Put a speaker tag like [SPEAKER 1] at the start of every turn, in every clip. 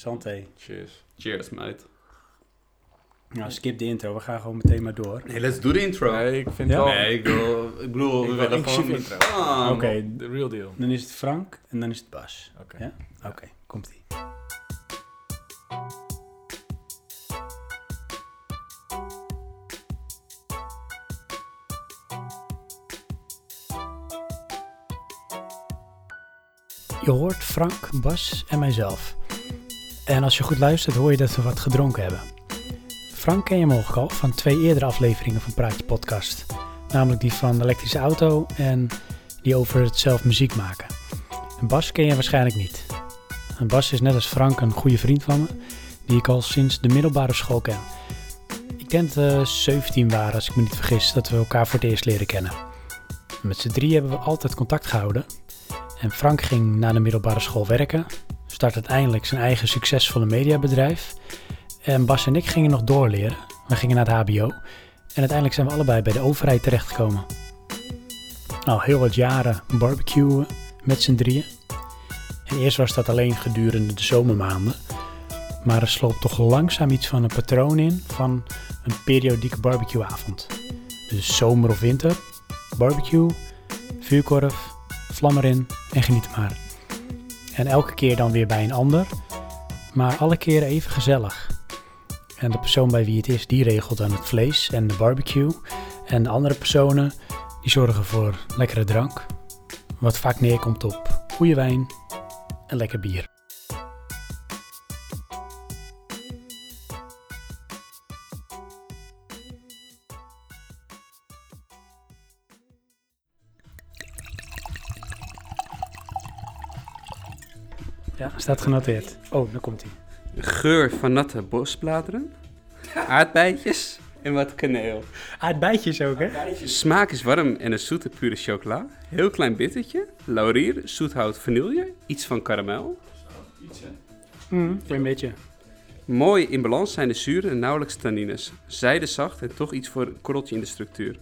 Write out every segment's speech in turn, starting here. [SPEAKER 1] Santé.
[SPEAKER 2] Cheers. Cheers, mate.
[SPEAKER 1] Nou, skip de intro. We gaan gewoon meteen maar door.
[SPEAKER 2] Nee, let's do the intro. Nee,
[SPEAKER 3] Nee, ik vind
[SPEAKER 1] Ja?
[SPEAKER 3] wel
[SPEAKER 2] ik, bedoel, ik bedoel,
[SPEAKER 3] Ik
[SPEAKER 2] we
[SPEAKER 3] wil
[SPEAKER 2] willen
[SPEAKER 3] een
[SPEAKER 2] gewoon...
[SPEAKER 3] chief intro.
[SPEAKER 2] Ah,
[SPEAKER 1] Oké.
[SPEAKER 3] de real deal.
[SPEAKER 1] Dan is het Frank en dan is het Bas.
[SPEAKER 3] Oké.
[SPEAKER 1] Ja? Oké, komt ie. Je hoort Frank, Bas en mijzelf. En als je goed luistert hoor je dat we wat gedronken hebben. Frank ken je mogelijk al van twee eerdere afleveringen van Praatje Podcast. Namelijk die van de elektrische auto en die over het zelf muziek maken. En Bas ken je waarschijnlijk niet. En Bas is net als Frank een goede vriend van me, die ik al sinds de middelbare school ken. Ik denk dat we 17 waren, als ik me niet vergis, dat we elkaar voor het eerst leren kennen. En met z'n drie hebben we altijd contact gehouden. En Frank ging na de middelbare school werken, start uiteindelijk zijn eigen succesvolle mediabedrijf. En Bas en ik gingen nog doorleren. We gingen naar het HBO. En uiteindelijk zijn we allebei bij de overheid terechtgekomen. Al heel wat jaren barbecuen met z'n drieën. En eerst was dat alleen gedurende de zomermaanden. Maar er sloop toch langzaam iets van een patroon in van een periodieke barbecueavond. Dus zomer of winter, barbecue, vuurkorf, vlam erin en geniet maar. En elke keer dan weer bij een ander, maar alle keren even gezellig. En de persoon bij wie het is, die regelt dan het vlees en de barbecue. En de andere personen, die zorgen voor lekkere drank. Wat vaak neerkomt op goede wijn en lekker bier. Ja, staat genoteerd. Oh, daar komt hij.
[SPEAKER 2] Geur van natte bosbladeren, aardbeidjes en wat kaneel.
[SPEAKER 1] Ah, Aardbeidjes ook, hè?
[SPEAKER 2] Smaak is warm en een zoete pure chocola. Heel klein bittertje, laurier, zoethout, vanille, iets van karamel.
[SPEAKER 1] Mm, een beetje.
[SPEAKER 2] Mooi in balans zijn de zuren en nauwelijks tannines. Zijde zacht en toch iets voor een korreltje in de structuur.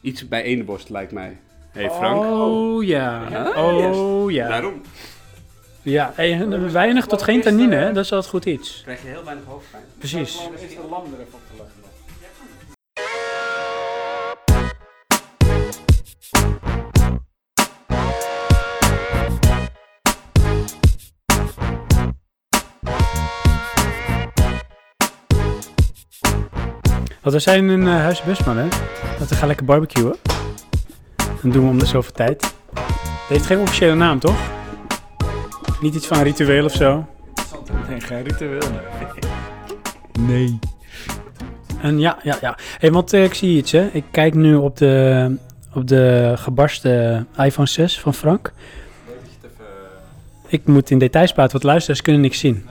[SPEAKER 2] Iets bij één borst lijkt mij. hey Frank.
[SPEAKER 1] Oh ja.
[SPEAKER 2] Ja,
[SPEAKER 1] Oh ja.
[SPEAKER 2] Daarom
[SPEAKER 1] Ja, en weinig tot geen tannine, hè? Dat is altijd goed iets.
[SPEAKER 2] krijg je heel weinig hoofdpijn.
[SPEAKER 1] Precies.
[SPEAKER 3] is de lam erop te leggen.
[SPEAKER 1] Want we zijn in eh, Huis Busman, hè? Dat we gaan lekker barbecuen. Dan doen we om de zoveel tijd. Het heeft geen officiële naam, toch? Niet iets van ritueel of zo.
[SPEAKER 3] Nee, geen ritueel. Nee.
[SPEAKER 1] Nee. En ja, ja, ja. hey, want eh, ik zie iets, hè. Ik kijk nu op de, op de gebarsten iPhone 6 van Frank.
[SPEAKER 3] eh,
[SPEAKER 1] Ik moet in details praten, want luisteraars kunnen niks zien.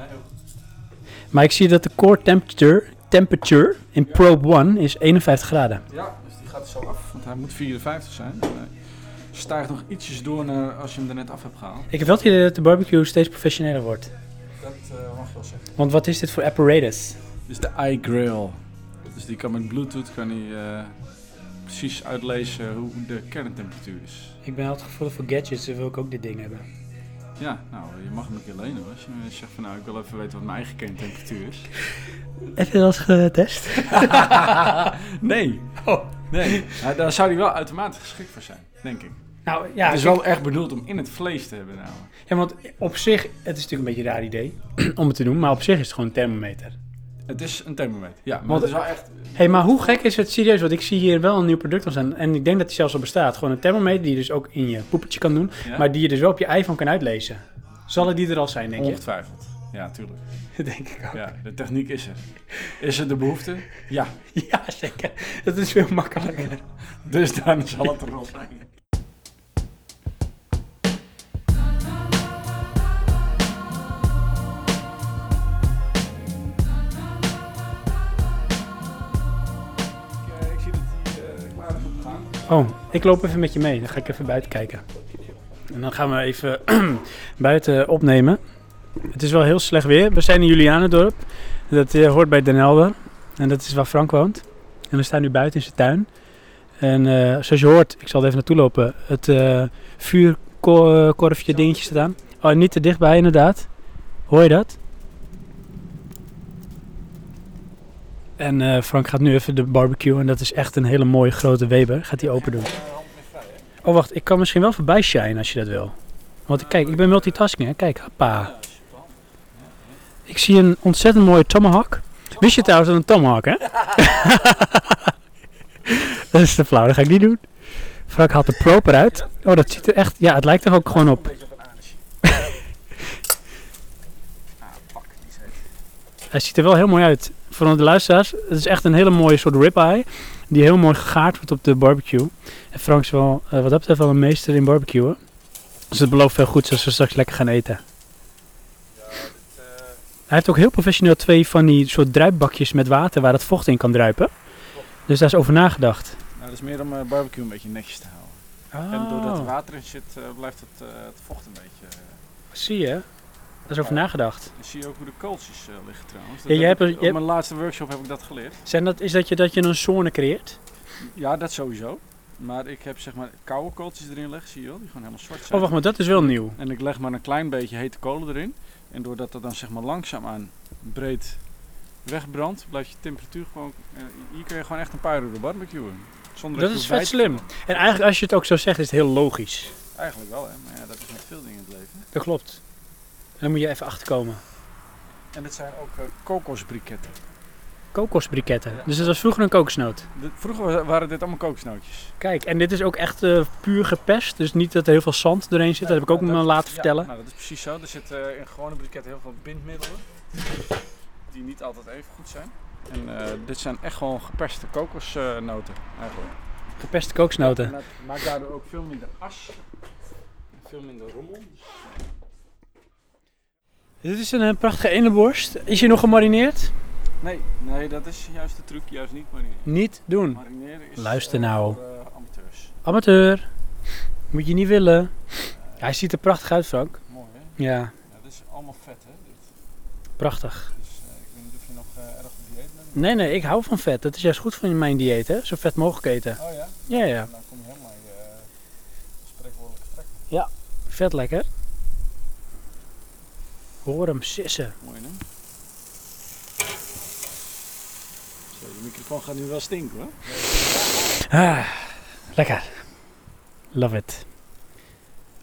[SPEAKER 1] Maar ik zie dat de core temperature, temperature in Probe 1 is 51 graden.
[SPEAKER 3] Ja, dus die gaat er zo af, want hij moet 54 zijn. Hij stijgt nog ietsjes door naar als je hem er net af hebt gehaald.
[SPEAKER 1] Ik heb wel het idee dat de barbecue steeds professioneler wordt.
[SPEAKER 3] Dat eh, mag je wel zeggen.
[SPEAKER 1] Want wat is dit voor apparatus?
[SPEAKER 3] Dit is de iGrill. Dus die kan met Bluetooth kan hij, eh, precies uitlezen hoe de kerntemperatuur is.
[SPEAKER 1] Ik ben altijd gevoelig voor gadgets, dus wil ik ook dit ding hebben.
[SPEAKER 3] Ja, nou, je mag hem een keer lenen hoor. Als je zegt van nou, ik wil even weten wat mijn eigen kerntemperatuur is.
[SPEAKER 1] Heb je dat eens getest?
[SPEAKER 3] nee.
[SPEAKER 1] Oh,
[SPEAKER 3] nee. Nou, daar zou hij wel uitermate geschikt voor zijn, denk ik.
[SPEAKER 1] Nou ja,
[SPEAKER 3] het is
[SPEAKER 1] kijk,
[SPEAKER 3] wel echt bedoeld om in het vlees te hebben nou. namelijk.
[SPEAKER 1] ja, want op zich, het is natuurlijk een beetje een raar idee om het te doen, maar op zich is het gewoon een thermometer.
[SPEAKER 3] Het is een thermometer. Ja, maar
[SPEAKER 1] Want-
[SPEAKER 3] het is wel echt...
[SPEAKER 1] Hé, hey, maar hoe gek is het serieus? Want ik zie hier wel een nieuw product aan staan en ik denk dat die zelfs al bestaat. Gewoon een thermometer die je dus ook in je poepetje kan doen,
[SPEAKER 3] Ja?
[SPEAKER 1] maar die je dus wel op je iPhone kan uitlezen. Zullen die er al zijn, denk je?
[SPEAKER 3] Ongetwijfeld. Ja, tuurlijk.
[SPEAKER 1] denk ik ook.
[SPEAKER 3] Ja, de techniek is er. Is er de behoefte? Ja.
[SPEAKER 1] Ja, zeker. Dat is veel makkelijker.
[SPEAKER 3] Dus dan zal het er wel zijn. Ik zie dat hij klaar is om te gaan.
[SPEAKER 1] Oh, ik loop even met je mee. Dan ga ik even buiten kijken. En dan gaan we even buiten opnemen. Het is wel heel slecht weer. We zijn in Julianendorp. Dat eh, hoort bij Den Helder. En dat is waar Frank woont. En we staan nu buiten in zijn tuin. En eh, zoals je hoort, ik zal er even naartoe lopen. Het eh, vuurkorfje dingetje staat aan. Oh, en niet te dichtbij inderdaad. Hoor je dat? En eh, Frank gaat nu even de barbecue. En dat is echt een hele mooie grote Weber. Gaat hij open doen. Oh, wacht. Ik kan misschien wel voorbij shine als je dat wil. Want kijk, ik ben multitasking. Hè. Kijk, hoppa. Ik zie een ontzettend mooie tomahawk. Wist je trouwens dat een tomahawk, hè? dat is te flauw. Dat ga ik niet doen. Frank haalt de proper uit. Oh, dat ziet er echt... Ja, het lijkt er ook gewoon op.
[SPEAKER 3] Ah,
[SPEAKER 1] Hij ziet er wel heel mooi uit. Voor de luisteraars, het is echt een hele mooie soort ribeye. Die heel mooi gegaard wordt op de barbecue. En Frank is wel, eh, wat dat betreft, wel een meester in barbecuen. Dus het belooft veel goeds als we straks lekker gaan eten. Hij heeft ook heel professioneel twee van die soort druipbakjes met water waar het vocht in kan druipen. Dus daar is over nagedacht.
[SPEAKER 3] Nou, dat is meer om eh, barbecue een beetje netjes te houden. En doordat
[SPEAKER 1] Oh,
[SPEAKER 3] er water in zit, eh, blijft het, eh, het vocht een beetje. eh.
[SPEAKER 1] Zie je? Daar is over nagedacht.
[SPEAKER 3] Dan zie je ook hoe de kooltjes eh, liggen trouwens.
[SPEAKER 1] Ja, jij
[SPEAKER 3] heb
[SPEAKER 1] hebt- je
[SPEAKER 3] ik- op
[SPEAKER 1] hebt-
[SPEAKER 3] mijn laatste workshop heb ik dat geleerd.
[SPEAKER 1] Zijn dat, is dat je, dat je een zone creëert?
[SPEAKER 3] Ja, dat sowieso. Maar ik heb zeg maar koude kooltjes erin leggen, zie je wel, die gewoon helemaal zwart zijn.
[SPEAKER 1] Oh, wacht maar, dat is wel nieuw.
[SPEAKER 3] En ik leg maar een klein beetje hete kolen erin. En doordat dat dan zeg maar langzaamaan breed wegbrandt, blijft je temperatuur gewoon... eh, hier kun je gewoon echt een paar uur barbecuen. Zonder
[SPEAKER 1] Dat
[SPEAKER 3] je
[SPEAKER 1] is
[SPEAKER 3] hoeft bij
[SPEAKER 1] vet
[SPEAKER 3] te
[SPEAKER 1] slim.
[SPEAKER 3] vullen.
[SPEAKER 1] En eigenlijk, als je het ook zo zegt, is het heel logisch.
[SPEAKER 3] Eigenlijk wel hè, maar ja, dat is met veel dingen in het leven.
[SPEAKER 1] Dat klopt. En dan moet je even achterkomen.
[SPEAKER 3] En dit zijn ook eh, kokosbriketten.
[SPEAKER 1] Kokosbriketten.
[SPEAKER 3] Ja.
[SPEAKER 1] Dus dat was vroeger een kokosnoot.
[SPEAKER 3] De- vroeger was- waren dit allemaal kokosnootjes.
[SPEAKER 1] Kijk, en dit is ook echt eh, puur gepest. Dus niet dat er heel veel zand doorheen zit. Dat heb ik ook me laten vertellen.
[SPEAKER 3] Ja, nou, dat is precies zo. Er zitten eh, in gewone briketten heel veel bindmiddelen. Die niet altijd even goed zijn. En eh, dit zijn echt gewoon geperste kokosnoten eh, eigenlijk.
[SPEAKER 1] Gepeste kokosnoten.
[SPEAKER 3] En dat maakt daardoor ook veel minder as. en Veel minder rommel.
[SPEAKER 1] Dit is een eh, prachtige eneborst. Is je nog gemarineerd?
[SPEAKER 3] Nee, nee, dat is juist de truc. Juist niet marineren.
[SPEAKER 1] Niet doen.
[SPEAKER 3] Marineren is
[SPEAKER 1] Hmm. Luister
[SPEAKER 3] eh,
[SPEAKER 1] nou.
[SPEAKER 3] voor eh, amateurs.
[SPEAKER 1] Amateur. Moet je niet willen. Ja, hij ziet er prachtig uit, Frank.
[SPEAKER 3] Mooi hè?
[SPEAKER 1] Ja,
[SPEAKER 3] Ja, dit is allemaal vet hè? Dit.
[SPEAKER 1] prachtig.
[SPEAKER 3] Dus eh, ik weet niet of je nog eh, erg op dieet bent.
[SPEAKER 1] Nee, nee, ik hou van vet. Dat is juist goed voor mijn dieet, hè. Zo vet mogelijk eten.
[SPEAKER 3] Oh ja?
[SPEAKER 1] Ja, ja.
[SPEAKER 3] Dan kom je helemaal in je eh, spreekwoordelijke trek.
[SPEAKER 1] Vet lekker. Hoor hem sissen.
[SPEAKER 3] Mooi hè? Zo, de microfoon gaat nu wel stinken hoor.
[SPEAKER 1] Ah, lekker. Love it.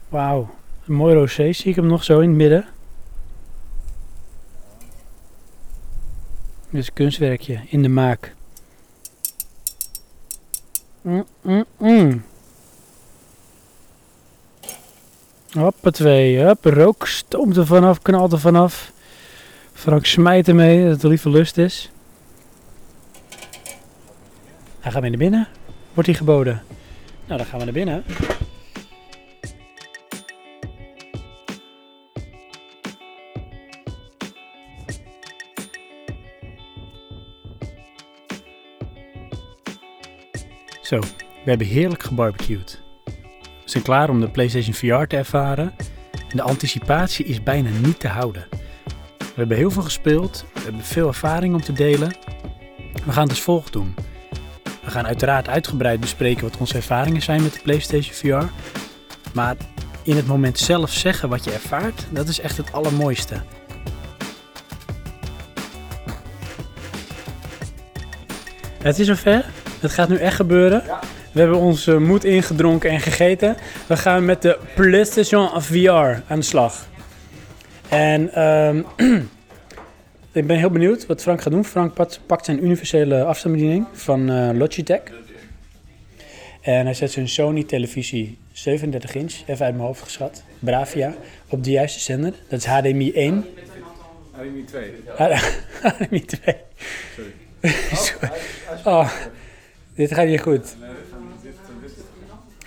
[SPEAKER 1] Wauw. Een mooi rosé. Zie ik hem nog zo in het midden. Dit is een kunstwerkje in de maak. Mm, mm, mm. Hoppatee. Hop, rook stoomt er vanaf, knalt er vanaf. Frank smijt ermee, dat het lieve lust is. Hij gaat mee naar binnen. Wordt hij geboden? Nou, dan gaan we naar binnen. Zo, we hebben heerlijk gebarbecued. We zijn klaar om de PlayStation VR te ervaren. En de anticipatie is bijna niet te houden. We hebben heel veel gespeeld, we hebben veel ervaring om te delen. We gaan het als volgt doen. We gaan uiteraard uitgebreid bespreken wat onze ervaringen zijn met de PlayStation VR. Maar in het moment zelf zeggen wat je ervaart, dat is echt het allermooiste. Het is zover. Het gaat nu echt gebeuren. We hebben onze moed ingedronken en gegeten. We gaan met de PlayStation VR aan de slag. En ehm, ik ben heel benieuwd wat Frank gaat doen. Frank pakt, pakt zijn universele afstandsbediening van eh, Logitech. En hij zet zijn Sony televisie 37 inch, even uit mijn hoofd geschat, Bravia, op de juiste zender. Dat is HDMI 1.
[SPEAKER 3] Arini 2.
[SPEAKER 1] Ah, HDMI 2.
[SPEAKER 3] Sorry.
[SPEAKER 1] Sorry. Oh, dit gaat niet goed.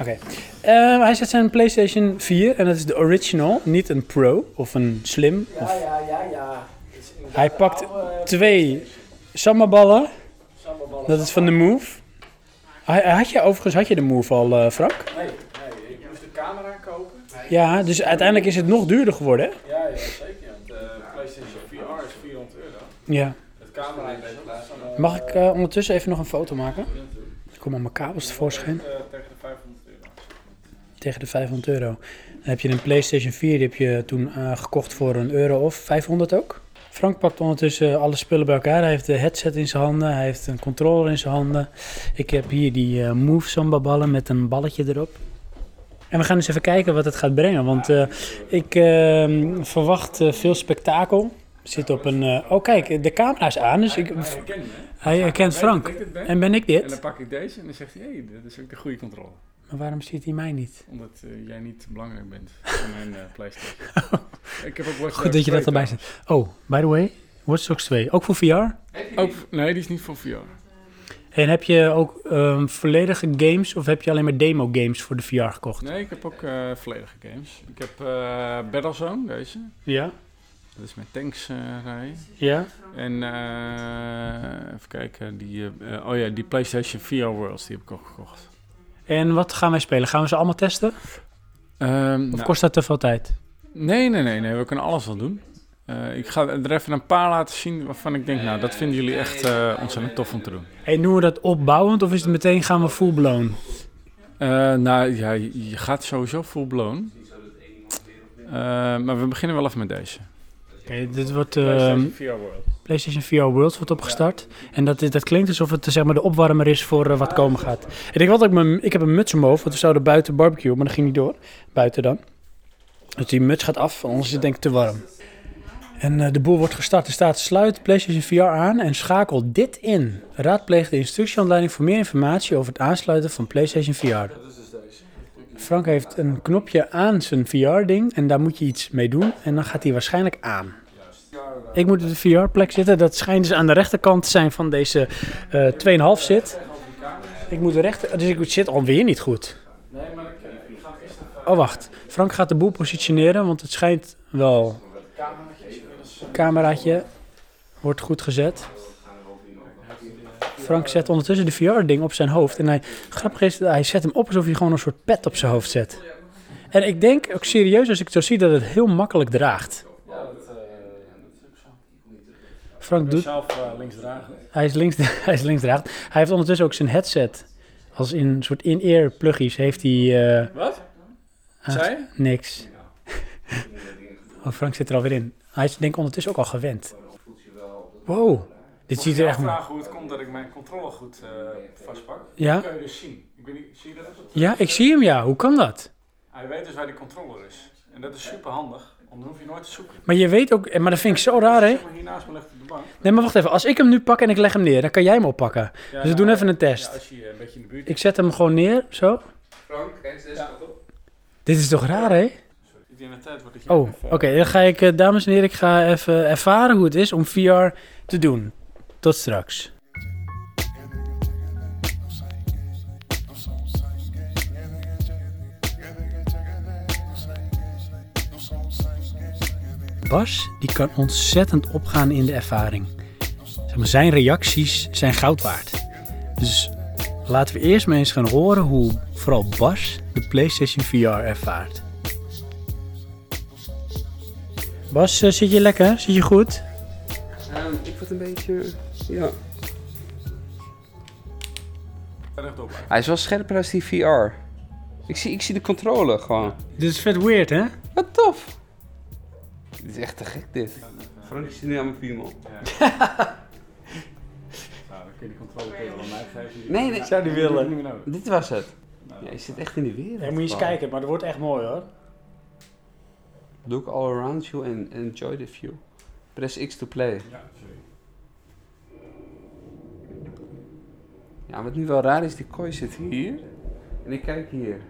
[SPEAKER 1] Oké. Ehm, hij zet zijn PlayStation 4 en dat is de original, niet een Pro of een Slim. Of...
[SPEAKER 4] Ja, ja, ja.
[SPEAKER 1] Hij pakt twee sambaballen. Dat is van de Move. Hij- hij Had je overigens had je de Move al, eh, Frank?
[SPEAKER 4] Nee, nee, ik moest de camera kopen.
[SPEAKER 1] Ja, dus uiteindelijk is het nog duurder geworden. hè?
[SPEAKER 4] Ja, ja zeker. Want de PlayStation VR is 400 euro.
[SPEAKER 1] Ja.
[SPEAKER 4] Het camera is ook eh,
[SPEAKER 1] Mag ik eh, ondertussen even nog een foto maken? Er komen mijn kabels tevoorschijn.
[SPEAKER 3] Eh, tegen de 500 euro.
[SPEAKER 1] Tegen de 500 euro. Dan heb je een PlayStation 4, die heb je toen eh, gekocht voor een euro of 500 ook. Frank pakt ondertussen eh, alle spullen bij elkaar. Hij heeft de headset in zijn handen, hij heeft een controller in zijn handen. Ik heb hier die eh, Move Samba ballen met een balletje erop. En we gaan eens even kijken wat het gaat brengen, want eh, ik eh, verwacht eh, veel spektakel. Zit op een. eh, oh, kijk, de camera is aan, dus ik,
[SPEAKER 3] ken je.
[SPEAKER 1] hij herkent Frank.
[SPEAKER 3] En
[SPEAKER 1] En ben ik
[SPEAKER 3] dan
[SPEAKER 1] dit?
[SPEAKER 3] pak ik deze en dan zegt hij, hé, hey, dit is ook de goede controle.
[SPEAKER 1] Maar waarom ziet hij mij niet?
[SPEAKER 3] Omdat eh, jij niet belangrijk bent voor mijn eh, PlayStation. ik heb ook Watch
[SPEAKER 1] Goed dat je dat erbij zet. Oh, by the way, Watch Dogs 2, ook voor VR?
[SPEAKER 3] Ook, nee, die is niet voor VR.
[SPEAKER 1] En heb je ook ehm, volledige games of heb je alleen maar demo games voor de VR gekocht?
[SPEAKER 3] Nee, ik heb ook eh volledige games. Ik heb eh Battlezone, deze.
[SPEAKER 1] Ja,
[SPEAKER 3] Dat is met tanks eh, rijden.
[SPEAKER 1] ja.
[SPEAKER 3] En eh, even kijken, die, eh, eh, oh ja, die PlayStation VR Worlds, die heb ik ook gekocht.
[SPEAKER 1] En wat gaan wij spelen? Gaan we ze allemaal testen? Of
[SPEAKER 3] Ehm, nou,
[SPEAKER 1] kost dat te veel tijd?
[SPEAKER 3] nee, nee, nee, nee, we kunnen alles wel doen. Eh, ik ga er even een paar laten zien waarvan ik denk, nou, dat vinden jullie echt eh, ontzettend tof om te doen.
[SPEAKER 1] En doen we dat opbouwend of is het meteen gaan we full blown?
[SPEAKER 3] Eh, nou ja, je je gaat sowieso full blown. Eh, maar we beginnen wel even met deze.
[SPEAKER 1] Oké, dit wordt ehm,
[SPEAKER 3] VR World.
[SPEAKER 1] PlayStation VR Worlds wordt opgestart. En dat, is- dat klinkt alsof het eh, zeg maar, de opwarmer is voor eh, wat komen gaat. En ik, had ook mijn, ik heb een muts omhoog, want we zouden buiten barbecue, maar dat ging niet door. Buiten dan. Dus die muts gaat af, anders is het denk ik te warm. En eh, de boel wordt gestart. Er staat sluit PlayStation VR aan en schakel dit in. Raadpleeg de instructiehandleiding voor meer informatie over het aansluiten van PlayStation VR. Frank heeft een knopje aan zijn VR-ding en daar moet je iets mee doen. En dan gaat hij waarschijnlijk aan. Ik moet op de VR-plek zitten. Dat schijnt dus aan de rechterkant te zijn van deze eh 2,5 zit. Ik moet de rechter... Dus ik zit alweer niet goed. Oh, wacht. Frank gaat de boel positioneren, want het schijnt wel... Cameraatje wordt goed gezet. Frank zet ondertussen de VR-ding op zijn hoofd. En hij, grappig is, hij zet hem op alsof hij gewoon een soort pet op zijn hoofd zet. En ik denk ook serieus, als ik het zo zie, dat het heel makkelijk draagt. Frank doet
[SPEAKER 3] Zelf eh, links dragen.
[SPEAKER 1] hij is links, hij is linksdraagd. Hij heeft ondertussen ook zijn headset. Als in een soort in-ear pluggies heeft hij eh,
[SPEAKER 3] Wat?
[SPEAKER 1] Ah.
[SPEAKER 3] Zei je?
[SPEAKER 1] niks. oh, Frank zit er alweer in. Hij is denk ik ondertussen ook al gewend. Wow, dit ziet er echt...
[SPEAKER 3] Ik vraag hoe het komt dat ik mijn controle goed eh, vastpak.
[SPEAKER 1] Ja?
[SPEAKER 3] Dat kun je dus zien. Ik weet niet, zie je dat? ook?
[SPEAKER 1] ja, ik zie hem ja. Hoe kan dat?
[SPEAKER 3] Hij weet dus waar die controller is. En dat is super handig, want dan hoef je nooit te zoeken.
[SPEAKER 1] Maar je weet ook... eh, Maar dat vind ik zo raar, hè?
[SPEAKER 3] Zeg maar hier naast me ligt op de bank.
[SPEAKER 1] Nee, maar wacht even. Als ik hem nu pak en ik leg hem neer, dan kan jij hem oppakken.
[SPEAKER 3] nou, Ja,
[SPEAKER 1] Dus we doen even een
[SPEAKER 3] ja,
[SPEAKER 1] test.
[SPEAKER 3] als je eh, een beetje in de buurt
[SPEAKER 1] Ik zet hem gewoon neer, zo.
[SPEAKER 2] Frank, kijk eens deze kant op.
[SPEAKER 1] Dit is toch raar, hè?
[SPEAKER 3] zit, in de tijd wordt het je
[SPEAKER 1] Oh, oké. Dan ga ik, eh, dames en heren, ik ga even ervaren hoe het is om VR te doen. Tot straks. Bas, die kan ontzettend opgaan in de ervaring. Zeg maar, zijn reacties zijn goud waard. Dus laten we eerst maar eens gaan horen hoe vooral Bas de PlayStation VR ervaart. Bas, eh, zit je lekker? Zit je goed?
[SPEAKER 2] Ehm, ik word een beetje... Ja.
[SPEAKER 3] Rechtop.
[SPEAKER 2] Hij is wel scherper als die VR. Ik zie, ik zie de controle gewoon.
[SPEAKER 1] Dit is vet weird, hè?
[SPEAKER 2] Wat tof! Dit is echt te gek dit. Frank zit nu aan mijn piemel.
[SPEAKER 3] Nou, dan kun je die controle kun je wel aan mij geven.
[SPEAKER 2] Nee, nee.
[SPEAKER 1] Zou die
[SPEAKER 3] Dat is niet meer nodig.
[SPEAKER 2] Dit was het. Ja, je zit echt in de wereld.
[SPEAKER 1] moet je eens
[SPEAKER 2] gewoon.
[SPEAKER 1] kijken, maar dat wordt echt mooi hoor.
[SPEAKER 2] Look all around you and enjoy the view. Press X to play.
[SPEAKER 3] Ja, sorry.
[SPEAKER 2] Ja, wat nu wel raar is, die kooi zit hier. En ik kijk hier.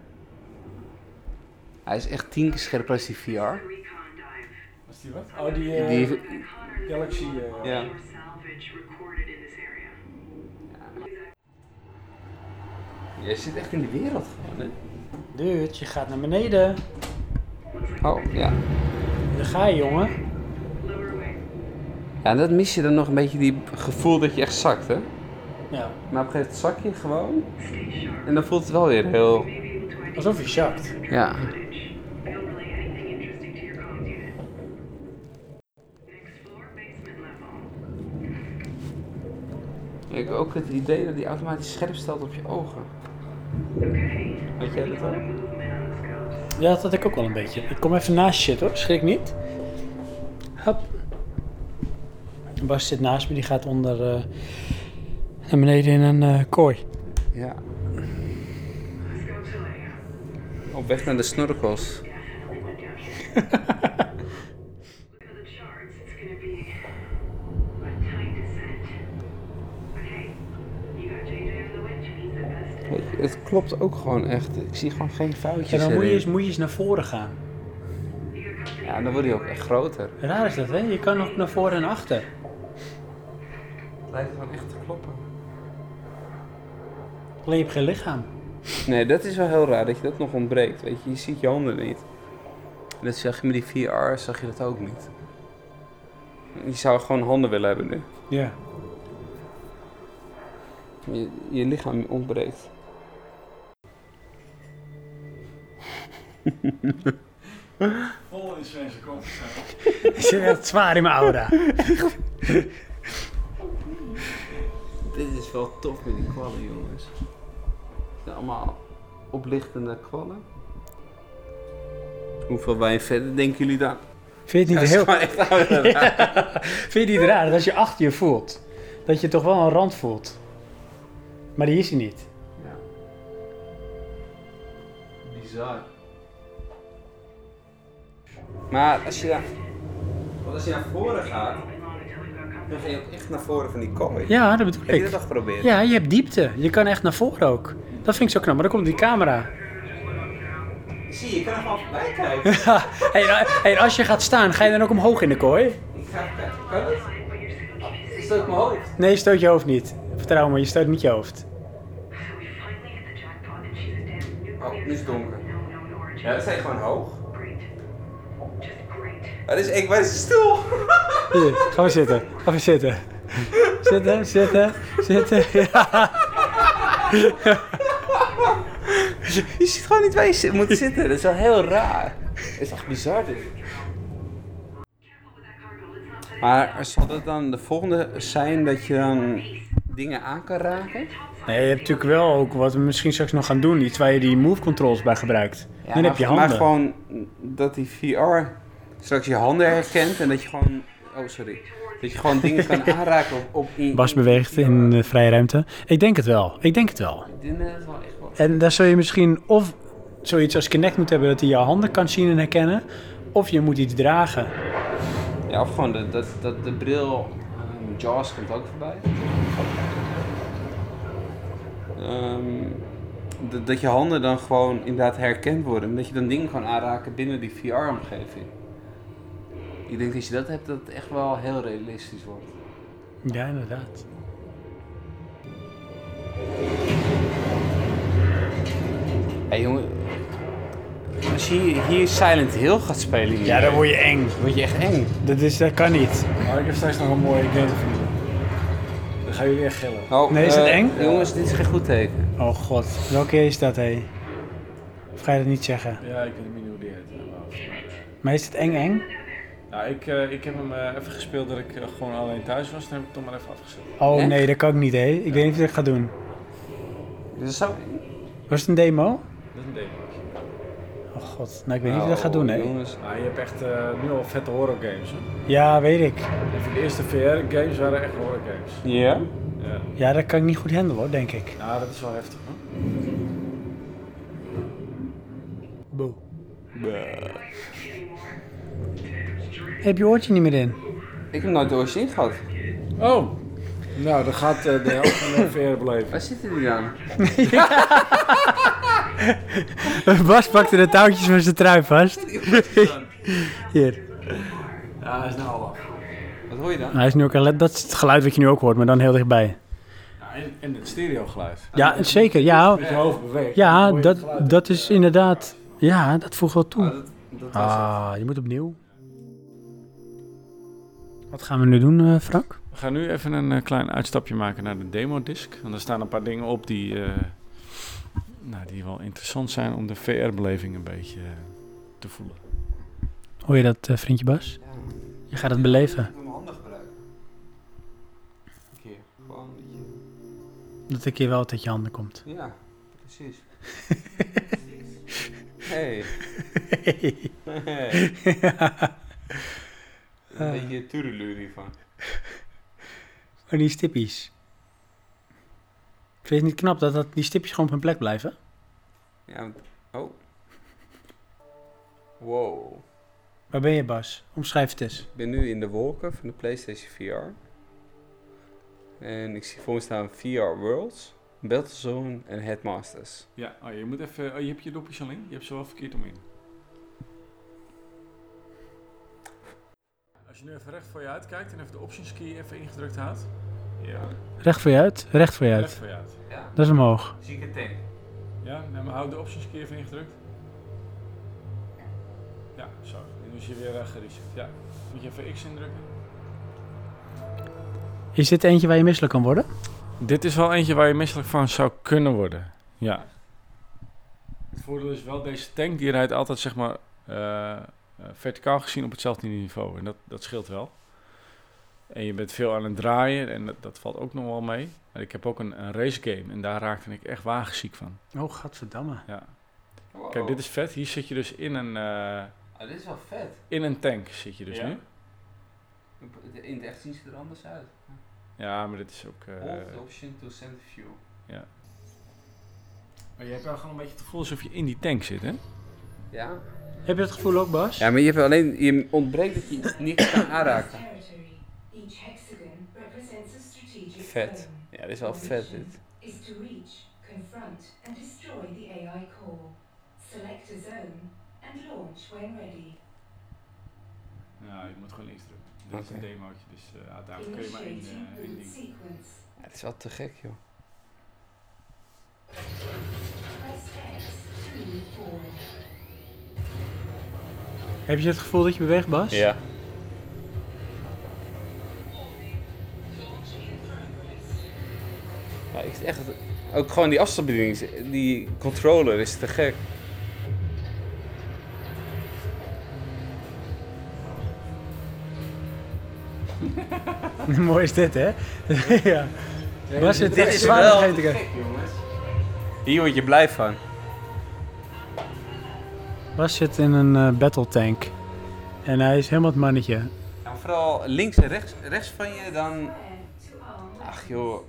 [SPEAKER 2] Hij is echt tien keer scherper als die VR.
[SPEAKER 3] Was die wat?
[SPEAKER 1] Oh, die, eh,
[SPEAKER 2] Die,
[SPEAKER 3] Galaxy.
[SPEAKER 2] ja. Jij zit echt in de wereld gewoon, hè?
[SPEAKER 1] Dude, je gaat naar beneden.
[SPEAKER 2] Oh, ja.
[SPEAKER 1] Daar ga je, jongen.
[SPEAKER 2] Ja, en dat mis je dan nog een beetje die gevoel dat je echt zakt, hè?
[SPEAKER 1] Ja,
[SPEAKER 2] Maar op een gegeven moment zak je gewoon. En dan voelt het wel weer heel...
[SPEAKER 1] alsof je zakt.
[SPEAKER 2] Ja. Ik heb ook het idee dat die automatisch scherp stelt op je ogen. Weet jij dat ook?
[SPEAKER 1] Ja, dat had ik ook wel een beetje. Ik kom even naast shit hoor, schrik niet. Hop. Bas zit naast me, die gaat onder eh, naar beneden in een eh, kooi.
[SPEAKER 2] Ja. Op weg naar de snorkels. Het klopt ook gewoon echt. Ik zie gewoon geen
[SPEAKER 1] Ja,
[SPEAKER 2] foutjes
[SPEAKER 1] dan moet je,
[SPEAKER 2] erin.
[SPEAKER 1] eens, moet je eens naar voren gaan.
[SPEAKER 2] Ja, dan wordt hij ook echt groter.
[SPEAKER 1] Raar is dat, hè? Je kan nog naar voren en achter.
[SPEAKER 2] Het lijkt gewoon echt te kloppen.
[SPEAKER 1] Alleen je hebt geen lichaam.
[SPEAKER 2] Nee, dat is wel heel raar dat je dat nog ontbreekt. Weet je, je ziet je handen niet. En dat zag je met die VR, zag je dat ook niet. Je zou gewoon handen willen hebben nu.
[SPEAKER 1] Ja.
[SPEAKER 2] Je, je lichaam ontbreekt.
[SPEAKER 3] Vol in Svense kom.
[SPEAKER 1] Ik zit echt zwaar in mijn aura.
[SPEAKER 2] Dit is wel tof met die kwallen, jongens. allemaal oplichtende kwallen. Hoeveel wijn verder denken jullie dan?
[SPEAKER 1] Vind je het niet heel...
[SPEAKER 2] echt ouder.
[SPEAKER 1] Vind je het niet raar dat als je achter je voelt, dat je toch wel een rand voelt? Maar die is er niet.
[SPEAKER 2] Ja. Bizar. Maar als je daar... Want als je naar voren gaat, dan ga je ook echt naar voren van die kooi.
[SPEAKER 1] Ja, dat bedoel
[SPEAKER 2] Heb je dat
[SPEAKER 1] ik.
[SPEAKER 2] al geprobeerd?
[SPEAKER 1] Ja, je hebt diepte. Je kan echt naar voren ook. Dat vind ik zo knap, maar dan komt die camera.
[SPEAKER 2] Zie je, je kan er gewoon voorbij kijken.
[SPEAKER 1] hey, nou, hey, als je gaat staan, ga je dan ook omhoog in de kooi?
[SPEAKER 2] Ik ga even kijken. Kan dat? Is dat ook mijn hoofd?
[SPEAKER 1] Nee, je stoot je hoofd niet. Vertrouw me, je stoot niet je hoofd.
[SPEAKER 2] Oh, nu is het donker. Ja, dat zijn gewoon hoog. Waar is, ik, waar is de stoel?
[SPEAKER 1] Hier, ga maar zitten. Ga maar zitten. Zitten, zitten, zitten. Ja.
[SPEAKER 2] Je ziet gewoon niet waar je zit- moet zitten. Dat is wel heel raar. Dat is echt bizar dit. Maar zal dat dan de volgende zijn dat je dan dingen aan kan raken?
[SPEAKER 1] Nee, je hebt natuurlijk wel ook wat we misschien straks nog gaan doen. Iets waar je die move controls bij gebruikt. dan heb je handen.
[SPEAKER 2] Maar gewoon dat die VR straks je handen herkent en dat je gewoon... Oh, sorry. Dat je gewoon dingen kan aanraken op... op in,
[SPEAKER 1] Bas beweegt in de vrije ruimte. Ik denk het wel. Ik denk het wel.
[SPEAKER 2] Ik denk dat het wel echt wel...
[SPEAKER 1] En daar zul je misschien of zoiets als Kinect moet hebben dat hij jouw handen kan zien en herkennen. Of je moet iets dragen.
[SPEAKER 2] Ja, of gewoon dat, dat, dat de bril. ehm, Jaws komt ook voorbij. Ehm, dat- dat je handen dan gewoon inderdaad herkend worden. En dat je dan dingen kan aanraken binnen die VR-omgeving. Ik denk dat als je dat hebt, dat het echt wel heel realistisch wordt.
[SPEAKER 1] Ja, inderdaad.
[SPEAKER 2] Hé jongen. Als je hier Silent Hill gaat spelen, hier,
[SPEAKER 1] dan word je eng.
[SPEAKER 2] word je echt eng.
[SPEAKER 1] Dat, is, dat kan niet.
[SPEAKER 3] Maar ik heb straks nog een mooie game voor jullie. Dan gaan jullie echt gillen.
[SPEAKER 2] Oh,
[SPEAKER 1] Nee, is het
[SPEAKER 2] eh,
[SPEAKER 1] eng?
[SPEAKER 2] Jongens, dit is geen goed teken.
[SPEAKER 1] Oh god, welke is dat hé? Of ga je dat niet zeggen?
[SPEAKER 3] Ja, ik weet niet meer hoe die heet. helemaal.
[SPEAKER 1] Maar is het eng eng?
[SPEAKER 3] Nou, ik, eh, ik heb hem eh, even gespeeld dat ik eh, gewoon alleen thuis was. Dan heb ik het toch maar even afgezet.
[SPEAKER 1] Oh
[SPEAKER 2] Echt?
[SPEAKER 1] nee, dat kan ik niet hé. Ik weet niet of ik dat ga doen.
[SPEAKER 2] Dit is zo
[SPEAKER 1] Was het een demo?
[SPEAKER 3] Dat is een demo.
[SPEAKER 1] Oh god, nou ik weet niet of ik dat ga doen hé.
[SPEAKER 2] Jongens,
[SPEAKER 3] Nou, je hebt echt eh, nu al vette horror games. Hè?
[SPEAKER 1] Ja, weet ik.
[SPEAKER 3] Even de eerste VR games waren echt horror games.
[SPEAKER 2] Ja?
[SPEAKER 3] Ja.
[SPEAKER 1] Ja, dat kan ik niet goed handelen hoor, denk ik.
[SPEAKER 3] Nou, dat is wel heftig hoor.
[SPEAKER 1] Boe. Heb je oortje niet meer in?
[SPEAKER 2] Ik heb nooit ooit gehad.
[SPEAKER 3] Oh! Nou, dan gaat eh, de helft van de VR beleven.
[SPEAKER 2] Waar zitten die dan?
[SPEAKER 1] Bas pakte de touwtjes van zijn trui vast. Hier. Nou,
[SPEAKER 3] Ja, dat is nou al af.
[SPEAKER 2] Wat hoor je dan?
[SPEAKER 1] Hij is nu ook, al- dat is het geluid wat je nu ook hoort, maar dan heel dichtbij.
[SPEAKER 3] Ja, en, en het stereogeluid.
[SPEAKER 1] Ja, zeker. Ja,
[SPEAKER 3] Met je hoofd beweegt.
[SPEAKER 1] ja
[SPEAKER 3] dan hoor je het
[SPEAKER 1] dat,
[SPEAKER 3] geluid.
[SPEAKER 1] dat is inderdaad... Ja, dat voegt wel
[SPEAKER 2] Ah,
[SPEAKER 1] toe.
[SPEAKER 2] dat, dat was
[SPEAKER 1] Ah, je moet opnieuw. Wat gaan we nu doen, eh, Frank?
[SPEAKER 3] We gaan nu even een eh, klein uitstapje maken naar de demodisc. Want er staan een paar dingen op die, eh, nou, die wel interessant zijn om de VR-beleving een beetje eh, te voelen.
[SPEAKER 1] Hoor je dat, eh, vriendje Bas?
[SPEAKER 2] het.
[SPEAKER 1] Je gaat het beleven.
[SPEAKER 2] Ik heb mijn handen gebruiken. Een keer. Gewoon een beetje-
[SPEAKER 1] Dat ik hier wel tot je handen komt.
[SPEAKER 2] Ja, precies. hey. hey. Een beetje toedeluur hiervan.
[SPEAKER 1] Maar Oh, die stippies. Vind je het niet knap dat, dat die stipjes gewoon op hun plek blijven?
[SPEAKER 2] Ja, want- oh. Wow.
[SPEAKER 1] Waar ben je, Bas? Omschrijf het eens.
[SPEAKER 2] Ik ben nu in de wolken van de PlayStation VR. En ik zie voor me staan VR Worlds, Battlezone en Headmasters.
[SPEAKER 3] Ja, oh, je moet even. Oh, je hebt je dopjes al in. Je hebt ze wel verkeerd om in. Als je nu even recht voor je uitkijkt en even de options key even ingedrukt houdt.
[SPEAKER 2] Ja.
[SPEAKER 1] Recht voor je uit, recht voor je
[SPEAKER 3] Recht
[SPEAKER 1] uit.
[SPEAKER 3] voor je uit.
[SPEAKER 2] Ja,
[SPEAKER 1] Dat is omhoog.
[SPEAKER 2] zie ik het ding.
[SPEAKER 3] Ja, nee, maar hou de options key even ingedrukt. Ja, zo. Nu is je weer eh, gereset. Ja. Moet je even X indrukken.
[SPEAKER 1] Is dit eentje waar je misselijk kan worden?
[SPEAKER 3] Dit is wel eentje waar je misselijk van zou kunnen worden. Ja. Het voordeel is wel, deze tank die rijdt altijd zeg maar eh, eh, verticaal gezien op hetzelfde niveau. En dat, dat scheelt wel. En je bent veel aan het draaien en dat, dat valt ook nog wel mee. Maar ik heb ook een, een race game en daar raakte ik echt wagenziek van.
[SPEAKER 1] Oh, godverdamme.
[SPEAKER 3] Ja. Kijk, dit is vet. Hier zit je dus in een, eh,
[SPEAKER 2] Ah, dit is wel vet.
[SPEAKER 3] in een tank zit je dus
[SPEAKER 4] Ja.
[SPEAKER 3] nu.
[SPEAKER 2] In het echt zien ze er anders uit.
[SPEAKER 3] Ja, maar dit is ook... eh,
[SPEAKER 2] option to center view.
[SPEAKER 3] maar je hebt wel gewoon een beetje het gevoel alsof je in die tank zit, hè?
[SPEAKER 2] Ja?
[SPEAKER 1] Heb je dat gevoel ook, Bas?
[SPEAKER 2] Ja, maar je, hebt alleen, je ontbreekt dat je iets niks kan aanraken.
[SPEAKER 5] Territory. Each hexagon represents a strategic
[SPEAKER 2] Vet.
[SPEAKER 5] zone.
[SPEAKER 2] Ja, dit is wel vet dit.
[SPEAKER 5] Is to reach, confront, and destroy the AI core. Select a zone and launch when ready.
[SPEAKER 3] Nou, je moet gewoon niks drukken. Dit is een
[SPEAKER 2] Oké.
[SPEAKER 3] demootje, dus eh uiteindelijk kun je maar één,
[SPEAKER 5] Initiating
[SPEAKER 3] eh, één
[SPEAKER 5] boot
[SPEAKER 3] ding.
[SPEAKER 5] sequence.
[SPEAKER 2] Ja, dit is wel te gek joh.
[SPEAKER 5] Press X to move forward.
[SPEAKER 1] Heb je het gevoel dat je beweegt, Bas?
[SPEAKER 2] Maar ik echt, ook gewoon die afstandsbediening, die controller is te gek.
[SPEAKER 1] Mooi is dit, hè? ja. Bas zit
[SPEAKER 2] dit
[SPEAKER 1] echt
[SPEAKER 2] is
[SPEAKER 1] zwaar
[SPEAKER 2] wel
[SPEAKER 1] aan het
[SPEAKER 2] te
[SPEAKER 1] geiten.
[SPEAKER 2] gek, jongens. Hier word je blij van.
[SPEAKER 1] Bas zit in een eh, battle tank. En hij is helemaal het mannetje.
[SPEAKER 2] En vooral links en rechts, rechts van je dan...
[SPEAKER 5] To arm
[SPEAKER 2] Ach joh,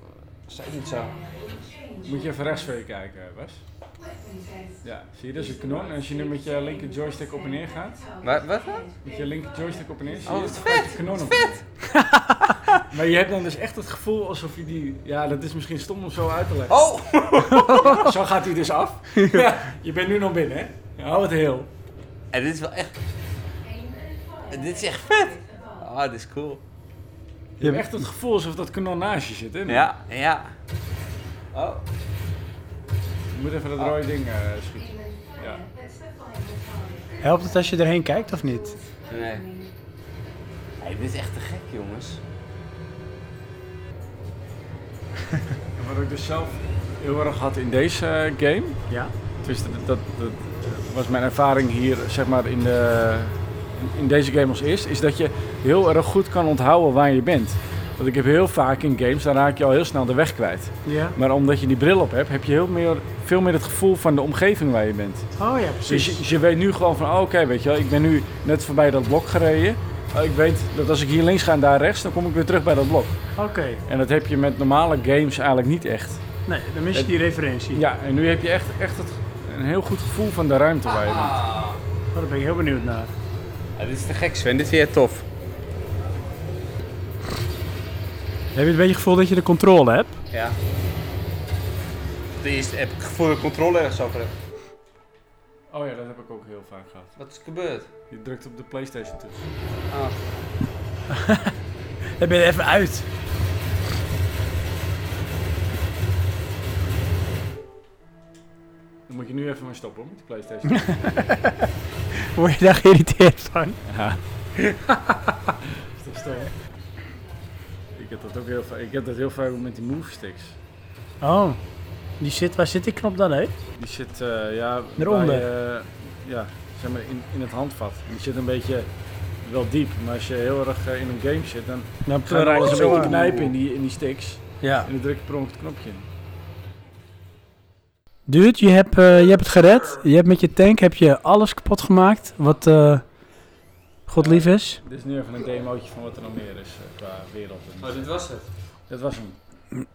[SPEAKER 2] zeg niet zo.
[SPEAKER 5] change
[SPEAKER 3] Moet je even rechts voor je kijken, Bas.
[SPEAKER 5] weapon test.
[SPEAKER 3] Ja, zie je, dat is een kanon. En als je nu met je linker joystick op en neer gaat,
[SPEAKER 2] Wat, wat dan?
[SPEAKER 3] met je linker joystick op en neer, zie je
[SPEAKER 2] Oh, dat is
[SPEAKER 3] dan gaat die kanon op. Vet! maar je hebt dan dus echt het gevoel alsof je die... Ja, dat is misschien stom om zo uit te leggen.
[SPEAKER 2] Oh!
[SPEAKER 3] Zo gaat hij dus af. ja, je bent nu nog binnen, hè? Ja, hou het heel.
[SPEAKER 2] En dit is wel echt...
[SPEAKER 5] Aim and fire.
[SPEAKER 2] Dit is echt vet! Ah, dit is cool.
[SPEAKER 3] Je hebt echt het gevoel alsof dat kanon naast je zit, hè?
[SPEAKER 2] Ja, ja. Oh.
[SPEAKER 3] Je moet even dat rode ding eh, schieten.
[SPEAKER 5] Aim and fire.
[SPEAKER 3] Ja.
[SPEAKER 5] That's the final target.
[SPEAKER 1] Helpt het als je erheen kijkt of niet?
[SPEAKER 2] Nee. Hey, dit is echt te gek, jongens.
[SPEAKER 3] En Wat ik dus zelf heel erg had in deze eh, game,
[SPEAKER 1] Ja.
[SPEAKER 3] Dus dat, dat, dat was mijn ervaring hier, zeg maar, in, de, in deze game als eerst, is dat je heel erg goed kan onthouden waar je bent. Want ik heb heel vaak in games, dan raak je al heel snel de weg kwijt.
[SPEAKER 1] Ja.
[SPEAKER 3] Maar omdat je die bril op hebt, heb je heel meer, veel meer het gevoel van de omgeving waar je bent.
[SPEAKER 1] Oh ja,
[SPEAKER 3] Dus je,
[SPEAKER 1] precies.
[SPEAKER 3] je weet nu gewoon van, oh, oké, weet je wel, ik ben nu net voorbij dat blok gereden. Oh, ik weet dat als ik hier links ga en daar rechts, dan kom ik weer terug bij dat blok.
[SPEAKER 1] Oké.
[SPEAKER 3] En dat heb je met normale games eigenlijk niet echt.
[SPEAKER 1] Nee, dan mis je die referentie.
[SPEAKER 3] Ja, en nu heb je echt, echt het, een heel goed gevoel van de ruimte waar je bent.
[SPEAKER 2] Ah.
[SPEAKER 1] Oh, daar ben ik heel benieuwd naar.
[SPEAKER 2] Ja, dit is te gek, Sven. Dit vind jij tof.
[SPEAKER 1] Heb je een beetje het gevoel dat je de controle hebt?
[SPEAKER 2] Ja. Eerst heb ik het gevoel dat ik controle ergens over heb.
[SPEAKER 3] Oh ja, dat heb ik ook heel vaak gehad.
[SPEAKER 2] Wat is gebeurd?
[SPEAKER 3] Je drukt op de PlayStation tussen.
[SPEAKER 2] Ah.
[SPEAKER 1] Dan ben je er even uit.
[SPEAKER 3] Dan moet je nu even maar stoppen hoor, met de PlayStation.
[SPEAKER 1] Word je daar geïrriteerd van?
[SPEAKER 3] ik heb dat ook heel vaak. Ik heb dat heel vaak met die move sticks.
[SPEAKER 1] Oh. Die zit, waar zit die knop dan, hè?
[SPEAKER 3] Die zit eh, ja,
[SPEAKER 1] Eronder.
[SPEAKER 3] bij, eh, ja, zeg maar in, in het handvat. Die zit een beetje wel diep, maar als je heel erg eh, in een game zit, dan
[SPEAKER 1] Dan
[SPEAKER 3] ga je
[SPEAKER 1] alles
[SPEAKER 3] een
[SPEAKER 1] door.
[SPEAKER 3] beetje knijpen in die, in die sticks.
[SPEAKER 1] Ja.
[SPEAKER 3] En dan druk je per ongeluk het knopje in.
[SPEAKER 1] Dude, je hebt, eh, je hebt het gered. Je hebt met je tank heb je alles kapot gemaakt wat eh, God lief is.
[SPEAKER 3] Dit is nu even een demootje van wat er nog meer is eh, qua wereld.
[SPEAKER 2] Oh, dit was het.
[SPEAKER 3] Dat was hem.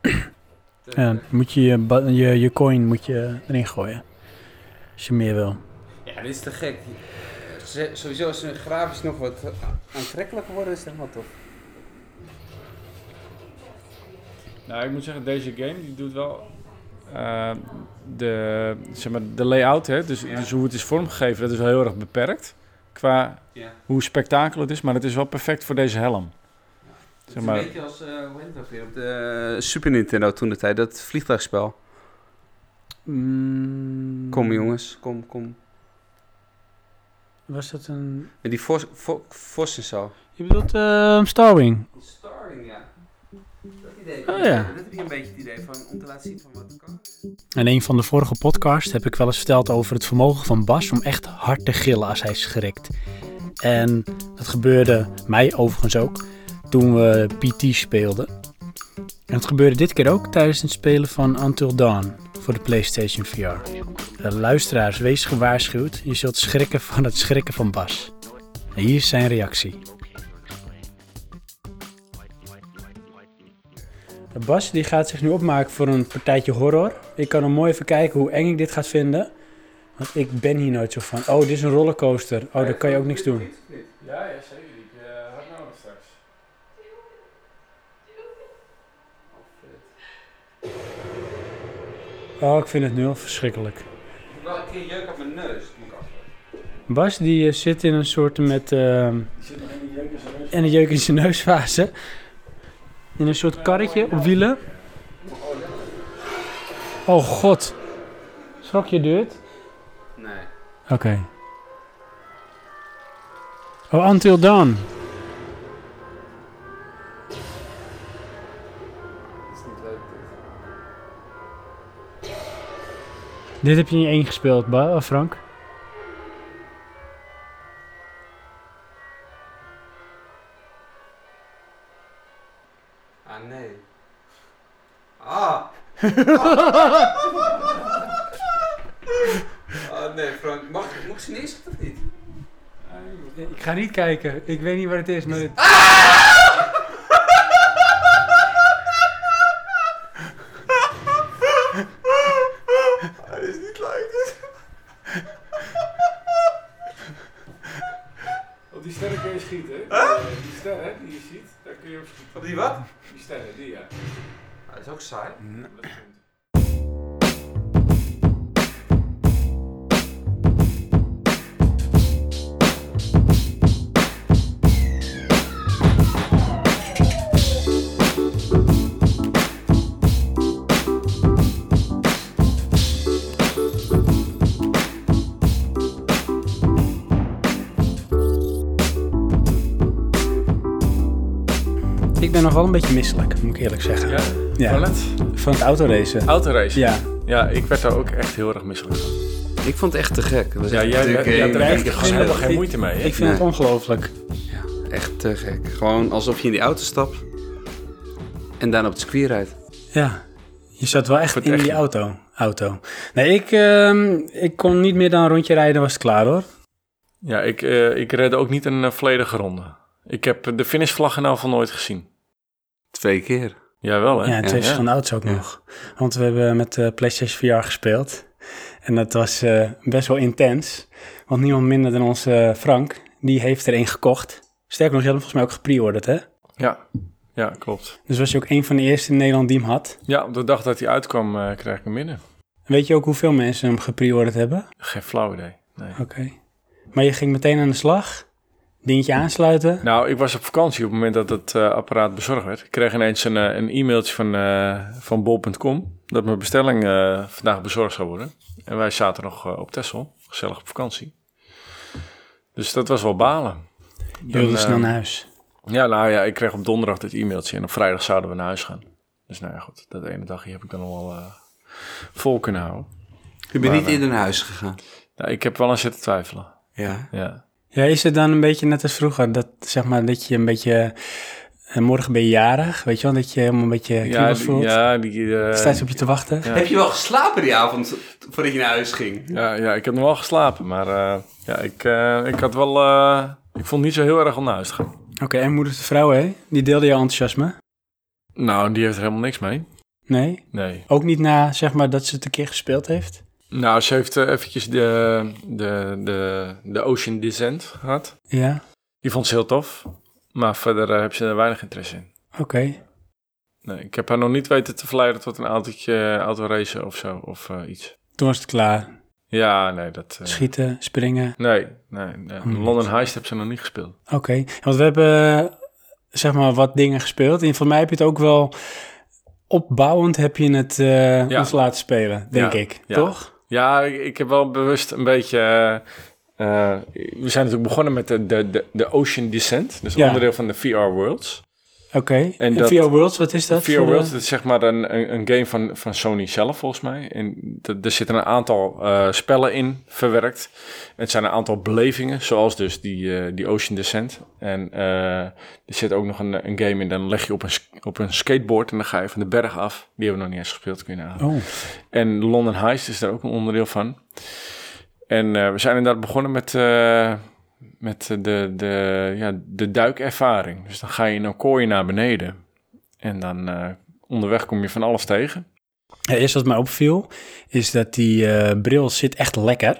[SPEAKER 1] En moet je je, ba- je je coin moet je erin gooien. Als je meer wil.
[SPEAKER 2] Ja, dit is te gek. Ze- Sowieso als ze grafisch nog wat aantrekkelijker worden, is dat helemaal tof.
[SPEAKER 3] Nou, ik moet zeggen, deze game die doet wel eh, de, zeg maar, de layout, hè? Dus,
[SPEAKER 2] Ja.
[SPEAKER 3] dus hoe het is vormgegeven, dat is wel heel erg beperkt. Qua
[SPEAKER 2] Ja.
[SPEAKER 3] hoe spektakel het is, maar het is wel perfect voor deze helm.
[SPEAKER 2] Het
[SPEAKER 3] Zeg
[SPEAKER 2] is
[SPEAKER 3] maar-
[SPEAKER 2] een beetje als, eh hoe heet dat weer, op de Eh, Super Nintendo toen de tijd, dat vliegtuigspel. Kom jongens, Mm. kom, kom.
[SPEAKER 1] Was dat een...
[SPEAKER 2] Met die vos, vo- vos en zo.
[SPEAKER 1] Je bedoelt ehm, Starwing?
[SPEAKER 2] Starring, ja. Dat idee.
[SPEAKER 1] Oh, ja.
[SPEAKER 2] Dat heb je een beetje het idee van, om te laten zien van wat het kan.
[SPEAKER 1] In een van de vorige podcasts heb ik wel eens verteld over het vermogen van Bas om echt hard te gillen als hij schrikt. En dat gebeurde mij overigens ook toen we PT speelden. En het gebeurde dit keer ook tijdens het spelen van Until Dawn voor de PlayStation VR. De luisteraars, wees gewaarschuwd, je zult schrikken van het schrikken van Bas. En hier is zijn reactie. Bas die gaat zich nu opmaken voor een partijtje horror. Ik kan hem mooi even kijken hoe eng ik dit gaat vinden. Want ik ben hier nooit zo van. Oh, dit is een rollercoaster. Oh, daar kan je ook niks doen.
[SPEAKER 3] Ja, ja zeker. Ik uh, had nodig straks.
[SPEAKER 1] Oh, ik vind het nu al verschrikkelijk.
[SPEAKER 2] Ik heb wel een keer jeuk op mijn neus, moet ik afleggen.
[SPEAKER 1] Bas die eh, zit in een soort met... ehm,
[SPEAKER 3] Die zit nog in die jeukers en
[SPEAKER 1] en een jeuk in zijn neusfase. In een soort karretje op wielen. Oh god. Schrok je dit?
[SPEAKER 2] Nee.
[SPEAKER 1] Oké. Oh, Until Dawn.
[SPEAKER 2] Dat is niet leuk. dit.
[SPEAKER 1] Dit heb je in je één gespeeld, Ba- eh, Frank.
[SPEAKER 2] Ah, nee. Ah! Ah, nee, Frank. Mag ik, moet ik ze neerzetten of niet?
[SPEAKER 1] Ik ga niet kijken. Ik weet niet wat het is, maar het...
[SPEAKER 2] Dat is niet leuk.
[SPEAKER 4] Op die sterren kun je schieten. hè? Eh, Die sterren die je ziet, daar kun je op schieten.
[SPEAKER 2] Op die wat?
[SPEAKER 4] Die sterren, die ja.
[SPEAKER 2] Dat is ook saai.
[SPEAKER 1] Ik ben nog wel een beetje misselijk, moet ik eerlijk zeggen.
[SPEAKER 3] Ja,
[SPEAKER 1] Ja.
[SPEAKER 3] toilet.
[SPEAKER 1] Van het autoracen.
[SPEAKER 3] Autorace.
[SPEAKER 1] Ja.
[SPEAKER 3] ja, ik werd daar ook echt heel erg misselijk van.
[SPEAKER 2] Ik vond het echt te gek. Dat was
[SPEAKER 3] Ja,
[SPEAKER 2] echt
[SPEAKER 3] jij,
[SPEAKER 2] te
[SPEAKER 3] jij,
[SPEAKER 2] gek.
[SPEAKER 3] jij
[SPEAKER 1] drijft
[SPEAKER 3] dreigt er gewoon
[SPEAKER 1] gewoon
[SPEAKER 3] helemaal
[SPEAKER 1] heel-
[SPEAKER 3] geen moeite mee. hè?
[SPEAKER 1] Ik vind het
[SPEAKER 2] Nee.
[SPEAKER 1] ongelooflijk.
[SPEAKER 2] Echt te gek. Gewoon alsof je in die auto stapt en dan op het circuit rijdt.
[SPEAKER 1] Ja, je zat wel echt
[SPEAKER 3] Voor het
[SPEAKER 1] in
[SPEAKER 3] echt,
[SPEAKER 1] die
[SPEAKER 3] ja.
[SPEAKER 1] auto. auto. Nee, ik, ehm, ik kon niet meer dan een rondje rijden, was het klaar hoor.
[SPEAKER 3] Ja, ik, eh ik redde ook niet een eh, volledige ronde. Ik heb eh, de finishvlag in van nooit gezien.
[SPEAKER 2] Twee keer.
[SPEAKER 3] Jawel, hè?
[SPEAKER 1] Ja, en twee
[SPEAKER 3] Ja.
[SPEAKER 1] verschillende auto's ook
[SPEAKER 2] Ja.
[SPEAKER 1] nog. Want we hebben met eh PlayStation VR gespeeld. En dat was eh, best wel intens. Want niemand minder dan onze eh, Frank, die heeft er één gekocht. Sterker nog, je had hem volgens mij ook gepreorderd hè?
[SPEAKER 3] Ja. ja, klopt.
[SPEAKER 1] Dus was je ook een van de eerste in Nederland die hem had.
[SPEAKER 3] Ja, op de dag dat hij uitkwam, eh kreeg ik hem binnen.
[SPEAKER 1] En weet je ook hoeveel mensen hem gepreorderd hebben?
[SPEAKER 3] Geen flauw idee. Nee.
[SPEAKER 1] Oké. Maar je ging meteen aan de slag. Dingetje aansluiten.
[SPEAKER 3] Nou, ik was op vakantie op het moment dat het eh, apparaat bezorgd werd. Ik kreeg ineens een, eh, een e-mailtje van, eh, van bol.com dat mijn bestelling eh, vandaag bezorgd zou worden. En wij zaten nog eh, op Texel, gezellig op vakantie. Dus dat was wel balen.
[SPEAKER 1] Je wilde
[SPEAKER 3] Dan,
[SPEAKER 1] snel
[SPEAKER 3] eh,
[SPEAKER 1] naar huis.
[SPEAKER 3] Ja, nou ja, ik kreeg op donderdag dit e-mailtje en op vrijdag zouden we naar huis gaan. Dus nou ja, goed, dat ene dagje heb ik dan al wel eh, vol kunnen houden.
[SPEAKER 2] Je bent
[SPEAKER 3] Maar,
[SPEAKER 2] niet
[SPEAKER 3] eh,
[SPEAKER 2] eerder naar huis gegaan.
[SPEAKER 3] Nou, ik heb wel aan zitten twijfelen.
[SPEAKER 2] Ja.
[SPEAKER 3] Ja.
[SPEAKER 1] Ja, is het dan een beetje net als vroeger? Dat, zeg maar, dat je een beetje... eh, morgen ben je jarig, weet je wel? Dat je helemaal een beetje
[SPEAKER 3] Ja,
[SPEAKER 1] kriebels
[SPEAKER 3] die-
[SPEAKER 1] voelt.
[SPEAKER 3] ja, die, eh,
[SPEAKER 1] Steeds op je te wachten.
[SPEAKER 3] Ja.
[SPEAKER 2] Heb je wel geslapen die avond voordat je naar huis ging?
[SPEAKER 3] ja, ja, ik heb nog wel geslapen, maar eh, ja, ik, eh, ik had wel eh, Ik vond niet zo heel erg onderuit gaan.
[SPEAKER 1] Oké, en moeder de vrouw, hè? Die deelde jouw enthousiasme?
[SPEAKER 3] Nou, die heeft er helemaal niks mee.
[SPEAKER 1] Nee?
[SPEAKER 3] Nee.
[SPEAKER 1] Ook niet na, zeg maar, dat ze het een keer gespeeld heeft?
[SPEAKER 3] Nou, ze heeft eh, eventjes de, de, de, de Ocean Descent gehad.
[SPEAKER 1] Ja,
[SPEAKER 3] Die vond ze heel tof. Maar verder eh, heb ze er weinig interesse in.
[SPEAKER 1] oké.
[SPEAKER 3] Nee, ik heb haar nog niet weten te verleiden tot een autootje, autoracen of zo. Of eh, iets.
[SPEAKER 1] Toen was het klaar.
[SPEAKER 3] Ja, nee, dat... eh,
[SPEAKER 1] Schieten, springen.
[SPEAKER 3] nee, nee. nee.
[SPEAKER 1] Hmm.
[SPEAKER 3] London Heist heb ze nog niet gespeeld.
[SPEAKER 1] Oké, want we hebben eh, zeg maar wat dingen gespeeld. En voor mij heb je het ook wel opbouwend heb je het eh,
[SPEAKER 3] Ja.
[SPEAKER 1] ons laten spelen, denk
[SPEAKER 3] Ja,
[SPEAKER 1] ik.
[SPEAKER 3] ja.
[SPEAKER 1] Toch?
[SPEAKER 3] Ja, ik, ik heb wel bewust een beetje... eh, eh, we zijn natuurlijk begonnen met de, de, de, de Ocean Descent. Dus
[SPEAKER 1] Ja.
[SPEAKER 3] onderdeel van de VR Worlds.
[SPEAKER 1] Oké. En,
[SPEAKER 3] dat-
[SPEAKER 1] VR Worlds, wat is dat?
[SPEAKER 3] VR
[SPEAKER 1] voor de-
[SPEAKER 3] Worlds, dat is zeg maar een, een, een game van, van Sony zelf volgens mij. En d- er zitten een aantal eh, spellen in verwerkt. Het zijn een aantal belevingen, zoals dus die, eh, die Ocean Descent. En eh, er zit ook nog een, een game in, dan leg je op een, sk- op een skateboard en dan ga je van de berg af. Die hebben we nog niet eens gespeeld, kun je nagaan.
[SPEAKER 1] Oh,
[SPEAKER 3] En London Heist is daar ook een onderdeel van. En eh, we zijn inderdaad begonnen met, eh, met de, de, ja, de duikervaring. Dus dan ga je in een kooi naar beneden. En dan eh, onderweg kom je van alles tegen.
[SPEAKER 1] Ja, eerst wat mij opviel, is dat die eh, bril zit echt lekker.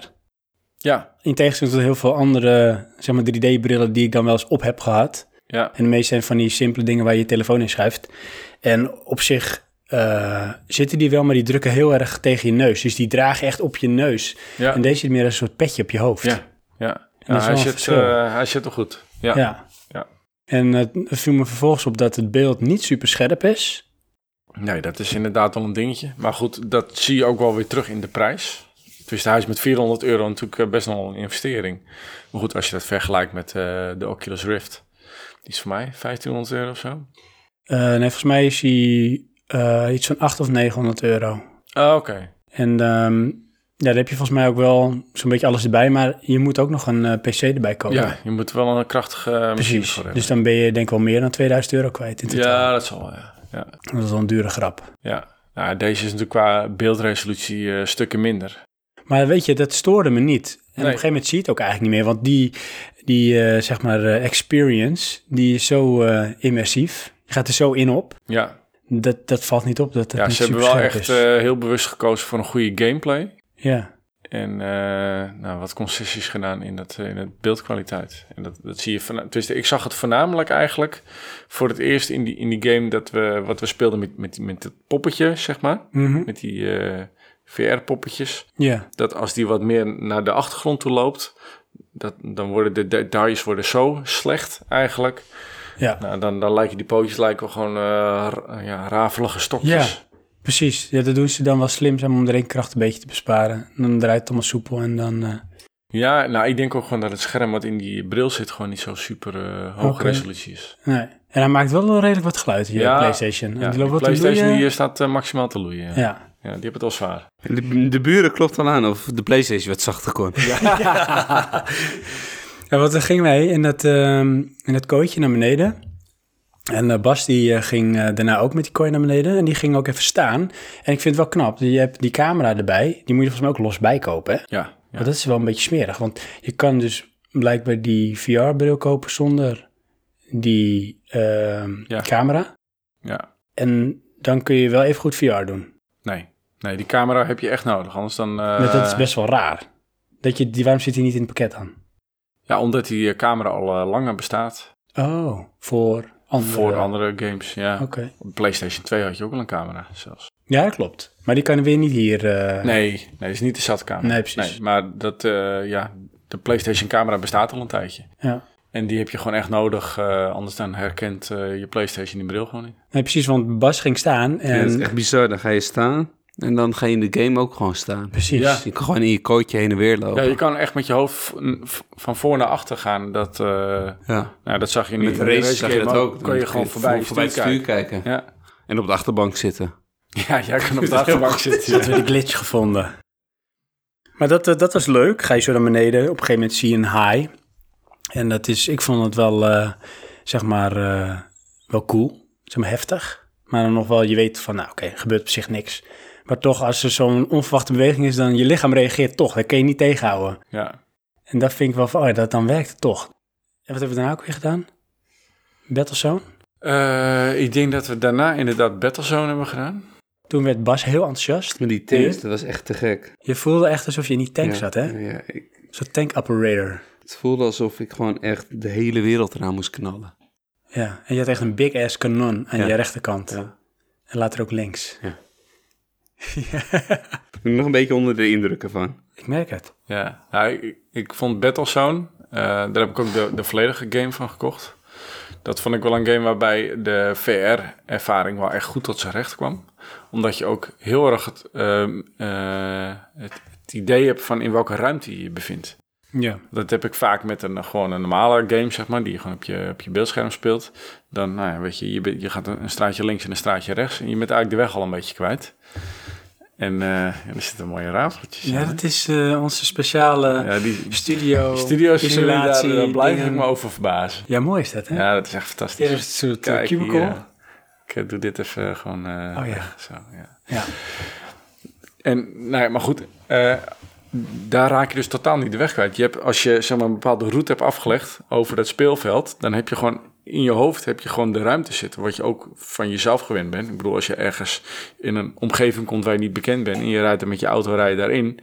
[SPEAKER 3] Ja,
[SPEAKER 1] In tegenstelling tot heel veel andere zeg maar 3D-brillen die ik dan wel eens op heb gehad.
[SPEAKER 3] ja.
[SPEAKER 1] En de meeste zijn van die simpele dingen waar je je telefoon in schuift. En op zich eh, zitten die wel, maar die drukken heel erg tegen je neus. Dus die dragen echt op je neus.
[SPEAKER 3] Ja,
[SPEAKER 1] En deze zit meer als een soort petje op je hoofd.
[SPEAKER 3] ja. ja.
[SPEAKER 1] wel
[SPEAKER 3] Ja, hij,
[SPEAKER 1] een
[SPEAKER 3] zit,
[SPEAKER 1] verschil.
[SPEAKER 3] eh, hij zit er goed. Ja.
[SPEAKER 1] Ja.
[SPEAKER 3] Ja.
[SPEAKER 1] En het viel me vervolgens op dat het beeld niet super scherp is.
[SPEAKER 3] Nee, dat is inderdaad wel een dingetje. Maar goed, dat zie je ook wel weer terug in de prijs. Dus hij is met 400 euro natuurlijk eh, best wel een investering. Maar goed, als je dat vergelijkt met eh, de Oculus Rift. Die is voor mij 1500 euro of zo.
[SPEAKER 1] Eh, nee, volgens mij is hij eh, iets van 800 of 900 euro.
[SPEAKER 3] Ah, oké.
[SPEAKER 1] En ehm, ja, daar heb je volgens mij ook wel zo'n beetje alles erbij. Maar je moet ook nog een eh, PC erbij kopen.
[SPEAKER 3] Ja, je moet wel een krachtige eh, machine
[SPEAKER 1] precies.
[SPEAKER 3] voor hebben.
[SPEAKER 1] Dus dan ben je denk ik wel meer dan 2000 euro kwijt in totaal.
[SPEAKER 3] ja, dat zal wel, ja. ja,
[SPEAKER 1] Dat is wel een dure grap.
[SPEAKER 3] ja. Nou, deze is natuurlijk qua beeldresolutie eh, stukken minder.
[SPEAKER 1] Maar weet je, dat stoorde me niet. En op een
[SPEAKER 3] Nee.
[SPEAKER 1] gegeven moment zie je het ook eigenlijk niet meer. Want die, die eh, zeg maar, eh, experience, die is zo eh, immersief. Je gaat er zo in op.
[SPEAKER 3] Ja,
[SPEAKER 1] Dat, dat valt niet op dat het
[SPEAKER 3] ja
[SPEAKER 1] niet
[SPEAKER 3] ze hebben wel
[SPEAKER 1] superscherp
[SPEAKER 3] echt
[SPEAKER 1] is.
[SPEAKER 3] eh, heel bewust gekozen voor een goede gameplay.
[SPEAKER 1] ja.
[SPEAKER 3] En eh, nou, wat concessies gedaan in, dat, eh, in het beeldkwaliteit. En dat, dat zie je van, tenminste, ik zag het voornamelijk eigenlijk voor het eerst in die, in die game dat we, wat we speelden met, met, met het poppetje, zeg maar.
[SPEAKER 1] Mhm.
[SPEAKER 3] Met die eh, VR-poppetjes.
[SPEAKER 1] ja.
[SPEAKER 3] Dat als die wat meer naar de achtergrond toe loopt, dat, dan worden de details worden zo slecht eigenlijk.
[SPEAKER 1] Ja.
[SPEAKER 3] Nou, dan, dan lijken die pootjes lijken wel gewoon eh, ra- ja, rafelige stokjes.
[SPEAKER 1] Precies. Ja, dat doen ze dan wel slim zeg maar, om de rekenkracht een beetje te besparen. En dan draait het allemaal soepel en dan... eh,
[SPEAKER 3] Ja, nou, ik denk ook gewoon dat het scherm wat in die bril zit gewoon niet zo super eh, hoge
[SPEAKER 1] Oké.
[SPEAKER 3] resolutie is.
[SPEAKER 1] nee. En hij maakt wel redelijk wat geluid hier,
[SPEAKER 3] Ja.
[SPEAKER 1] PlayStation.
[SPEAKER 3] Ja,
[SPEAKER 1] die
[SPEAKER 3] die
[SPEAKER 1] loopt wat te
[SPEAKER 3] PlayStation
[SPEAKER 1] loeien.
[SPEAKER 3] die eh, staat eh, maximaal te loeien. Ja.
[SPEAKER 1] Ja.
[SPEAKER 3] Ja, die hebben het wel zwaar.
[SPEAKER 2] De, de buren klopt al aan of de PlayStation wat zachter kon.
[SPEAKER 1] Ja, want dan gingen wij in dat, ehm, in dat kooitje naar beneden. En eh, Bas die eh, ging eh, daarna ook met die kooi naar beneden. En die ging ook even staan. En ik vind het wel knap. Je hebt die camera erbij. Die moet je volgens mij ook los bijkopen, hè?
[SPEAKER 3] Ja, ja.
[SPEAKER 1] Maar dat is wel een beetje smerig, want je kan dus blijkbaar die VR-bril kopen zonder die ehm,
[SPEAKER 3] Ja.
[SPEAKER 1] camera.
[SPEAKER 3] ja.
[SPEAKER 1] En dan kun je wel even goed VR doen.
[SPEAKER 3] Nee. nee, die camera heb je echt nodig. Anders dan... eh,
[SPEAKER 1] Maar dat is best wel raar. Dat je, die, waarom zit die niet in het pakket aan?
[SPEAKER 3] Ja, omdat die eh, camera al eh, langer bestaat.
[SPEAKER 1] Oh, voor andere.
[SPEAKER 3] Voor andere games, ja.
[SPEAKER 1] Oké.
[SPEAKER 3] Op PlayStation 2 had je ook wel een camera zelfs.
[SPEAKER 1] Ja, dat klopt. Maar die kan weer niet hier. eh,
[SPEAKER 3] Nee, nee, dat is niet de SAT-camera.
[SPEAKER 1] Nee, precies.
[SPEAKER 3] maar dat, eh, ja, de PlayStation-camera bestaat al een tijdje.
[SPEAKER 1] Ja.
[SPEAKER 3] En die heb je gewoon echt nodig, eh, anders dan herkent eh, je PlayStation die bril gewoon niet.
[SPEAKER 1] nee, precies, want Bas ging staan en...
[SPEAKER 2] Ja, dat is echt bizar. Dan ga je staan en dan ga je in de game ook gewoon staan.
[SPEAKER 1] Precies.
[SPEAKER 3] Ja.
[SPEAKER 2] Je kan gewoon in je kootje heen en weer
[SPEAKER 3] Ja,
[SPEAKER 2] lopen.
[SPEAKER 3] je kan echt met je hoofd v- v- van voor naar achter gaan. Dat, eh,
[SPEAKER 2] Ja.
[SPEAKER 3] nou, dat zag je niet.
[SPEAKER 2] Met de race zag je dat ook.
[SPEAKER 3] Kun je
[SPEAKER 2] Dan
[SPEAKER 3] gewoon voorbij,
[SPEAKER 2] voor- voorbij het stuur kijken.
[SPEAKER 3] Ja.
[SPEAKER 2] En op de achterbank zitten.
[SPEAKER 3] ja, jij kan op de achterbank zitten.
[SPEAKER 1] Dat we de glitch gevonden. Maar dat, eh, dat was leuk. Ga je zo naar beneden. Op een gegeven moment zie je een haai. En dat is, ik vond het wel, eh, zeg maar, eh, wel cool. Zeg maar heftig. Maar dan nog wel, je weet van, nou oké, gebeurt op zich niks. Maar toch, als er zo'n onverwachte beweging is, dan je lichaam reageert toch. Dat kun je niet tegenhouden.
[SPEAKER 3] Ja.
[SPEAKER 1] En dat vind ik wel van, oh ja, dat dan werkt het toch. En wat hebben we daarna ook weer gedaan? Battlezone.
[SPEAKER 3] Eh, ik denk dat we daarna inderdaad Battlezone hebben gedaan.
[SPEAKER 1] Toen werd Bas heel enthousiast.
[SPEAKER 2] Maar die tanks, dat was echt te gek.
[SPEAKER 1] Je voelde echt alsof je in die tank
[SPEAKER 2] Ja,
[SPEAKER 1] zat, hè?
[SPEAKER 2] Ja, ik,
[SPEAKER 1] Zo'n tank operator.
[SPEAKER 2] het voelde alsof ik gewoon echt de hele wereld eraan moest knallen.
[SPEAKER 1] Ja, en je had echt een big ass kanon aan
[SPEAKER 2] Ja.
[SPEAKER 1] je rechterkant.
[SPEAKER 2] Ja.
[SPEAKER 1] En later ook links.
[SPEAKER 2] Ja.
[SPEAKER 1] Ja,
[SPEAKER 2] Ik ben nog een beetje onder de indrukken van.
[SPEAKER 1] ik merk het.
[SPEAKER 3] Ja, nou, ik, ik vond Battlezone, eh, daar heb ik ook de, de volledige game van gekocht. Dat vond ik wel een game waarbij de VR-ervaring wel echt goed tot zijn recht kwam. Omdat je ook heel erg het, ehm, eh, het, het idee hebt van in welke ruimte je je bevindt.
[SPEAKER 1] Ja.
[SPEAKER 3] Dat heb ik vaak met een, gewoon een normale game, zeg maar, die je gewoon op je, op je beeldscherm speelt. Dan, nou ja, weet je, je, bent- je gaat een een straatje links en een straatje rechts en je bent eigenlijk de weg al een beetje kwijt. En eh er zitten mooie rafeltjes
[SPEAKER 1] Ja,
[SPEAKER 3] in, hè?
[SPEAKER 1] dat is eh, onze speciale
[SPEAKER 3] ja, die,
[SPEAKER 1] studio,
[SPEAKER 3] Studio's isolatie, daar, daar blijf ik
[SPEAKER 1] dingen.
[SPEAKER 3] me over verbazen.
[SPEAKER 1] Ja, mooi is dat, hè?
[SPEAKER 3] Ja, dat is echt
[SPEAKER 1] Dit
[SPEAKER 3] fantastisch.
[SPEAKER 1] is een soort eh,
[SPEAKER 3] Kijk hier,
[SPEAKER 1] cubicle.
[SPEAKER 3] eh, Ik doe dit even gewoon eh,
[SPEAKER 1] Oh ja.
[SPEAKER 3] weg, Zo, ja.
[SPEAKER 1] Ja.
[SPEAKER 3] En, nou ja, maar goed, eh, daar raak je dus totaal niet de weg kwijt. Je hebt, als je zeg maar, een bepaalde route hebt afgelegd over dat speelveld, dan heb je gewoon in je hoofd heb je gewoon de ruimte zitten, wat je ook van jezelf gewend bent. Ik bedoel, als je ergens in een omgeving komt waar je niet bekend bent en je rijdt er met je auto rijden daarin,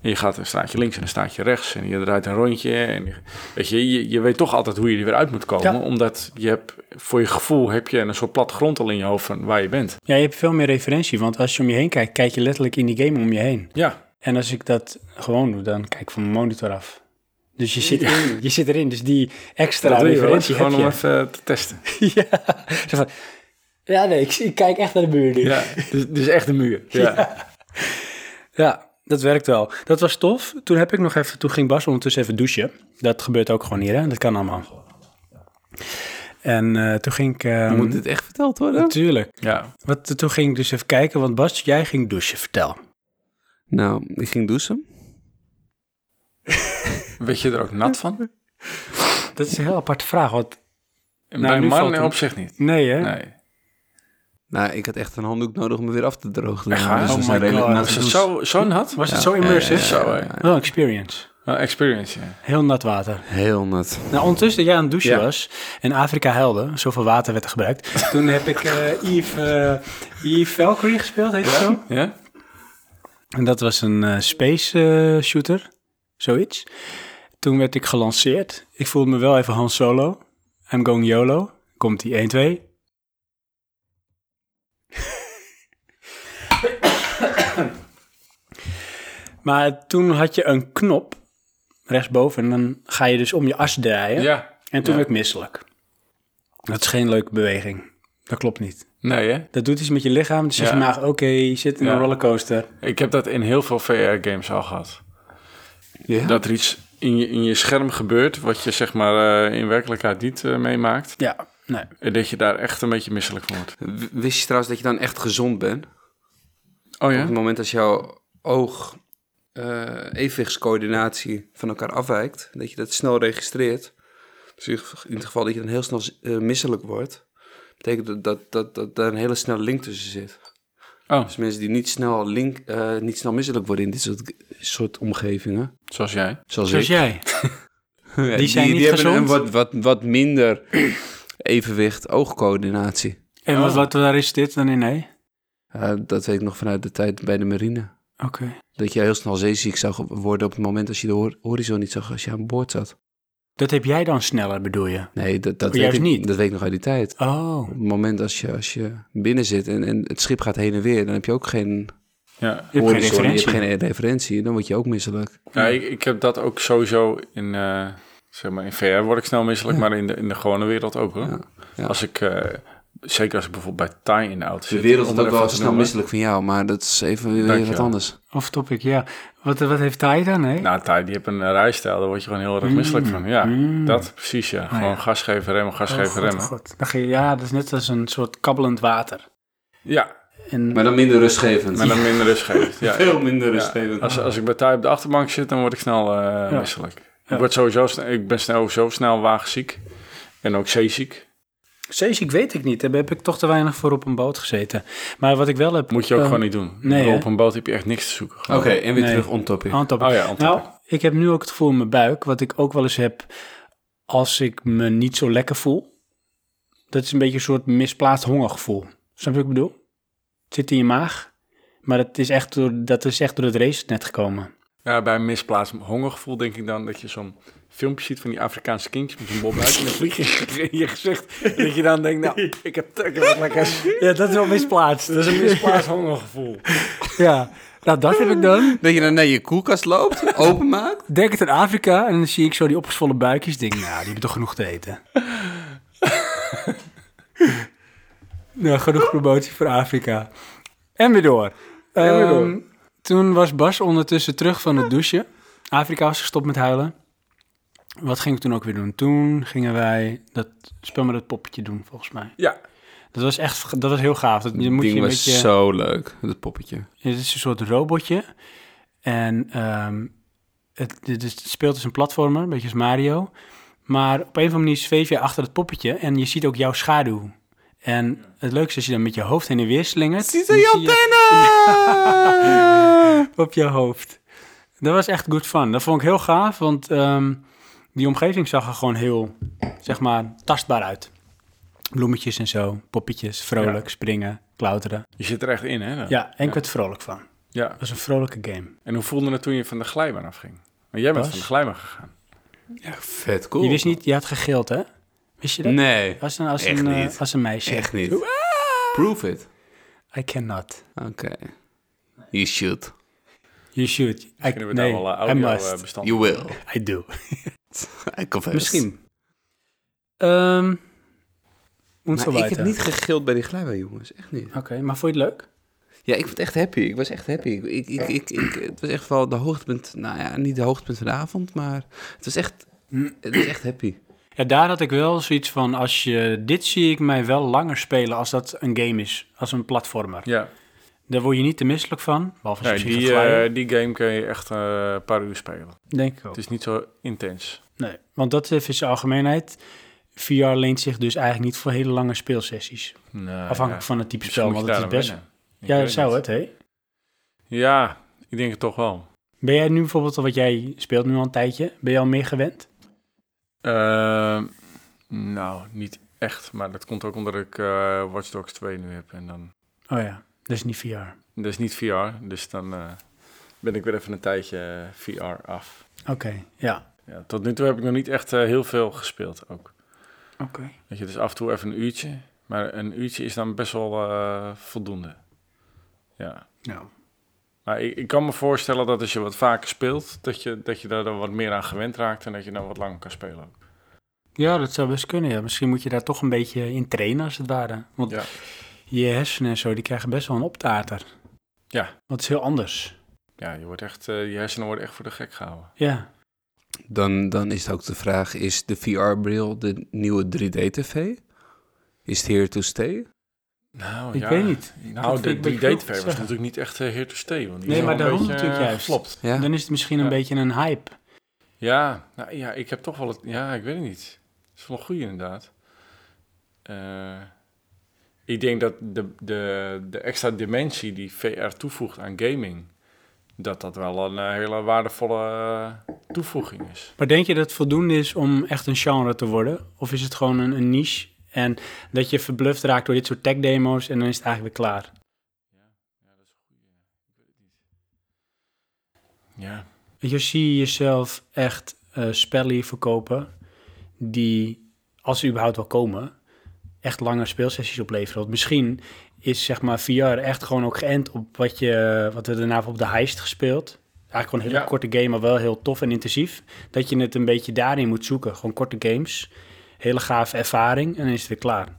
[SPEAKER 3] en je gaat een straatje links en een straatje rechts en je draait een rondje en je, weet je, je, je weet toch altijd hoe je er weer uit moet komen,
[SPEAKER 1] Ja.
[SPEAKER 3] omdat je hebt, voor je gevoel heb je een soort plattegrond al in je hoofd van waar je bent.
[SPEAKER 1] ja, je hebt veel meer referentie, want als je om je heen kijkt, kijk je letterlijk in die game om je heen.
[SPEAKER 3] Ja,
[SPEAKER 1] En als ik dat gewoon doe, dan kijk ik van mijn monitor af. Dus je zit, in, je zit erin, dus die extra
[SPEAKER 3] dat wil je wel,
[SPEAKER 1] referentie heb
[SPEAKER 3] gewoon om
[SPEAKER 1] je.
[SPEAKER 3] even te testen.
[SPEAKER 1] ja. Zo van, ja, nee, ik, ik kijk echt naar de muur nu.
[SPEAKER 3] Ja, dus, dus echt een muur. Ja.
[SPEAKER 1] Ja, dat werkt wel. Dat was tof. Toen heb ik nog even, toen ging Bas ondertussen even douchen. Dat gebeurt ook gewoon hier, hè? Dat kan allemaal. En eh, toen ging ik... ehm,
[SPEAKER 2] Moet dit echt verteld worden?
[SPEAKER 1] Natuurlijk.
[SPEAKER 3] ja.
[SPEAKER 1] Wat, toen ging ik dus even kijken, want Bas, jij ging douchen, vertel.
[SPEAKER 2] Nou, ik ging douchen.
[SPEAKER 3] Weet je er ook nat van?
[SPEAKER 1] Dat is een heel aparte vraag, want...
[SPEAKER 3] Bij
[SPEAKER 1] nu valt
[SPEAKER 3] mannen
[SPEAKER 1] het.
[SPEAKER 3] op zich niet.
[SPEAKER 1] Nee, hè?
[SPEAKER 3] Nee.
[SPEAKER 2] Nou, ik had echt een handdoek nodig om me weer af te drogen. Dus
[SPEAKER 3] Echt waar?
[SPEAKER 2] dat
[SPEAKER 1] Oh
[SPEAKER 2] is
[SPEAKER 1] my
[SPEAKER 2] een redelijk
[SPEAKER 1] God.
[SPEAKER 2] natte
[SPEAKER 3] Is dus het
[SPEAKER 2] douche.
[SPEAKER 3] zo, zo nat?
[SPEAKER 1] Was het zo immersive?
[SPEAKER 3] Zo, hè.
[SPEAKER 1] Wel een Oh, experience.
[SPEAKER 3] Wel Nou, experience, ja.
[SPEAKER 1] Heel nat water.
[SPEAKER 2] Heel nat.
[SPEAKER 1] Nou, ondertussen dat jij aan het douchen
[SPEAKER 3] Ja.
[SPEAKER 1] was en Afrika huilde, zoveel water werd er gebruikt. Toen heb ik eh Yves, eh, Yves Valkyrie gespeeld, heet het zo?
[SPEAKER 3] Ja?
[SPEAKER 1] En dat was een eh, space eh, shooter, zoiets. Toen werd ik gelanceerd. Ik voelde me wel even Han Solo. I'm going YOLO. Komt die 1, 2. maar toen had je een knop rechtsboven en dan ga je dus om je as draaien.
[SPEAKER 3] Ja.
[SPEAKER 1] En toen
[SPEAKER 3] Ja.
[SPEAKER 1] werd ik misselijk. Dat is geen leuke beweging. Dat klopt niet.
[SPEAKER 3] Nee, hè?
[SPEAKER 1] Dat doet iets met je lichaam. Dan zeg je
[SPEAKER 3] Ja.
[SPEAKER 1] maar, oké, je zit in
[SPEAKER 3] Ja.
[SPEAKER 1] een rollercoaster.
[SPEAKER 3] Ik heb dat in heel veel VR-games al gehad.
[SPEAKER 2] Ja?
[SPEAKER 3] Dat er iets in je, in je scherm gebeurt wat je zeg maar eh, in werkelijkheid niet eh, meemaakt.
[SPEAKER 1] Ja, nee.
[SPEAKER 3] En dat je daar echt een beetje misselijk van wordt.
[SPEAKER 2] W- Wist je trouwens dat je dan echt gezond bent?
[SPEAKER 3] Oh
[SPEAKER 2] Op
[SPEAKER 3] ja?
[SPEAKER 2] het moment dat jouw oog eh evenwichtscoördinatie van elkaar afwijkt, dat je dat snel registreert. Dus in ge- in het geval dat je dan heel snel eh, misselijk wordt, betekent dat, dat, dat, dat daar een hele snelle link tussen zit.
[SPEAKER 3] Oh,
[SPEAKER 2] Dus mensen die niet snel, link, eh, niet snel misselijk worden in dit soort, soort omgevingen,
[SPEAKER 3] zoals jij.
[SPEAKER 2] zoals,
[SPEAKER 1] Zoals
[SPEAKER 2] ik,
[SPEAKER 1] jij.
[SPEAKER 2] die,
[SPEAKER 1] zijn niet
[SPEAKER 2] hebben
[SPEAKER 1] gezond?
[SPEAKER 2] een wat, wat, wat minder evenwicht oogcoördinatie.
[SPEAKER 1] En wat, wat daar is dit dan in? Nee?
[SPEAKER 2] Eh, dat weet ik nog vanuit de tijd bij de marine.
[SPEAKER 1] Oké.
[SPEAKER 2] Dat je heel snel zeeziek zou ge- worden op het moment als je de hor- horizon niet zag als je aan boord zat.
[SPEAKER 1] Dat heb jij dan sneller, bedoel je?
[SPEAKER 2] Nee, dat, dat,
[SPEAKER 1] Oh,
[SPEAKER 2] weet,
[SPEAKER 1] juist
[SPEAKER 2] ik,
[SPEAKER 1] niet.
[SPEAKER 2] dat weet ik nog uit die tijd.
[SPEAKER 1] Oh.
[SPEAKER 2] Op het moment als je, als je binnen zit en, en het schip gaat heen en weer, dan heb je ook geen
[SPEAKER 3] Ja.
[SPEAKER 1] Je hebt geen
[SPEAKER 2] horizon,
[SPEAKER 1] referentie.
[SPEAKER 2] je hebt geen referentie, dan word je ook misselijk.
[SPEAKER 3] Ja, ik, ik heb dat ook sowieso in, eh, zeg maar, in VR word ik snel misselijk, maar in de, in de gewone wereld ook hoor.
[SPEAKER 2] Ja, ja.
[SPEAKER 3] Als ik, eh, zeker als ik bijvoorbeeld bij Thai in de auto zit. om er even wat te
[SPEAKER 2] snel
[SPEAKER 3] noemen.
[SPEAKER 2] misselijk van jou, maar dat is even weer
[SPEAKER 3] Dankjewel.
[SPEAKER 2] wat anders.
[SPEAKER 1] Of topic, ja. Wat, wat heeft hij dan? Nee?
[SPEAKER 3] Nou, Thai die heeft een eh, rijstijl, daar word je gewoon heel erg misselijk van. Ja,
[SPEAKER 1] Mm.
[SPEAKER 3] dat precies ja. Gewoon
[SPEAKER 1] ja.
[SPEAKER 3] gas geven, remmen, gas
[SPEAKER 1] Oh,
[SPEAKER 3] geven,
[SPEAKER 1] God,
[SPEAKER 3] remmen.
[SPEAKER 1] God. Dan ga je, ja, dat is net als een soort kabbelend water.
[SPEAKER 3] Ja,
[SPEAKER 1] En,
[SPEAKER 2] dan minder rustgevend.
[SPEAKER 3] maar dan minder rust geeft. Ja, ja.
[SPEAKER 2] minder
[SPEAKER 3] Ja, Als, als ik bij Thai op de achterbank zit, dan word ik snel eh, misselijk.
[SPEAKER 1] Ja.
[SPEAKER 3] Ik, word sowieso, sne- ik ben snel, zo snel wagenziek. En ook zeeziek.
[SPEAKER 1] Zeeziek weet ik niet. Daar heb ik toch te weinig voor op een boot gezeten. Maar wat ik wel heb...
[SPEAKER 3] Moet je ook
[SPEAKER 1] eh,
[SPEAKER 3] gewoon niet doen.
[SPEAKER 1] nee, hè?
[SPEAKER 3] op een boot heb je echt niks te zoeken.
[SPEAKER 2] Oké,
[SPEAKER 3] Gewoon.
[SPEAKER 2] en weer
[SPEAKER 1] Nee.
[SPEAKER 2] terug on topic.
[SPEAKER 1] on topic.
[SPEAKER 3] Oh ja, on topic.
[SPEAKER 1] Nou, ik heb nu ook het gevoel in mijn buik, wat ik ook wel eens heb als ik me niet zo lekker voel. Dat is een beetje een soort misplaatst hongergevoel. Snap je wat ik bedoel? Het zit in je maag, maar dat is echt door, dat is echt door het race net gekomen.
[SPEAKER 3] Ja, bij een misplaatst hongergevoel denk ik dan dat je zo'n filmpje ziet van die Afrikaanse kindjes met zo'n bob uit en een vlieg in je gezicht. En dat je dan denkt, nou, ik heb tukken wat lekkers.
[SPEAKER 1] Ja, dat is wel misplaatst.
[SPEAKER 3] Dat is een misplaatst hongergevoel.
[SPEAKER 1] Ja, nou dat heb ik dan.
[SPEAKER 2] Dat je dan naar je koelkast loopt, openmaakt.
[SPEAKER 1] Denk het aan Afrika en dan zie ik zo die opgezwollen buikjes. Denk, nou, die hebben toch genoeg te eten. nou, genoeg promotie voor Afrika. En weer door.
[SPEAKER 3] En weer door.
[SPEAKER 1] Ehm, toen was Bas ondertussen terug van het douchen. Afrika was gestopt met huilen. Wat ging ik toen ook weer doen? Toen gingen wij dat spel met het poppetje doen, volgens mij.
[SPEAKER 3] Ja.
[SPEAKER 1] Dat was echt, dat was heel gaaf. Dat, je moet je een beetje...
[SPEAKER 2] zo leuk, dat poppetje.
[SPEAKER 1] Het is een soort robotje. En ehm, het, het, is- het speelt als een platformer, een beetje als Mario. Maar op een of andere manier zweef je achter het poppetje en je ziet ook jouw schaduw. En het leukste is als je dan met je hoofd heen en weer slingert. dan zie je op je hoofd. Dat was echt good fun. Dat vond ik heel gaaf, want ehm, die omgeving zag er gewoon heel, zeg maar, tastbaar uit. Bloemetjes en zo, poppetjes, vrolijk, springen, klauteren.
[SPEAKER 3] Je zit er echt in, hè? dan?
[SPEAKER 1] Ja, en ik werd vrolijk van. Het
[SPEAKER 3] ja.
[SPEAKER 1] was een vrolijke game.
[SPEAKER 3] En hoe voelde het toen je van de glijbaan afging? Want jij bent
[SPEAKER 1] Bas?
[SPEAKER 3] van de glijbaan gegaan.
[SPEAKER 2] Vet cool.
[SPEAKER 1] Je wist niet, je had gegild, hè? Wist je dat? Ah!
[SPEAKER 2] Nee,
[SPEAKER 1] Als een, als
[SPEAKER 2] Echt
[SPEAKER 1] een, eh,
[SPEAKER 2] niet.
[SPEAKER 1] als een meisje.
[SPEAKER 2] echt niet. Prove it.
[SPEAKER 1] I cannot.
[SPEAKER 2] Oké. You should.
[SPEAKER 1] You should. I,
[SPEAKER 3] Kunnen we
[SPEAKER 1] nee,
[SPEAKER 3] daar wel eh,
[SPEAKER 1] I
[SPEAKER 3] audio eh,
[SPEAKER 1] must.
[SPEAKER 3] bestand
[SPEAKER 2] You will.
[SPEAKER 1] I do.
[SPEAKER 2] I confess.
[SPEAKER 1] Misschien. Ehm moet zo
[SPEAKER 2] Maar ik heb
[SPEAKER 1] weiter.
[SPEAKER 2] niet gegild bij die glijbaan, jongens. Echt niet.
[SPEAKER 1] Oké, maar vond je het leuk?
[SPEAKER 2] Ja, ik vond het echt happy. Ik was echt happy. Ik, ik, ik, ik, ik- het was echt wel de hoogtepunt. Nou ja, niet de hoogtepunt van de avond, maar het was echt, het was echt happy.
[SPEAKER 1] Ja, daar had ik wel zoiets van, als je, dit zie ik mij wel langer spelen als dat een game is, als een platformer.
[SPEAKER 3] Ja,
[SPEAKER 1] Daar word je niet te misselijk van, behalve als
[SPEAKER 3] Nee,
[SPEAKER 1] je misschien
[SPEAKER 3] die,
[SPEAKER 1] gaat glijden.
[SPEAKER 3] eh, die game kun je echt eh, een paar uur spelen.
[SPEAKER 1] Denk ik ook.
[SPEAKER 3] Het is niet zo intens.
[SPEAKER 1] Nee, want dat even in zijn algemeenheid. VR leent zich dus eigenlijk niet voor hele lange speelsessies.
[SPEAKER 3] Eh,
[SPEAKER 1] Afhankelijk van het type spel, want het is best... Ja, dat zou het, hé.
[SPEAKER 3] Ja, ik denk het toch wel.
[SPEAKER 1] Ben jij nu bijvoorbeeld, wat jij speelt nu al een tijdje, ben je al meer gewend?
[SPEAKER 3] Ehm, nou, niet echt. Maar dat komt ook omdat ik eh Watch Dogs 2 nu heb. En dan,
[SPEAKER 1] Oh ja, dat is niet VR.
[SPEAKER 3] dat is niet VR, dus dan eh, ben ik weer even een tijdje eh, VR af.
[SPEAKER 1] Oké, ja.
[SPEAKER 3] Ja, tot nu toe heb ik nog niet echt eh, heel veel gespeeld ook.
[SPEAKER 1] Oké.
[SPEAKER 3] Weet je, dus af en toe even een uurtje. Maar een uurtje is dan best wel eh, voldoende. Ja.
[SPEAKER 1] Nou,
[SPEAKER 3] Maar ik, ik kan me voorstellen dat als je wat vaker speelt, dat je, dat je daar dan wat meer aan gewend raakt en dat je dan wat langer kan spelen. ook.
[SPEAKER 1] Ja, dat zou best kunnen. Ja. Misschien moet je daar toch een beetje in trainen, als het ware. Want
[SPEAKER 3] Ja.
[SPEAKER 1] je hersenen en zo, die krijgen best wel een optater.
[SPEAKER 3] Ja.
[SPEAKER 1] Want het is heel anders.
[SPEAKER 3] Ja, je, wordt echt, eh, je hersenen worden echt voor de gek gehouden.
[SPEAKER 1] Ja.
[SPEAKER 2] Dan, dan is het ook de vraag, is de VR-bril de nieuwe 3D-tv? Is het here to stay?
[SPEAKER 3] Nou,
[SPEAKER 1] Ik
[SPEAKER 3] ja.
[SPEAKER 1] weet niet.
[SPEAKER 3] Nou,
[SPEAKER 1] vind ik
[SPEAKER 3] de
[SPEAKER 1] een beetje vroeg om
[SPEAKER 3] 3 d
[SPEAKER 1] te
[SPEAKER 3] tv was
[SPEAKER 1] zeggen.
[SPEAKER 3] natuurlijk niet echt uh, heer to stay. Want die
[SPEAKER 1] Nee,
[SPEAKER 3] is
[SPEAKER 1] maar
[SPEAKER 3] wel
[SPEAKER 1] daarom
[SPEAKER 3] een beetje,
[SPEAKER 1] natuurlijk
[SPEAKER 3] eh,
[SPEAKER 1] juist.
[SPEAKER 3] geflopt.
[SPEAKER 2] Ja.
[SPEAKER 1] Dan is het misschien een
[SPEAKER 3] Ja.
[SPEAKER 1] beetje een hype.
[SPEAKER 3] Ja, nou, ja, ik heb toch wel het... Ja, ik weet het niet. Het is wel een goeie inderdaad. Eh, ik denk dat de, de, de extra dimensie die VR toevoegt aan gaming... dat dat wel een eh, hele waardevolle eh, toevoeging is.
[SPEAKER 1] Maar denk je dat het voldoende is om echt een genre te worden? Of is het gewoon een, een niche? En dat je verbluft raakt door dit soort tech demo's en dan is het eigenlijk weer klaar.
[SPEAKER 3] Ja.
[SPEAKER 1] Weet Je zie je jezelf echt eh spellen hier verkopen die, als ze überhaupt wel komen, echt lange speelsessies opleveren. Want misschien is zeg maar VR echt gewoon ook geënt op wat, je, wat we daarna op de heist gespeeld. Eigenlijk gewoon een hele
[SPEAKER 3] Ja.
[SPEAKER 1] korte game, maar wel heel tof en intensief. Dat je het een beetje daarin moet zoeken. Gewoon korte games, hele gave ervaring en dan is het weer klaar.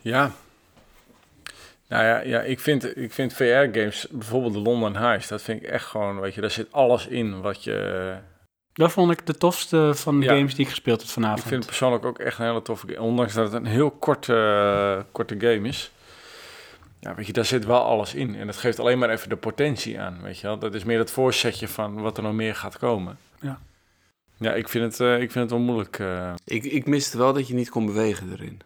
[SPEAKER 3] Ja. Nou ja, ja ik vind, ik vind VR-games, bijvoorbeeld de London Heist... dat vind ik echt gewoon, weet je, daar zit alles in wat je...
[SPEAKER 1] Dat vond ik de tofste van de
[SPEAKER 3] Ja.
[SPEAKER 1] games die ik gespeeld heb
[SPEAKER 3] Ik
[SPEAKER 1] vanavond.
[SPEAKER 3] vind het persoonlijk ook echt een hele toffe game. Ondanks dat het een heel korte, eh, korte game is. Ja, weet je, daar zit wel alles in. En dat geeft alleen maar even de potentie aan, weet je wel. Dat is meer het voorzetje van wat er nog meer gaat komen.
[SPEAKER 1] Ja.
[SPEAKER 3] Ja, ik vind het, eh, ik vind het wel moeilijk. eh.
[SPEAKER 2] Ik, ik miste wel dat je niet kon bewegen erin.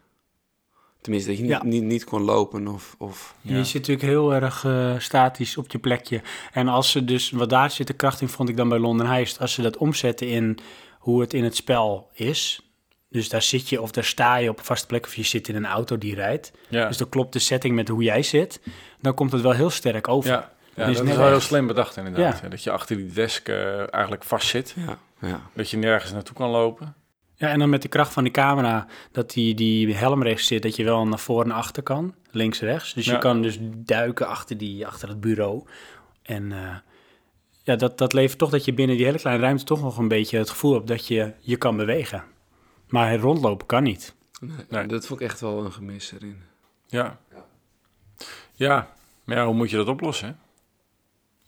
[SPEAKER 2] Tenminste, dat je niet,
[SPEAKER 1] Ja.
[SPEAKER 2] niet, niet kon lopen of... of...
[SPEAKER 3] Ja.
[SPEAKER 1] Je zit natuurlijk heel erg eh, statisch op je plekje. En als ze dus, wat daar zit de kracht in, vond ik dan bij London Heist. Als ze dat omzetten in hoe het in het spel is. Dus daar zit je of daar sta je op een vaste plek of je zit in een auto die rijdt.
[SPEAKER 3] Ja.
[SPEAKER 1] Dus dan klopt de setting met hoe jij zit. Dan komt het wel heel sterk over. Dus
[SPEAKER 3] ja. Ja,
[SPEAKER 1] Dan is
[SPEAKER 3] dat
[SPEAKER 1] het
[SPEAKER 3] is wel
[SPEAKER 1] echt.
[SPEAKER 3] heel slim bedacht inderdaad.
[SPEAKER 1] Ja.
[SPEAKER 3] Ja, dat je achter die desk eh, eigenlijk vast zit.
[SPEAKER 6] Ja, ja.
[SPEAKER 3] Dat je nergens naartoe kan lopen.
[SPEAKER 1] Ja, en dan met de kracht van de camera, dat die, die helm rechts zit, dat je wel naar voren en naar achter kan, links en rechts. Dus je
[SPEAKER 3] Ja.
[SPEAKER 1] kan dus duiken achter, die, achter het bureau. En eh, ja, dat, dat levert toch dat je binnen die hele kleine ruimte toch nog een beetje het gevoel hebt dat je je kan bewegen. Maar rondlopen kan niet.
[SPEAKER 6] Nee,
[SPEAKER 3] Nee.
[SPEAKER 6] Dat vond ik echt wel een gemis erin.
[SPEAKER 3] Ja. Ja, maar ja, hoe moet je dat oplossen? hè?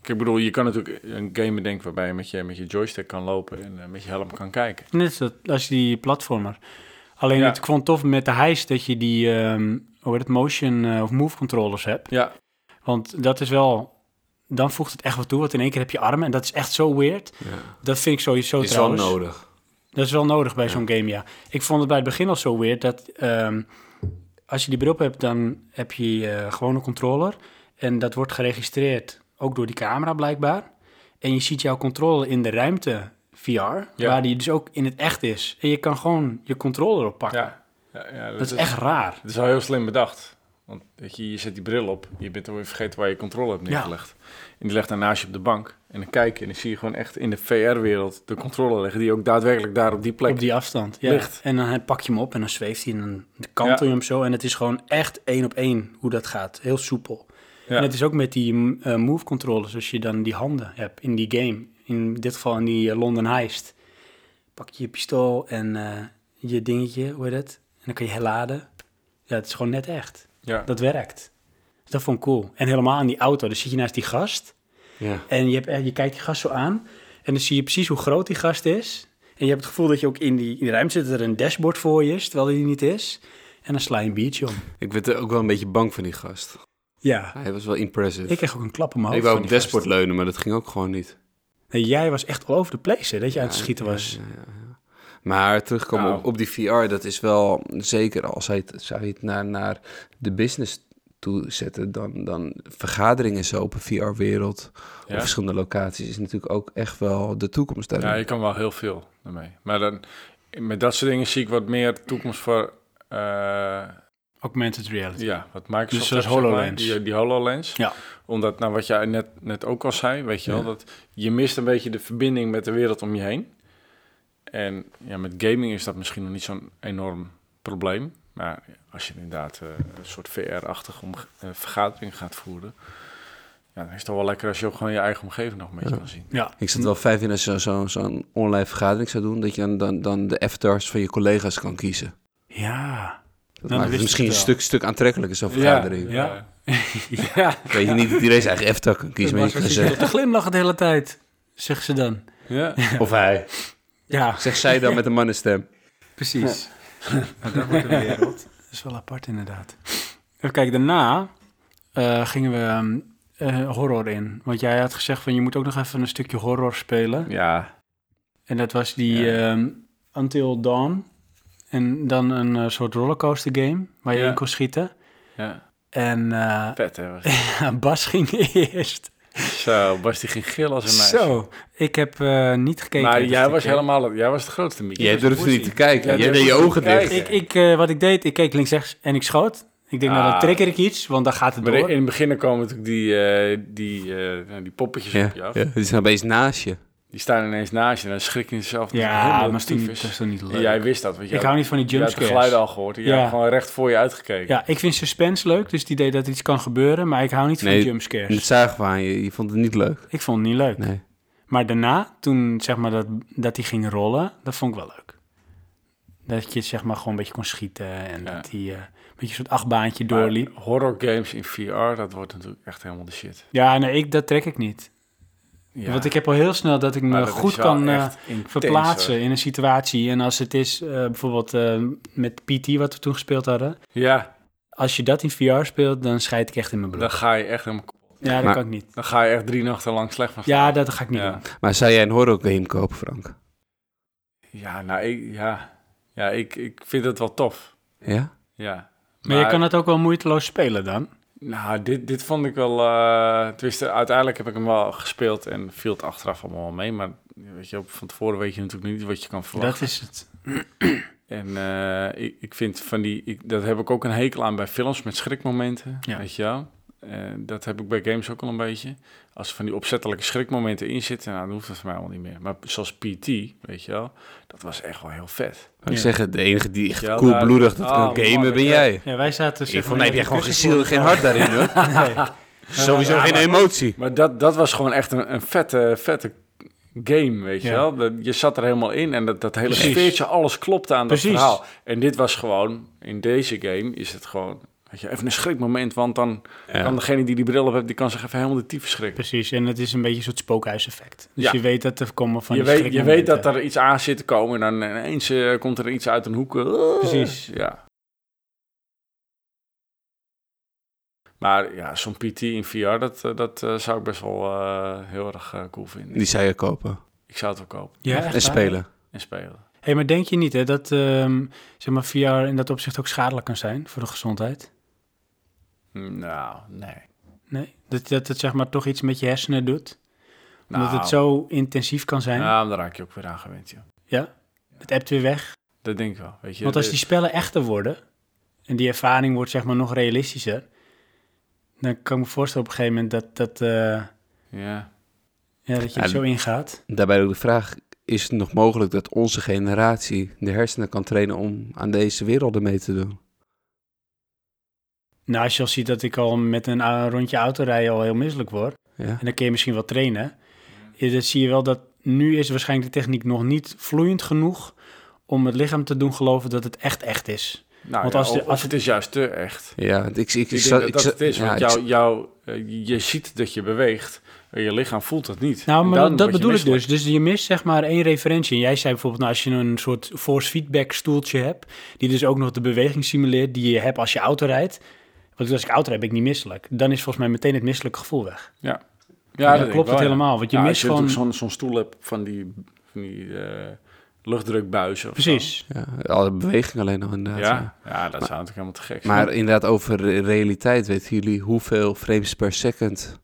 [SPEAKER 3] Kijk, Ik bedoel, je kan natuurlijk een game bedenken waarbij je met je, met je joystick kan lopen en eh, met je helm kan kijken.
[SPEAKER 1] Net als dat- als die platformer. Alleen
[SPEAKER 3] Ja.
[SPEAKER 1] het ik vond het tof met de heist dat je die ehm, hoe heet het, motion eh, of move controllers hebt.
[SPEAKER 3] Ja,
[SPEAKER 1] Want dat is wel... Dan voegt het echt wat toe, want in één keer heb je armen. En dat is echt zo weird.
[SPEAKER 6] Ja.
[SPEAKER 1] Dat vind ik sowieso
[SPEAKER 6] Is wel
[SPEAKER 1] trouwens.
[SPEAKER 6] nodig.
[SPEAKER 1] Dat is wel nodig bij zo'n game, ja. Ik vond het bij het begin al zo weird dat ehm, als je die bril op hebt, dan heb je eh, gewoon een controller. En dat wordt geregistreerd, ook door die camera blijkbaar. En je ziet jouw controller in de ruimte VR, waar die dus ook in het echt is. En je kan gewoon je controller oppakken.
[SPEAKER 3] ja. ja, ja
[SPEAKER 1] dat, is echt raar.
[SPEAKER 3] Dat is wel heel slim bedacht. Want weet je, je zet die bril op, je bent alweer vergeten waar je controle hebt neergelegd. En die legt dan naast je op de bank. En dan kijk je en dan zie je gewoon echt in de VR-wereld de controle liggen die ook daadwerkelijk daar op die plek
[SPEAKER 1] Op die afstand. Ja.
[SPEAKER 3] Licht.
[SPEAKER 1] En dan eh, pak je hem op en dan zweeft hij en dan kantel je
[SPEAKER 3] Ja.
[SPEAKER 1] hem zo. En het is gewoon echt één op één hoe dat gaat. Heel soepel.
[SPEAKER 3] Ja.
[SPEAKER 1] En het is ook met die mm, eh, move controllers, als je dan die handen hebt in die game. In dit geval in die eh, London Heist. Pak je je pistool en eh, je dingetje, hoe heet het? En dan kan je herladen. Ja, het is gewoon net echt.
[SPEAKER 3] Ja.
[SPEAKER 1] Dat werkt. Dus Dat vond ik cool. En helemaal in die auto. Dan zit je naast die gast.
[SPEAKER 6] Ja.
[SPEAKER 1] En je, hebt, eh, je kijkt die gast zo aan. En dan zie je precies hoe groot die gast is. En je hebt het gevoel dat je ook in die, in die ruimte zit, dat er een dashboard voor je is, terwijl die niet is. En dan sla je een biertje om.
[SPEAKER 6] Ik werd er ook wel een beetje bang van die gast.
[SPEAKER 1] Ja.
[SPEAKER 6] Hij was wel impressive.
[SPEAKER 1] Ik kreeg ook een klap op mijn
[SPEAKER 6] Ik
[SPEAKER 1] hoofd.
[SPEAKER 6] wou
[SPEAKER 1] van
[SPEAKER 6] op
[SPEAKER 1] die
[SPEAKER 6] dashboard
[SPEAKER 1] gast.
[SPEAKER 6] leunen, maar dat ging ook gewoon niet.
[SPEAKER 1] Nee, jij was echt all over the place, hè, dat je aan het
[SPEAKER 6] Ja,
[SPEAKER 1] schieten
[SPEAKER 6] ja,
[SPEAKER 1] was.
[SPEAKER 6] ja, ja, ja. Maar terugkomen
[SPEAKER 3] Nou.
[SPEAKER 6] op, op die VR, dat is wel zeker als hij het, zou je het naar, naar de business toe zetten, dan, dan vergaderingen zo op een VR-wereld op
[SPEAKER 3] Ja.
[SPEAKER 6] verschillende locaties is natuurlijk ook echt wel de toekomst daarin.
[SPEAKER 3] Ja, je kan wel heel veel daarmee. Maar dan, met dat soort dingen zie ik wat meer toekomst voor... eh,
[SPEAKER 1] Augmented reality.
[SPEAKER 3] ja, wat Microsoft
[SPEAKER 1] Dus zoals
[SPEAKER 3] heeft, zeg maar,
[SPEAKER 1] HoloLens.
[SPEAKER 3] die, die HoloLens.
[SPEAKER 1] Ja.
[SPEAKER 3] Omdat, nou wat jij net, net ook al zei, weet je wel, dat je mist een beetje de verbinding met de wereld om je heen. En ja, met gaming is dat misschien nog niet zo'n enorm probleem. Maar als je inderdaad eh, een soort VR-achtige omge- eh, vergadering gaat voeren, ja, dan is het toch wel lekker als je ook gewoon je eigen omgeving nog een beetje kan zien.
[SPEAKER 1] Ja.
[SPEAKER 6] Ik zat wel vijf in als je zo- zo'n online vergadering zou doen, dat je dan, dan, dan de avatars van je collega's kan kiezen.
[SPEAKER 1] Ja.
[SPEAKER 6] Dat
[SPEAKER 1] dan
[SPEAKER 6] maakt
[SPEAKER 1] wist
[SPEAKER 6] het
[SPEAKER 1] ik
[SPEAKER 6] misschien een
[SPEAKER 1] het wel.
[SPEAKER 6] stuk, stuk aantrekkelijker, zo'n vergadering.
[SPEAKER 1] Ja.
[SPEAKER 6] Weet je niet dat iedereen zijn eigen avatar kan kiezen, maar je kan zeggen,
[SPEAKER 1] te glimlachen de hele tijd, zegt ze dan.
[SPEAKER 3] ja.
[SPEAKER 6] of hij.
[SPEAKER 1] Ja,
[SPEAKER 6] Zeg zij dan met een mannenstem.
[SPEAKER 1] precies.
[SPEAKER 3] Nou,
[SPEAKER 1] Dat is wel apart inderdaad. Even kijken, daarna eh, gingen we ehm, eh, horror in. Want jij had gezegd van je moet ook nog even een stukje horror spelen.
[SPEAKER 3] ja.
[SPEAKER 1] En dat was die
[SPEAKER 3] Ja.
[SPEAKER 1] ehm, Until Dawn. En dan een eh, soort rollercoaster game waar je
[SPEAKER 3] Ja.
[SPEAKER 1] in kon schieten.
[SPEAKER 3] ja.
[SPEAKER 1] En eh,
[SPEAKER 3] Vet hè. was-
[SPEAKER 1] Bas ging eerst.
[SPEAKER 3] Zo, Bas die ging gillen als een meisje.
[SPEAKER 1] Zo, ik heb eh, niet gekeken.
[SPEAKER 3] Maar jij
[SPEAKER 1] Dat
[SPEAKER 3] was
[SPEAKER 1] ik-
[SPEAKER 3] helemaal, jij was het grootste Dus Mieke.
[SPEAKER 6] Jij durfde niet te kijken. Jij deed je ogen dicht.
[SPEAKER 1] Ik, ik, eh, wat ik deed, ik keek links-rechts en ik schoot. Ik denk, nou dan
[SPEAKER 3] Ah.
[SPEAKER 1] trigger ik iets, want dan gaat het
[SPEAKER 3] Maar in
[SPEAKER 1] door.
[SPEAKER 3] in het begin komen natuurlijk die, eh, die, eh, nou, die poppetjes
[SPEAKER 6] Ja,
[SPEAKER 3] op je
[SPEAKER 6] ja.
[SPEAKER 3] af.
[SPEAKER 6] Het is nou opeens naast je.
[SPEAKER 3] Die staan ineens naast je en dan schrik je jezelf. dat het
[SPEAKER 1] Ja,
[SPEAKER 3] helemaal
[SPEAKER 1] maar is toch niet-
[SPEAKER 3] tyfus.
[SPEAKER 1] dat is toch niet leuk?
[SPEAKER 3] En Jij wist dat, want je
[SPEAKER 1] ik
[SPEAKER 3] had,
[SPEAKER 1] hou niet van die
[SPEAKER 3] je had de
[SPEAKER 1] jumpscares.
[SPEAKER 3] geluiden al gehoord. en Je
[SPEAKER 1] Ja.
[SPEAKER 3] had gewoon recht voor je uitgekeken.
[SPEAKER 1] Ja, ik vind suspense leuk, dus het idee dat iets kan gebeuren, maar ik hou niet van
[SPEAKER 6] Nee, En dat
[SPEAKER 1] jumpscares.
[SPEAKER 6] zagen we aan je. Je vond het niet leuk.
[SPEAKER 1] Ik vond het niet leuk.
[SPEAKER 6] Nee.
[SPEAKER 1] Maar daarna, toen zeg maar dat, dat die ging rollen, dat vond ik wel leuk. Dat je zeg maar gewoon een beetje kon schieten en
[SPEAKER 3] Ja.
[SPEAKER 1] dat hij eh, een beetje een soort achtbaantje
[SPEAKER 3] Maar
[SPEAKER 1] doorliep.
[SPEAKER 3] horror games in VR, dat wordt natuurlijk echt helemaal de shit.
[SPEAKER 1] Ja, nee, ik, dat trek ik niet.
[SPEAKER 3] Ja.
[SPEAKER 1] Want ik heb al heel snel dat ik me
[SPEAKER 3] Maar dat is
[SPEAKER 1] goed
[SPEAKER 3] wel
[SPEAKER 1] kan eh,
[SPEAKER 3] echt intens,
[SPEAKER 1] verplaatsen
[SPEAKER 3] hoor.
[SPEAKER 1] in een situatie. En als het is eh, bijvoorbeeld eh, met PT wat we toen gespeeld hadden.
[SPEAKER 3] Ja,
[SPEAKER 1] Als je dat in VR speelt, dan scheid ik echt in mijn
[SPEAKER 3] dan
[SPEAKER 1] bloed.
[SPEAKER 3] ga je echt helemaal...
[SPEAKER 1] Ja, dat
[SPEAKER 6] Maar-
[SPEAKER 1] kan ik niet.
[SPEAKER 3] Dan ga je echt drie nachten lang slecht van
[SPEAKER 1] Ja, dat ga ik niet
[SPEAKER 3] Ja.
[SPEAKER 1] doen.
[SPEAKER 6] Maar zou jij een horror game kopen, Frank?
[SPEAKER 3] Ja, nou, ik, ja. Ja, ik, ik vind het wel tof.
[SPEAKER 6] Ja?
[SPEAKER 3] Ja.
[SPEAKER 1] Maar, je kan het ook wel moeiteloos spelen dan.
[SPEAKER 3] Nou, dit, dit vond ik wel... eh tenminste, uiteindelijk heb ik hem wel gespeeld en viel het achteraf allemaal wel mee. Maar
[SPEAKER 7] ja, weet je, op- van tevoren weet je natuurlijk niet wat je kan verwachten.
[SPEAKER 1] Dat is het.
[SPEAKER 7] En eh, ik, ik vind van die, ik, dat heb ik ook een hekel aan bij films met schrikmomenten,
[SPEAKER 1] Ja.
[SPEAKER 7] weet je wel. Eh, dat heb ik bij games ook al een beetje. Als er van die opzettelijke schrikmomenten in zitten, nou, dan hoeft dat voor mij al niet meer. Maar zoals PT, weet je wel, dat was echt wel heel vet.
[SPEAKER 2] Ik
[SPEAKER 1] Ja. nou, ah,
[SPEAKER 2] zeg het, de enige die echt
[SPEAKER 7] Ja,
[SPEAKER 2] koelbloedig dat
[SPEAKER 7] daar-
[SPEAKER 2] kan
[SPEAKER 7] oh,
[SPEAKER 2] gamen
[SPEAKER 7] man,
[SPEAKER 2] ben
[SPEAKER 7] ja.
[SPEAKER 2] jij.
[SPEAKER 1] Ja, wij zaten... zeg
[SPEAKER 2] Voor
[SPEAKER 1] maar,
[SPEAKER 2] mij heb jij gewoon geen
[SPEAKER 1] kussens
[SPEAKER 2] ziel,
[SPEAKER 1] voor
[SPEAKER 2] geen
[SPEAKER 1] elkaar.
[SPEAKER 2] hart daarin hoor.
[SPEAKER 1] Nee.
[SPEAKER 2] Sowieso geen emotie.
[SPEAKER 7] Maar dat, dat was gewoon echt een, een vette, vette game, weet
[SPEAKER 1] Ja.
[SPEAKER 7] je wel. Dat, je zat er helemaal in en dat, dat hele
[SPEAKER 1] Precies.
[SPEAKER 7] sfeertje, alles klopte aan
[SPEAKER 1] Precies.
[SPEAKER 7] dat verhaal. En dit was gewoon, in deze game is het gewoon... weet je, Even een schrikmoment, want dan kan degene die die bril op heeft, die kan zich even helemaal de tyfus schrikken.
[SPEAKER 1] Precies, en het is een beetje een soort spookhuiseffect. Dus
[SPEAKER 7] Ja.
[SPEAKER 1] je weet dat er komen van
[SPEAKER 7] je,
[SPEAKER 1] die
[SPEAKER 7] weet, je weet
[SPEAKER 1] schrikmomenten.
[SPEAKER 7] dat er iets aan zit te komen en dan ineens eh, komt er iets uit een hoek. Eh,
[SPEAKER 1] Precies.
[SPEAKER 7] Ja. Maar ja, zo'n PT in VR, dat, eh, dat eh, zou ik best wel eh, heel erg eh, cool vinden.
[SPEAKER 2] Die zou je kopen
[SPEAKER 7] Ik zou het wel kopen
[SPEAKER 1] Ja, echt waar?
[SPEAKER 2] en spelen.
[SPEAKER 7] en spelen.
[SPEAKER 1] hey, maar denk je niet hè, dat ehm, zeg maar, VR in dat opzicht ook schadelijk kan zijn voor de gezondheid?
[SPEAKER 7] Nou, nee.
[SPEAKER 1] Nee? Dat, dat het zeg maar toch iets met je hersenen doet? Omdat
[SPEAKER 7] Nou.
[SPEAKER 1] het zo intensief kan zijn?
[SPEAKER 7] Nou, daar raak je ook weer aan gewend, joh.
[SPEAKER 1] Ja? Het ebt weer weg?
[SPEAKER 7] Dat denk ik wel, weet je.
[SPEAKER 1] Want als
[SPEAKER 7] De-
[SPEAKER 1] die spellen echter worden en die ervaring wordt zeg maar nog realistischer, dan kan ik me voorstellen op een gegeven moment dat, dat, eh,
[SPEAKER 7] Dus, Ja.
[SPEAKER 1] ja, dat je
[SPEAKER 2] Ja,
[SPEAKER 1] er zo ingaat.
[SPEAKER 2] Daarbij ook de vraag, is het nog mogelijk dat onze generatie de hersenen kan trainen om aan deze werelden mee te doen?
[SPEAKER 1] Nou, als je al ziet dat ik al met een a- rondje auto rijden al heel misselijk word,
[SPEAKER 2] Ja?
[SPEAKER 1] en dan kun je misschien wel trainen, ja, dan zie je wel dat nu is waarschijnlijk de techniek nog niet vloeiend genoeg om het lichaam te doen geloven dat het echt echt is.
[SPEAKER 7] Nou,
[SPEAKER 1] Want
[SPEAKER 7] ja,
[SPEAKER 1] als de-
[SPEAKER 7] of- of
[SPEAKER 1] als-
[SPEAKER 7] het is juist te echt.
[SPEAKER 2] Ja, ik, ik, ik,
[SPEAKER 7] Ik,
[SPEAKER 2] zat-
[SPEAKER 7] denk dat
[SPEAKER 2] ik
[SPEAKER 7] dat
[SPEAKER 2] zat-
[SPEAKER 7] het is,
[SPEAKER 2] ja,
[SPEAKER 7] want
[SPEAKER 2] ik
[SPEAKER 7] jou, jou, eh, je ziet dat je beweegt, eh, je lichaam voelt dat niet.
[SPEAKER 1] Nou,
[SPEAKER 7] En
[SPEAKER 1] maar
[SPEAKER 7] dan
[SPEAKER 1] dat
[SPEAKER 7] word je
[SPEAKER 1] bedoel ik dus.
[SPEAKER 7] misselijk.
[SPEAKER 1] Dus je mist zeg maar één referentie. En jij zei bijvoorbeeld, nou, als je een soort force feedback stoeltje hebt, die dus ook nog de beweging simuleert die je hebt als je auto rijdt. Want als ik auto rijd, ben ik niet misselijk. Dan is volgens mij meteen het misselijke gevoel weg.
[SPEAKER 7] Ja, dat
[SPEAKER 1] dus. dan
[SPEAKER 7] denk ik
[SPEAKER 1] klopt
[SPEAKER 7] wel,
[SPEAKER 1] het
[SPEAKER 7] ja.
[SPEAKER 1] helemaal. Want je
[SPEAKER 7] Ja,
[SPEAKER 1] mist
[SPEAKER 7] als je
[SPEAKER 1] gewoon...
[SPEAKER 7] natuurlijk zo'n zo'n stoel hebt van die, van die eh, luchtdrukbuizen of zo.
[SPEAKER 1] Precies.
[SPEAKER 2] Ja, alle beweging alleen al inderdaad. ja.
[SPEAKER 7] Ja, ja, dat zou natuurlijk helemaal te gek zijn.
[SPEAKER 2] Maar inderdaad, over re- realiteit weten jullie hoeveel frames per second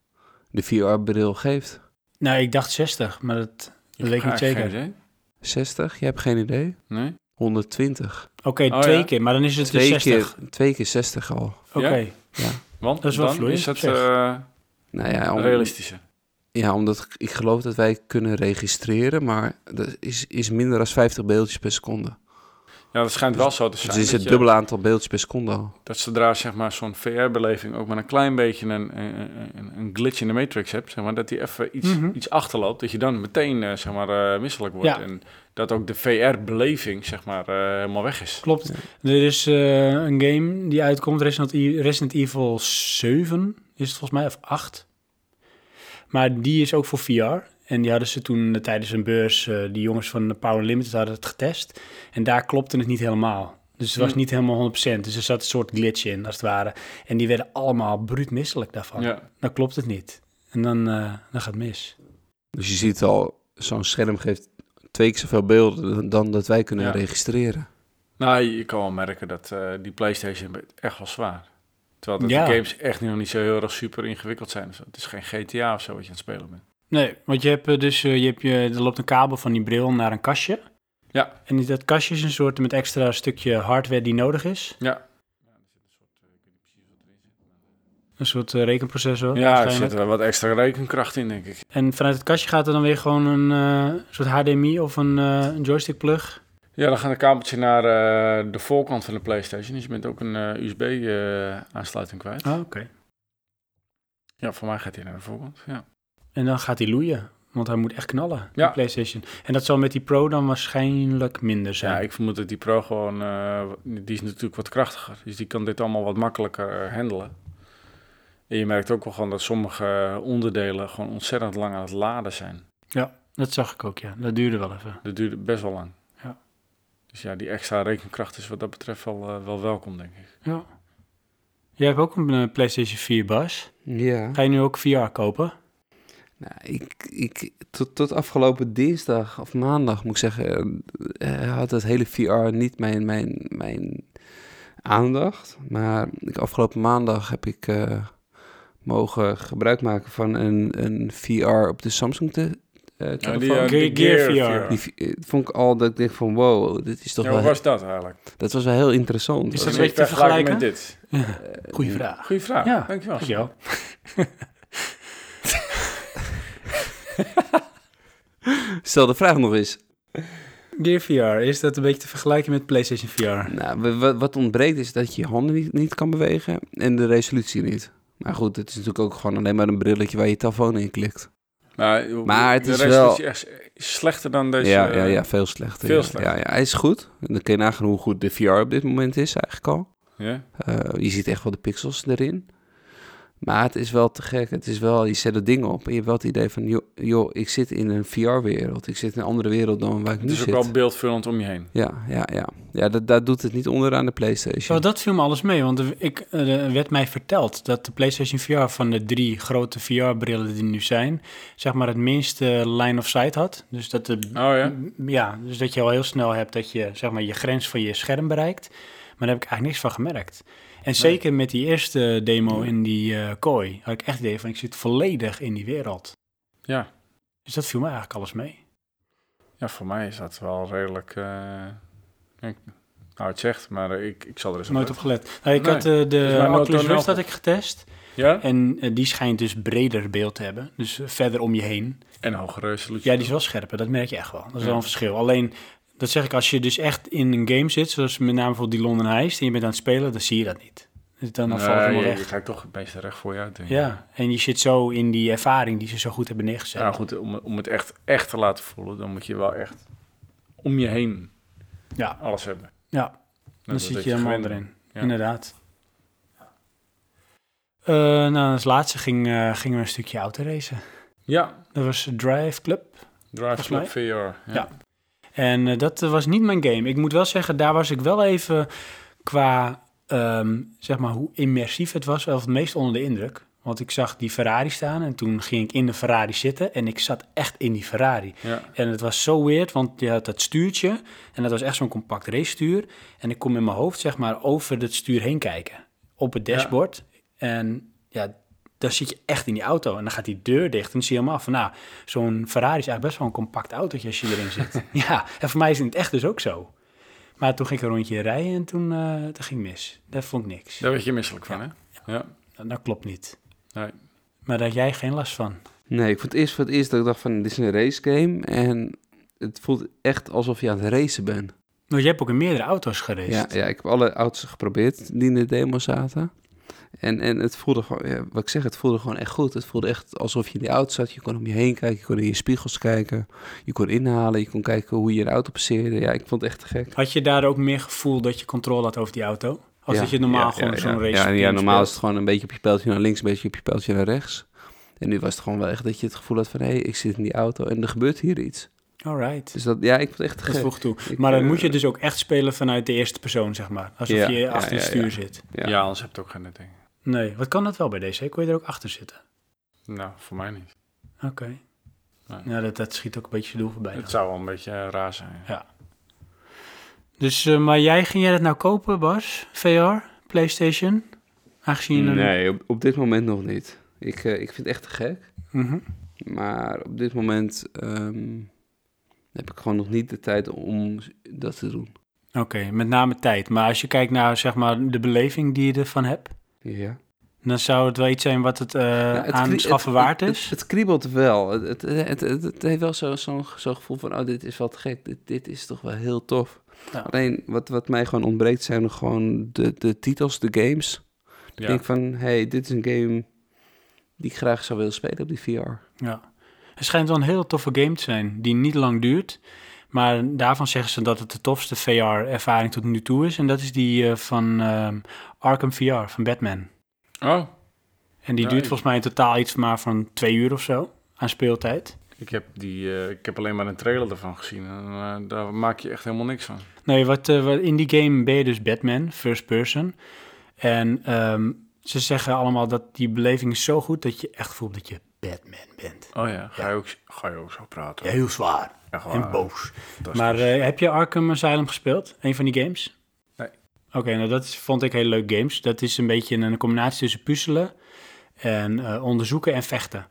[SPEAKER 2] de VR-bril geeft?
[SPEAKER 1] Nou, ik dacht 60, maar dat, dat weet ik
[SPEAKER 7] heb
[SPEAKER 1] niet
[SPEAKER 7] eigenlijk
[SPEAKER 1] zeker.
[SPEAKER 7] geen idee.
[SPEAKER 2] 60? Je hebt geen idee?
[SPEAKER 7] Nee?
[SPEAKER 2] 120.
[SPEAKER 1] Oké,
[SPEAKER 7] Oh,
[SPEAKER 1] twee
[SPEAKER 7] ja.
[SPEAKER 1] keer, maar dan is het dus
[SPEAKER 2] Twee
[SPEAKER 1] 60.
[SPEAKER 2] keer, twee keer 60 al.
[SPEAKER 1] Oké,
[SPEAKER 7] Want
[SPEAKER 1] Dat is wel
[SPEAKER 7] dan
[SPEAKER 1] vloeiend
[SPEAKER 7] is het
[SPEAKER 1] op zich.
[SPEAKER 7] eh,
[SPEAKER 2] Nou ja, om-
[SPEAKER 7] realistischer.
[SPEAKER 2] ja, omdat ik- ik geloof dat wij kunnen registreren, maar dat is, is minder dan 50 beeldjes per seconde.
[SPEAKER 7] Ja, dat schijnt wel zo te
[SPEAKER 2] Dus
[SPEAKER 7] zijn.
[SPEAKER 2] het is
[SPEAKER 7] dat
[SPEAKER 2] het
[SPEAKER 7] je-
[SPEAKER 2] dubbele aantal beeldjes per seconde al.
[SPEAKER 7] dat zodra zeg maar, zo'n VR-beleving ook maar een klein beetje een, een, een- een glitch in de matrix hebt, zeg maar, dat die even iets,
[SPEAKER 1] Mhm.
[SPEAKER 7] iets achterloopt, dat je dan meteen eh, zeg maar, eh, misselijk wordt.
[SPEAKER 1] Ja.
[SPEAKER 7] En dat ook de VR-beleving zeg maar, eh, helemaal weg is.
[SPEAKER 1] klopt. Er is eh, een game die uitkomt, Resident, E- Resident Evil 7 is het volgens mij, of 8. Maar die is ook voor VR. En die hadden ze toen eh, tijdens een beurs, eh, die jongens van de Power Limited hadden het getest. En daar klopte het niet helemaal. Dus het was
[SPEAKER 7] Hmm.
[SPEAKER 1] niet helemaal 100%. Dus er zat een soort glitch in, als het ware. En die werden allemaal bruut misselijk daarvan.
[SPEAKER 7] Ja.
[SPEAKER 1] Dan klopt het niet. En dan, eh, dan gaat het mis.
[SPEAKER 2] Dus je ziet al, zo'n scherm geeft twee keer zoveel beelden dan, dan dat wij kunnen
[SPEAKER 7] Ja.
[SPEAKER 2] registreren.
[SPEAKER 7] Nou, je kan wel merken dat eh, die PlayStation echt wel zwaar. Terwijl dat
[SPEAKER 1] Ja.
[SPEAKER 7] de games echt nog niet zo heel erg super ingewikkeld zijn. of zo. Het is geen GTA of zo wat je aan het spelen bent.
[SPEAKER 1] Nee, want je hebt eh, dus eh, je hebt je, er loopt een kabel van die bril naar een kastje.
[SPEAKER 7] Ja.
[SPEAKER 1] En die- dat kastje is een soort met extra stukje hardware die nodig is.
[SPEAKER 7] Ja.
[SPEAKER 1] Een soort eh, rekenprocessor.
[SPEAKER 7] Ja, er
[SPEAKER 1] waarschijnlijk.
[SPEAKER 7] zit wel wat extra rekenkracht in, denk ik.
[SPEAKER 1] En vanuit het kastje gaat er dan weer gewoon een eh, soort HDMI of een, eh, een joystick plug.
[SPEAKER 7] Ja, dan gaat een kabeltje naar eh, de voorkant van de PlayStation. Dus je bent ook een USB-aansluiting eh, kwijt.
[SPEAKER 1] Ah, oké.
[SPEAKER 7] Ja, voor mij gaat hij naar de voorkant. Ja.
[SPEAKER 1] En dan gaat hij loeien, want hij moet echt knallen, ja.
[SPEAKER 7] Ja.
[SPEAKER 1] de PlayStation. En dat zal met die Pro dan waarschijnlijk minder zijn.
[SPEAKER 7] ja, ik vermoed dat die Pro gewoon. eh, die is natuurlijk wat krachtiger. Dus die kan dit allemaal wat makkelijker eh, handelen. En je merkt ook wel gewoon dat sommige eh, onderdelen gewoon ontzettend lang aan het laden zijn.
[SPEAKER 1] Dat zag ik ook, ja. Dat duurde wel even.
[SPEAKER 7] Dat duurt best wel lang.
[SPEAKER 1] Ja.
[SPEAKER 7] Dus ja, die extra rekenkracht is wat dat betreft wel, eh, wel welkom, denk ik.
[SPEAKER 1] Ja. Jij hebt ook een eh, PlayStation 4, Bas.
[SPEAKER 2] Ja.
[SPEAKER 1] Ga je nu ook VR kopen?
[SPEAKER 2] Nou, ik, ik, tot, tot afgelopen dinsdag of maandag, moet ik zeggen, eh, had dat hele VR niet mijn, mijn, mijn aandacht. Maar ik, afgelopen maandag heb ik eh, mogen gebruik maken van een, een VR op de Samsung te, eh,
[SPEAKER 3] Ja,
[SPEAKER 2] telefoon.
[SPEAKER 3] die,
[SPEAKER 1] Gear-
[SPEAKER 3] eh, die
[SPEAKER 1] Gear VR.
[SPEAKER 2] Die v- eh, vond ik al dat ik dacht van wow, dit is toch
[SPEAKER 3] Ja,
[SPEAKER 2] wel,
[SPEAKER 3] hoe was dat eigenlijk?
[SPEAKER 2] dat was wel heel interessant. Eh,
[SPEAKER 1] Is
[SPEAKER 2] hoor.
[SPEAKER 1] dat een beetje te
[SPEAKER 3] vergelijken
[SPEAKER 1] vergelijken?
[SPEAKER 3] met dit?
[SPEAKER 1] Goeie vraag.
[SPEAKER 3] Goeie vraag,
[SPEAKER 1] Ja.
[SPEAKER 3] Mm. dankjewel.
[SPEAKER 1] Dankjewel.
[SPEAKER 2] Stel de vraag nog eens.
[SPEAKER 1] Gear VR, is dat een beetje te vergelijken met PlayStation VR?
[SPEAKER 2] Nou, wa- wa- wat ontbreekt is dat je je handen niet, niet kan bewegen en de resolutie niet. Maar goed, het is natuurlijk ook gewoon alleen maar een brilletje waar je telefoon in klikt.
[SPEAKER 3] Maar, eh, hoe-
[SPEAKER 2] Maar het
[SPEAKER 3] de
[SPEAKER 2] is
[SPEAKER 3] rest
[SPEAKER 2] wel-
[SPEAKER 3] is echt slechter dan deze.
[SPEAKER 2] ja, ja,
[SPEAKER 3] eh,
[SPEAKER 2] ja, veel slechter.
[SPEAKER 3] veel
[SPEAKER 2] ja.
[SPEAKER 3] slechter.
[SPEAKER 2] Ja, ja, hij is goed. Dan kun je nagaan hoe goed de VR op dit moment is eigenlijk al.
[SPEAKER 3] ja?
[SPEAKER 2] Eh, je ziet echt wel de pixels erin. Maar het is wel te gek. Het is wel, je zet het ding op en je hebt wel het idee van... joh, joh, ik zit in een VR-wereld. Ik zit in een andere wereld dan waar ik
[SPEAKER 3] Het
[SPEAKER 2] nu
[SPEAKER 3] is ook
[SPEAKER 2] zit.
[SPEAKER 3] wel beeldvullend om je heen.
[SPEAKER 2] Ja, ja, ja. Ja, dat, daar doet het niet onder aan de PlayStation.
[SPEAKER 1] Zo, Oh, dat viel me alles mee, want er- ik, eh, er werd mij verteld dat de PlayStation VR van de drie grote VR-brillen die nu zijn, zeg maar het minste line of sight had. Dus dat, de,
[SPEAKER 3] Oh ja?
[SPEAKER 1] ja, dus dat je al heel snel hebt dat je zeg maar, je grens van je scherm bereikt. Maar daar heb ik eigenlijk niks van gemerkt. En zeker met die eerste demo in die eh, kooi had ik echt het idee van ik zit volledig in die wereld.
[SPEAKER 3] Ja.
[SPEAKER 1] Dus dat viel me eigenlijk alles mee.
[SPEAKER 3] Ja, voor mij is dat wel redelijk... eh, ik, nou, het zegt, maar eh, ik, ik zal er eens
[SPEAKER 1] Ik heb nooit op
[SPEAKER 3] uit.
[SPEAKER 1] gelet. Nou, ik
[SPEAKER 3] Nee.
[SPEAKER 1] had
[SPEAKER 3] Dus
[SPEAKER 1] eh,
[SPEAKER 3] mij
[SPEAKER 1] de
[SPEAKER 3] nooit
[SPEAKER 1] Oculus
[SPEAKER 3] toneel
[SPEAKER 1] Rift had
[SPEAKER 3] goed.
[SPEAKER 1] ik getest.
[SPEAKER 3] Ja?
[SPEAKER 1] En eh, die schijnt dus breder beeld te hebben. Dus eh, verder om je heen.
[SPEAKER 3] En hogere resolutie.
[SPEAKER 1] Ja, die is wel scherper. Dat merk je echt wel. Dat is
[SPEAKER 3] Ja.
[SPEAKER 1] wel een verschil. Alleen, dat zeg ik, als je dus echt in een game zit... zoals met name bijvoorbeeld die London Heist... en je bent aan het spelen, dan zie je dat niet. Dus Dan
[SPEAKER 3] Nee,
[SPEAKER 1] valt het helemaal
[SPEAKER 3] je-
[SPEAKER 1] weg.
[SPEAKER 3] je kijkt toch het meeste recht voor je uit, denk ik.
[SPEAKER 1] Ja, en je zit zo in die ervaring die ze zo goed hebben neergezet.
[SPEAKER 3] Ja, goed, om, om het echt, echt te laten voelen, dan moet je wel echt om je heen
[SPEAKER 1] Ja.
[SPEAKER 3] alles hebben.
[SPEAKER 1] Ja.
[SPEAKER 3] Nou,
[SPEAKER 1] dan
[SPEAKER 3] dat
[SPEAKER 1] zit
[SPEAKER 3] dat
[SPEAKER 1] je helemaal
[SPEAKER 3] gewend
[SPEAKER 1] erin.
[SPEAKER 3] Ja.
[SPEAKER 1] Inderdaad. Eh, nou, als laatste ging, eh, gingen we een stukje autoracen.
[SPEAKER 3] bent. Ja,
[SPEAKER 1] Dat was Drive Club.
[SPEAKER 3] Drive Club
[SPEAKER 1] Volgens
[SPEAKER 3] VR. Ja.
[SPEAKER 1] Ja. En eh, dat eh, was niet mijn game. Ik moet wel zeggen, daar was ik wel even qua, ehm, zeg maar, hoe immersief het was, wel het meest onder de indruk. Want ik zag die Ferrari staan en toen ging ik in de Ferrari zitten en ik zat echt in die Ferrari.
[SPEAKER 3] Ja.
[SPEAKER 1] En het was zo weird, want je had dat stuurtje en dat was echt zo'n compact racestuur. En ik kon in mijn hoofd, zeg maar, over dat stuur heen kijken op het
[SPEAKER 3] Ja.
[SPEAKER 1] dashboard. En ja, dan zit je echt in die auto en dan gaat die deur dicht en dan zie je helemaal van, nou, zo'n Ferrari is eigenlijk best wel een compact autootje als je erin zit. ja, en voor mij is het in het echt dus ook zo. Maar toen ging ik een rondje rijden en toen eh dat ging mis. Dat vond ik niks.
[SPEAKER 3] Daar werd je misselijk van, hè? Ja.
[SPEAKER 1] Dat, dat klopt niet.
[SPEAKER 3] Nee.
[SPEAKER 1] Maar daar had jij geen last van.
[SPEAKER 2] Nee, ik vond het eerst voor het eerst dat ik dacht van dit is een race game en het voelt echt alsof je aan het racen bent.
[SPEAKER 1] Want jij hebt ook in meerdere auto's gereden.
[SPEAKER 2] Ja, ja, ik heb alle auto's geprobeerd die in de demo zaten. En, en het voelde gewoon, ja, wat ik zeg, het voelde gewoon echt goed. Het voelde echt alsof je in die auto zat. Je kon om je heen kijken, je kon in je spiegels kijken. Je kon inhalen, je kon kijken hoe je een auto passeerde. Ja, ik vond het echt te gek.
[SPEAKER 1] Had je daar ook meer gevoel dat je controle had over die auto? Als
[SPEAKER 2] Ja,
[SPEAKER 1] dat je normaal
[SPEAKER 2] ja,
[SPEAKER 1] gewoon
[SPEAKER 2] ja,
[SPEAKER 1] zo'n
[SPEAKER 2] ja.
[SPEAKER 1] race
[SPEAKER 2] Ja, ja,
[SPEAKER 1] game
[SPEAKER 2] normaal is
[SPEAKER 1] speelt?
[SPEAKER 2] het gewoon een beetje op je pijltje naar links, een beetje op je pijltje naar rechts. En nu was het gewoon wel echt dat je het gevoel had van... hé, ik zit in die auto en er gebeurt hier iets.
[SPEAKER 1] Alright.
[SPEAKER 2] Dus dat, ja, ik vond het echt te
[SPEAKER 1] Dat
[SPEAKER 2] gek.
[SPEAKER 1] voegt toe.
[SPEAKER 2] Ik,
[SPEAKER 1] Maar dan
[SPEAKER 2] eh,
[SPEAKER 1] moet je dus ook echt spelen vanuit de eerste persoon, zeg maar. Alsof
[SPEAKER 2] Ja,
[SPEAKER 1] je
[SPEAKER 2] ja,
[SPEAKER 1] achter het
[SPEAKER 2] ja,
[SPEAKER 1] stuur
[SPEAKER 2] ja.
[SPEAKER 1] zit.
[SPEAKER 2] Ja.
[SPEAKER 3] Ja. anders heb je het ook geen nut, denk ik.
[SPEAKER 1] Nee, wat kan dat wel bij deze? Kon je er ook achter zitten?
[SPEAKER 3] Nou, voor mij niet.
[SPEAKER 1] Oké.
[SPEAKER 3] Nee.
[SPEAKER 1] Nou, dat, dat schiet ook een beetje zijn doel voorbij.
[SPEAKER 3] Het zou wel een beetje eh, raar zijn.
[SPEAKER 1] Dus, eh, maar jij, ging jij dat nou kopen, Bas? VR? PlayStation? Aangezien... je een-
[SPEAKER 2] Nee, op, op dit moment nog niet. Ik, eh, ik vind het echt te gek.
[SPEAKER 1] Mhm.
[SPEAKER 2] Maar op dit moment ehm, heb ik gewoon nog niet de tijd om dat te doen.
[SPEAKER 1] Oké, met name tijd. Maar als je kijkt naar, zeg maar, de beleving die je ervan hebt...
[SPEAKER 2] Ja.
[SPEAKER 1] dan zou het wel iets zijn wat het, eh
[SPEAKER 2] Nou, het krie-
[SPEAKER 1] aanschaffen
[SPEAKER 2] het-
[SPEAKER 1] waard
[SPEAKER 2] het-
[SPEAKER 1] is.
[SPEAKER 2] Het, het kriebelt wel. Het, het, het, het- het heeft wel zo'n zo, zo'n gevoel van, oh, dit is wat gek. Dit, dit is toch wel heel tof.
[SPEAKER 1] Ja.
[SPEAKER 2] Alleen, wat, wat mij gewoon ontbreekt zijn gewoon de, de titels, de games. Ik
[SPEAKER 3] Ja.
[SPEAKER 2] denk van, hey, dit is een game die ik graag zou willen spelen op die VR.
[SPEAKER 1] Ja. Het schijnt wel een heel toffe game te zijn die niet lang duurt. Maar daarvan zeggen ze dat het de tofste VR-ervaring tot nu toe is. En dat is die eh, van ehm, Arkham VR, van Batman.
[SPEAKER 3] Oh,
[SPEAKER 1] En die
[SPEAKER 3] Ja,
[SPEAKER 1] duurt
[SPEAKER 3] ik-
[SPEAKER 1] volgens mij in totaal iets maar van twee uur of zo aan speeltijd.
[SPEAKER 3] ik heb, die, eh, ik heb alleen maar een trailer ervan gezien. En, eh, daar maak je echt helemaal niks van.
[SPEAKER 1] Nee, wat, eh, wat, in die game ben je dus Batman, first person. En ehm, ze zeggen allemaal dat die beleving is zo goed dat je echt voelt dat je Batman bent.
[SPEAKER 3] Oh ja, ga, Je, ook, ga je ook zo praten? eh,
[SPEAKER 1] Ja, heel zwaar
[SPEAKER 3] Echt waar.
[SPEAKER 7] Ah,
[SPEAKER 1] en boos.
[SPEAKER 3] Fantastisch.
[SPEAKER 1] Maar eh, heb je Arkham Asylum gespeeld? Een van die games?
[SPEAKER 3] Nee.
[SPEAKER 1] Oké, nou dat is- vond ik heel leuk games. Dat is een beetje een, combinatie tussen puzzelen en eh, onderzoeken en vechten.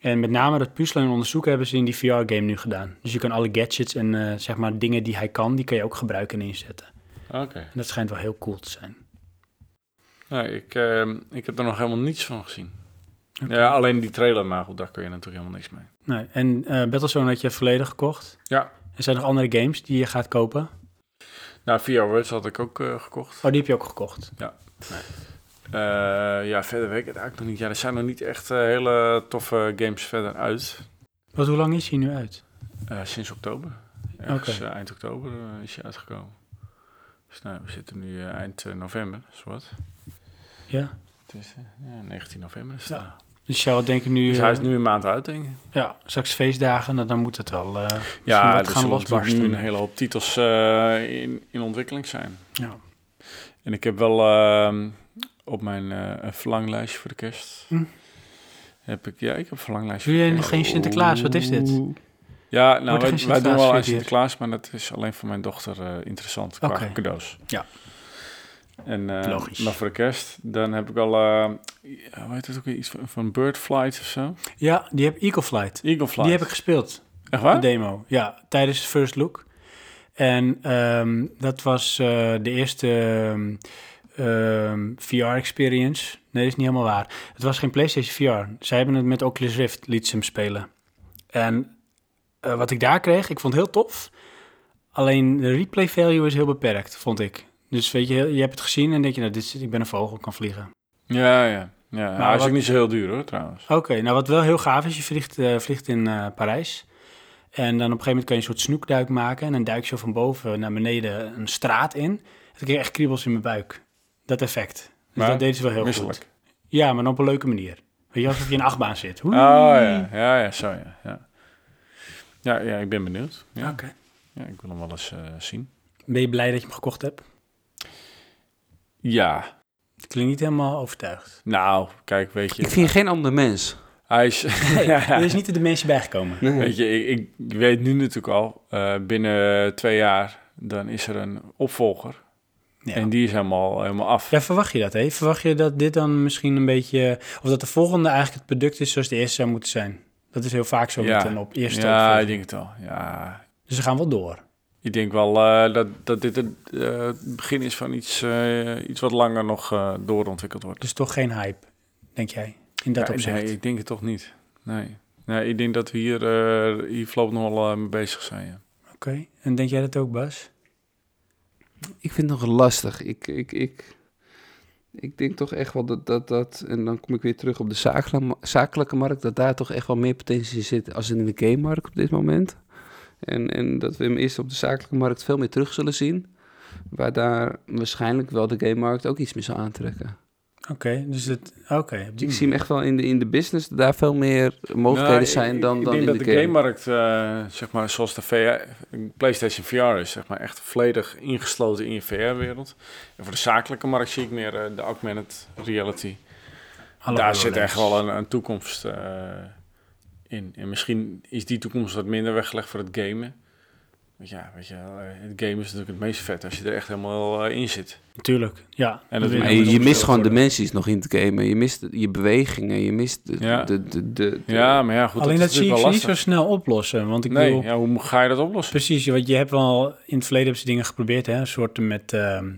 [SPEAKER 1] En met name dat puzzelen en onderzoeken hebben ze in die VR-game nu gedaan. Dus je kan alle gadgets en eh, zeg maar dingen die hij kan, die kan je ook gebruiken en inzetten.
[SPEAKER 7] Oké.
[SPEAKER 1] En dat schijnt wel heel cool te zijn.
[SPEAKER 7] Nou, ik, ehm, ik heb er nog helemaal niets van gezien. Ja, alleen die trailer, maar goed, daar kun je natuurlijk helemaal niks mee.
[SPEAKER 1] Nee, en eh Battlezone had je volledig gekocht.
[SPEAKER 7] Ja.
[SPEAKER 1] Er zijn nog andere games die je gaat kopen.
[SPEAKER 7] Nou, VR Words had ik ook eh, gekocht.
[SPEAKER 1] Oh, die heb je ook gekocht.
[SPEAKER 7] Eh, ja, verder weet ik het eigenlijk nog niet. Ja, er zijn nog niet echt eh, hele toffe games verder uit.
[SPEAKER 1] Wat, hoe lang is hij nu uit?
[SPEAKER 7] Eh, sinds oktober. Ergens,
[SPEAKER 1] Oké.
[SPEAKER 7] eh, eind oktober eh, is hij uitgekomen. Dus nou, we zitten nu eh, eind eh, november, zowat.
[SPEAKER 1] Ja.
[SPEAKER 7] Het is eh, ja, 19 november is het.
[SPEAKER 1] Ja. Dus jij denk ik nu...
[SPEAKER 7] Dus hij is
[SPEAKER 1] eh,
[SPEAKER 7] nu een maand uit, denk ik.
[SPEAKER 1] Ja, straks feestdagen, nou, dan moet het wel eh, misschien
[SPEAKER 7] Ja,
[SPEAKER 1] wat
[SPEAKER 3] dus
[SPEAKER 7] er
[SPEAKER 1] gaan
[SPEAKER 7] zullen natuurlijk
[SPEAKER 1] losbarsten.
[SPEAKER 7] nu een hele hoop titels eh, in, in ontwikkeling zijn.
[SPEAKER 1] Ja.
[SPEAKER 7] En ik heb wel ehm, op mijn eh verlanglijstje voor de kerst...
[SPEAKER 1] Hm.
[SPEAKER 7] Heb ik, ja, ik heb een verlanglijstje
[SPEAKER 1] Doe
[SPEAKER 7] voor
[SPEAKER 1] jij
[SPEAKER 7] de
[SPEAKER 1] nog
[SPEAKER 7] kerst.
[SPEAKER 1] geen Sinterklaas? Wat is dit?
[SPEAKER 7] Ja, nou,
[SPEAKER 1] Wordt er
[SPEAKER 7] wij,
[SPEAKER 1] geen
[SPEAKER 7] wij doen wel
[SPEAKER 1] Sinterklaas
[SPEAKER 7] aan Sinterklaas, maar dat is alleen voor mijn dochter eh, interessant qua
[SPEAKER 1] Oké.
[SPEAKER 7] cadeaus.
[SPEAKER 1] Ja.
[SPEAKER 7] En, eh,
[SPEAKER 1] Logisch.
[SPEAKER 7] Maar voor de kerst, dan heb ik al, eh hoe heet het ook weer, iets van, van Bird Flight of zo?
[SPEAKER 1] Ja, die heb Eagle Flight.
[SPEAKER 7] Eagle Flight.
[SPEAKER 1] Die heb ik gespeeld,
[SPEAKER 7] Echt
[SPEAKER 1] de
[SPEAKER 7] waar?
[SPEAKER 1] demo. Ja, tijdens First Look. En ehm, dat was eh, de eerste ehm, VR-experience. Nee, dat is niet helemaal waar. Het was geen PlayStation VR. Zij hebben het met Oculus Rift, liet ze hem spelen. En eh, wat ik daar kreeg, ik vond het heel tof. Alleen de replay value is heel beperkt, vond ik. Dus weet je, je hebt het gezien en denk je, nou, dit, is- ik ben een vogel, ik kan vliegen.
[SPEAKER 7] Ja, ja. ja. Hij is
[SPEAKER 1] Nou, wat-
[SPEAKER 7] ook niet zo heel duur hoor, trouwens.
[SPEAKER 1] Oké, nou wat wel heel gaaf is, je vliegt, eh, vliegt in eh, Parijs. En dan op een gegeven moment kan je een soort snoekduik maken. En dan duik je zo van boven naar beneden een straat in. En dan kreeg ik echt kriebels in mijn buik. Dat effect. Dus
[SPEAKER 7] Maar
[SPEAKER 1] dat deden ze wel heel
[SPEAKER 7] Misselijk.
[SPEAKER 1] goed. Ja, maar dan op een leuke manier. Weet je, alsof je in een achtbaan zit. Oei.
[SPEAKER 7] Oh ja, ja, ja, zo ja. Ja, ja, ja ik ben benieuwd. Ja.
[SPEAKER 1] Oké.
[SPEAKER 7] ja, ik wil hem wel eens eh, zien.
[SPEAKER 1] Ben je blij dat je hem gekocht hebt?
[SPEAKER 7] Ja,
[SPEAKER 1] Ik klink niet helemaal overtuigd.
[SPEAKER 7] nou, kijk, weet je.
[SPEAKER 2] Ik vind je geen ander mens.
[SPEAKER 7] Hij is...
[SPEAKER 1] Nee, er is niet de dimensie bijgekomen.
[SPEAKER 7] Weet je, ik, ik weet nu natuurlijk al, eh, binnen twee jaar, dan is er een opvolger.
[SPEAKER 1] Ja.
[SPEAKER 7] En die is helemaal, helemaal af.
[SPEAKER 1] Ja, verwacht je dat, hè? Verwacht je dat dit dan misschien een beetje... Of dat de volgende eigenlijk het product is zoals de eerste zou moeten zijn? Dat is heel vaak zo
[SPEAKER 7] Ja.
[SPEAKER 1] met een op eerste
[SPEAKER 7] Ja,
[SPEAKER 1] opvolger.
[SPEAKER 7] ik denk het wel. Ja.
[SPEAKER 1] Dus ze gaan wel door.
[SPEAKER 7] Ik denk wel eh, dat, dat dit het eh, begin is van iets, eh, iets wat langer nog eh, doorontwikkeld wordt.
[SPEAKER 1] Dus toch geen hype, denk jij, in dat
[SPEAKER 7] Ja,
[SPEAKER 1] opzicht?
[SPEAKER 7] nee, ik denk het toch niet. Nee. Nee, ik denk dat we hier, eh hier voorlopig nog wel eh, mee bezig zijn. ja.
[SPEAKER 1] Oké, en denk jij dat ook, Bas?
[SPEAKER 2] Ik vind het nog lastig. Ik, ik, ik, ik denk toch echt wel dat, dat dat... En dan kom ik weer terug op de zakela- zakelijke markt... dat daar toch echt wel meer potentie zit... als in de gamemarkt op dit moment. En, en dat we hem eerst op de zakelijke markt veel meer terug zullen zien... waar daar waarschijnlijk wel de gamemarkt ook iets mee zal aantrekken.
[SPEAKER 7] Hmm.
[SPEAKER 1] Oké, dus het... Oké, Hmm. op die
[SPEAKER 2] Ik zie hem echt wel in de, in de business... dat daar veel meer mogelijkheden
[SPEAKER 7] Nou, ik-
[SPEAKER 2] zijn dan,
[SPEAKER 7] ik,
[SPEAKER 2] dan
[SPEAKER 7] ik
[SPEAKER 2] in
[SPEAKER 7] denk
[SPEAKER 2] de,
[SPEAKER 7] dat de
[SPEAKER 2] game.
[SPEAKER 7] gamemarkt, eh, zeg maar, zoals de VR, PlayStation VR is, zeg maar, echt volledig ingesloten in je VR-wereld. En voor de zakelijke markt zie ik meer eh, de augmented reality.
[SPEAKER 1] Hallo,
[SPEAKER 7] Daar
[SPEAKER 1] HoloLens.
[SPEAKER 7] zit echt wel een, een toekomst eh, in. En misschien is die toekomst wat minder weggelegd voor het gamen. Want ja, weet je, wel, eh, het gamen is natuurlijk het meest vet als je er echt helemaal eh, in zit.
[SPEAKER 1] Tuurlijk, ja.
[SPEAKER 7] dat
[SPEAKER 1] Dat
[SPEAKER 7] wil
[SPEAKER 2] Maar
[SPEAKER 7] Ja,
[SPEAKER 2] je, je
[SPEAKER 7] moet
[SPEAKER 2] mist
[SPEAKER 7] opgesteld
[SPEAKER 2] gewoon
[SPEAKER 7] worden.
[SPEAKER 2] dimensies nog in het gamen. Je mist je bewegingen. Je mist de...
[SPEAKER 7] Ja.
[SPEAKER 2] de, de, de- de-
[SPEAKER 7] Ja, maar ja, goed.
[SPEAKER 1] Alleen dat,
[SPEAKER 7] is
[SPEAKER 1] zie ik
[SPEAKER 7] natuurlijk
[SPEAKER 1] ze
[SPEAKER 7] wel
[SPEAKER 1] niet zo
[SPEAKER 7] lastig.
[SPEAKER 1] snel oplossen, want ik
[SPEAKER 7] Nee,
[SPEAKER 1] bedoel...
[SPEAKER 7] ja, hoe ga je dat oplossen?
[SPEAKER 1] Precies, want je hebt wel... In het verleden hebben ze dingen geprobeerd, hè. Een soort met... ehm,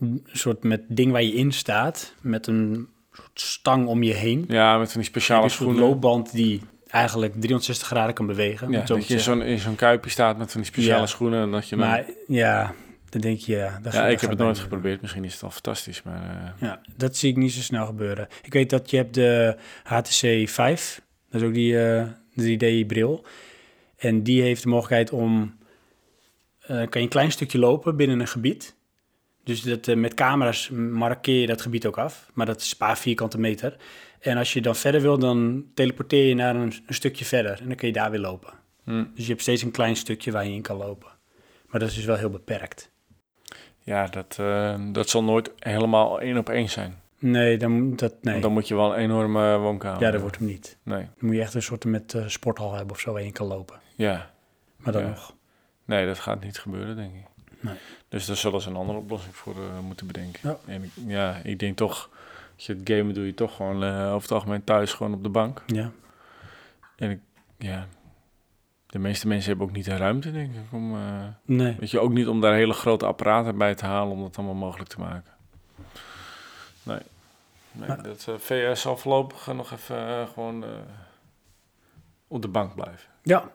[SPEAKER 1] een soort met ding waar je in staat, met een soort stang om je heen. Dus
[SPEAKER 7] Ja, met van die speciale
[SPEAKER 1] een soort
[SPEAKER 7] schoenen.
[SPEAKER 1] loopband die eigenlijk 360 graden kan bewegen. om
[SPEAKER 7] Ja,
[SPEAKER 1] het zo
[SPEAKER 7] dat
[SPEAKER 1] te
[SPEAKER 7] je in
[SPEAKER 1] zeggen.
[SPEAKER 7] zo'n, in zo'n kuipje staat met van die speciale
[SPEAKER 1] Ja.
[SPEAKER 7] schoenen. En dat je dan-
[SPEAKER 1] Maar ja, dan denk je... Ja, dat
[SPEAKER 7] ja, ik heb het nooit geprobeerd. Misschien is het al fantastisch. Maar eh,
[SPEAKER 1] Ja, dat zie ik niet zo snel gebeuren. Ik weet dat je hebt de HTC 5, dat is ook die eh, 3D-bril. En die heeft de mogelijkheid om, eh, kan je een klein stukje lopen binnen een gebied. Dus dat, eh, met camera's markeer je dat gebied ook af, maar dat is een paar vierkante meter. En als je dan verder wil, dan teleporteer je naar een, een stukje verder en dan kun je daar weer lopen.
[SPEAKER 7] Hmm.
[SPEAKER 1] Dus je hebt steeds een klein stukje waar je in kan lopen. Maar dat is dus wel heel beperkt.
[SPEAKER 7] ja, dat, eh, dat zal nooit helemaal één op één zijn.
[SPEAKER 1] Nee, dan, dat, nee.
[SPEAKER 7] Want dan moet je wel een enorme eh,
[SPEAKER 3] Oh.
[SPEAKER 7] woonkamer.
[SPEAKER 1] ja, dat wordt hem niet.
[SPEAKER 7] Nee,
[SPEAKER 1] Dan moet je echt een soort met eh, sporthal hebben of zo waar je in kan lopen.
[SPEAKER 7] ja.
[SPEAKER 1] Maar dan
[SPEAKER 7] Ja.
[SPEAKER 1] nog.
[SPEAKER 7] Nee, dat gaat niet gebeuren, denk ik.
[SPEAKER 1] Nee.
[SPEAKER 7] Dus daar zullen ze een andere oplossing voor eh, moeten bedenken.
[SPEAKER 1] Ja.
[SPEAKER 7] En ik- ja, ik denk toch... Als je het gamen doe je toch gewoon eh, over het algemeen thuis gewoon op de bank.
[SPEAKER 1] Ja.
[SPEAKER 3] En ik, ja, de meeste mensen hebben ook niet de ruimte, denk ik, om... eh,
[SPEAKER 1] Nee.
[SPEAKER 3] Weet je, ook niet om daar hele grote apparaten bij te halen om dat allemaal mogelijk te maken. Nee. nee
[SPEAKER 1] Maar-
[SPEAKER 3] dat eh, VR zal voorlopig eh, nog even eh, gewoon eh, op de bank blijven.
[SPEAKER 1] Ja,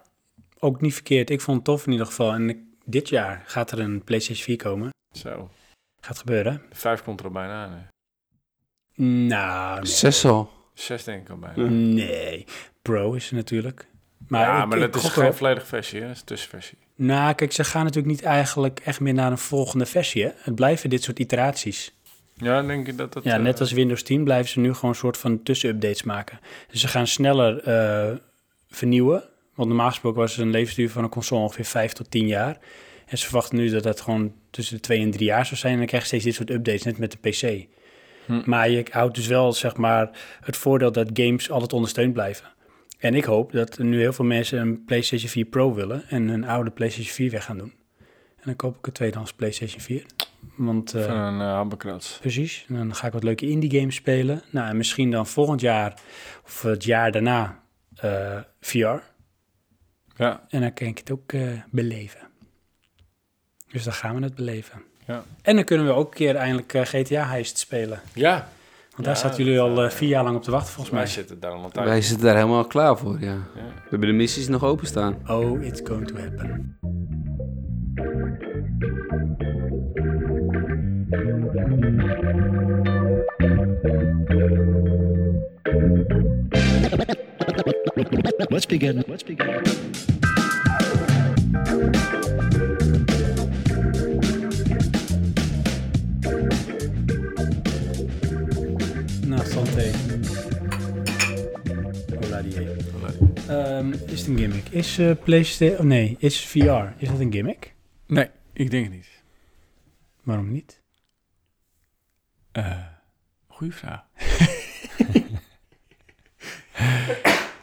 [SPEAKER 1] ook niet verkeerd. Ik vond het tof in ieder geval. En ik- dit jaar gaat er een PlayStation 4 komen.
[SPEAKER 3] Zo.
[SPEAKER 1] Gaat gebeuren.
[SPEAKER 3] De vijf komt er al bijna aan. Hè.
[SPEAKER 1] Nou, nee.
[SPEAKER 2] Zes al.
[SPEAKER 3] Zes denk ik al bijna.
[SPEAKER 2] Ja.
[SPEAKER 1] nee. Pro is er natuurlijk. Maar,
[SPEAKER 3] ja,
[SPEAKER 1] ik-
[SPEAKER 3] maar
[SPEAKER 1] ik
[SPEAKER 3] dat is
[SPEAKER 1] gok
[SPEAKER 3] geen
[SPEAKER 1] erop.
[SPEAKER 3] volledige versie, hè? Dat is een tussenversie.
[SPEAKER 1] Nou, kijk, ze gaan natuurlijk niet eigenlijk echt meer naar een volgende versie. Hè? Het blijven dit soort iteraties.
[SPEAKER 3] Ja, dan denk ik dat dat...
[SPEAKER 1] Ja,
[SPEAKER 3] eh,
[SPEAKER 1] net als Windows 10 blijven ze nu gewoon een soort van tussenupdates maken. Dus ze gaan sneller eh, vernieuwen. Want normaal gesproken was een levensduur van een console ongeveer 5 tot 10 jaar. En ze verwachten nu dat dat gewoon tussen de 2 en 3 jaar zou zijn. En dan krijg je steeds dit soort updates, net met de PC.
[SPEAKER 3] Hm.
[SPEAKER 1] Maar je houdt dus wel zeg maar, het voordeel dat games altijd ondersteund blijven. En ik hoop dat nu heel veel mensen een PlayStation 4 Pro willen en hun oude PlayStation 4 weg gaan doen. En dan koop ik een tweedehands PlayStation 4. Want, eh,
[SPEAKER 3] Van een eh, hamburgerkrats.
[SPEAKER 1] Precies. En dan ga ik wat leuke indie games spelen. Nou, en misschien dan volgend jaar of het jaar daarna eh, VR.
[SPEAKER 3] Ja,
[SPEAKER 1] En dan kan ik het ook eh, beleven. Dus dan gaan we het beleven.
[SPEAKER 3] Ja.
[SPEAKER 1] En dan kunnen we ook een keer eindelijk eh, GTA Heist spelen.
[SPEAKER 3] ja.
[SPEAKER 1] Want daar
[SPEAKER 3] Ja,
[SPEAKER 1] zaten jullie
[SPEAKER 3] dat,
[SPEAKER 1] al eh,
[SPEAKER 3] eh,
[SPEAKER 1] vier jaar lang op te wachten, volgens
[SPEAKER 3] Wij
[SPEAKER 1] mij.
[SPEAKER 3] zitten daar al een tijdje.
[SPEAKER 2] Wij zitten daar helemaal klaar voor, ja.
[SPEAKER 3] Ja.
[SPEAKER 2] We hebben de missies nog openstaan.
[SPEAKER 1] Oh, it's going to happen.
[SPEAKER 8] Let's begin. Let's begin.
[SPEAKER 1] Nou, santé. Hola die Ehm, Is het een gimmick? Is eh PlayStation... Oh, nee, is VR. Is dat een gimmick?
[SPEAKER 3] Nee, ik denk het niet.
[SPEAKER 1] Waarom niet?
[SPEAKER 3] Eh, goeie vraag.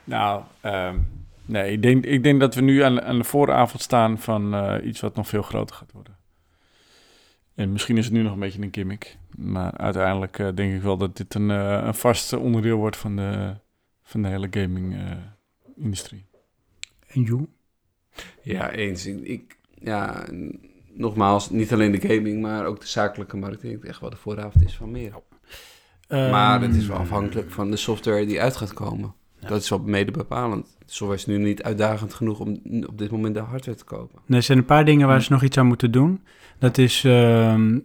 [SPEAKER 3] nou, ehm, nee, ik denk, ik denk dat we nu aan, aan de vooravond staan van eh, iets wat nog veel groter gaat worden. En misschien is het nu nog een beetje een gimmick. Maar uiteindelijk eh, denk ik wel dat dit een, eh, een vast onderdeel wordt van de, van de hele eh, gaming-industrie.
[SPEAKER 1] En you?
[SPEAKER 2] Ja, eens. Ik, ik- ja, n- nogmaals, niet alleen de gaming, maar ook de zakelijke markt. Ik denk echt wel de vooravond is van meer. Maar het is
[SPEAKER 1] Ehm,
[SPEAKER 2] wel afhankelijk van de software die uit gaat komen.
[SPEAKER 1] Ja.
[SPEAKER 2] Dat is wel mede bepalend. De software is nu niet uitdagend genoeg om n- op dit moment de hardware te kopen.
[SPEAKER 1] Er zijn een paar dingen waar
[SPEAKER 2] Hm.
[SPEAKER 1] ze nog iets aan moeten doen. Dat is, ehm,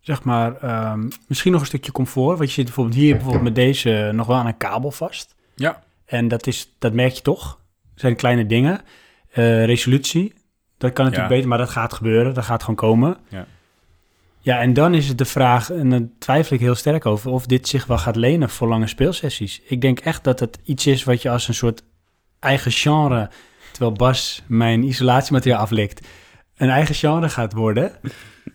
[SPEAKER 1] zeg maar, ehm, misschien nog een stukje comfort. Want je zit bijvoorbeeld hier bijvoorbeeld met deze nog wel aan een kabel vast.
[SPEAKER 3] Ja.
[SPEAKER 1] En dat, is, dat merk je toch. Dat zijn kleine dingen. Eh, resolutie, dat kan natuurlijk
[SPEAKER 3] Ja.
[SPEAKER 1] beter, maar dat gaat gebeuren. Dat gaat gewoon komen.
[SPEAKER 3] Ja.
[SPEAKER 1] Ja, en dan is het de vraag, en daar twijfel ik heel sterk over, of dit zich wel gaat lenen voor lange speelsessies. Ik denk echt dat het iets is wat je als een soort eigen genre terwijl Bas mijn isolatiemateriaal aflikt, een eigen genre gaat worden.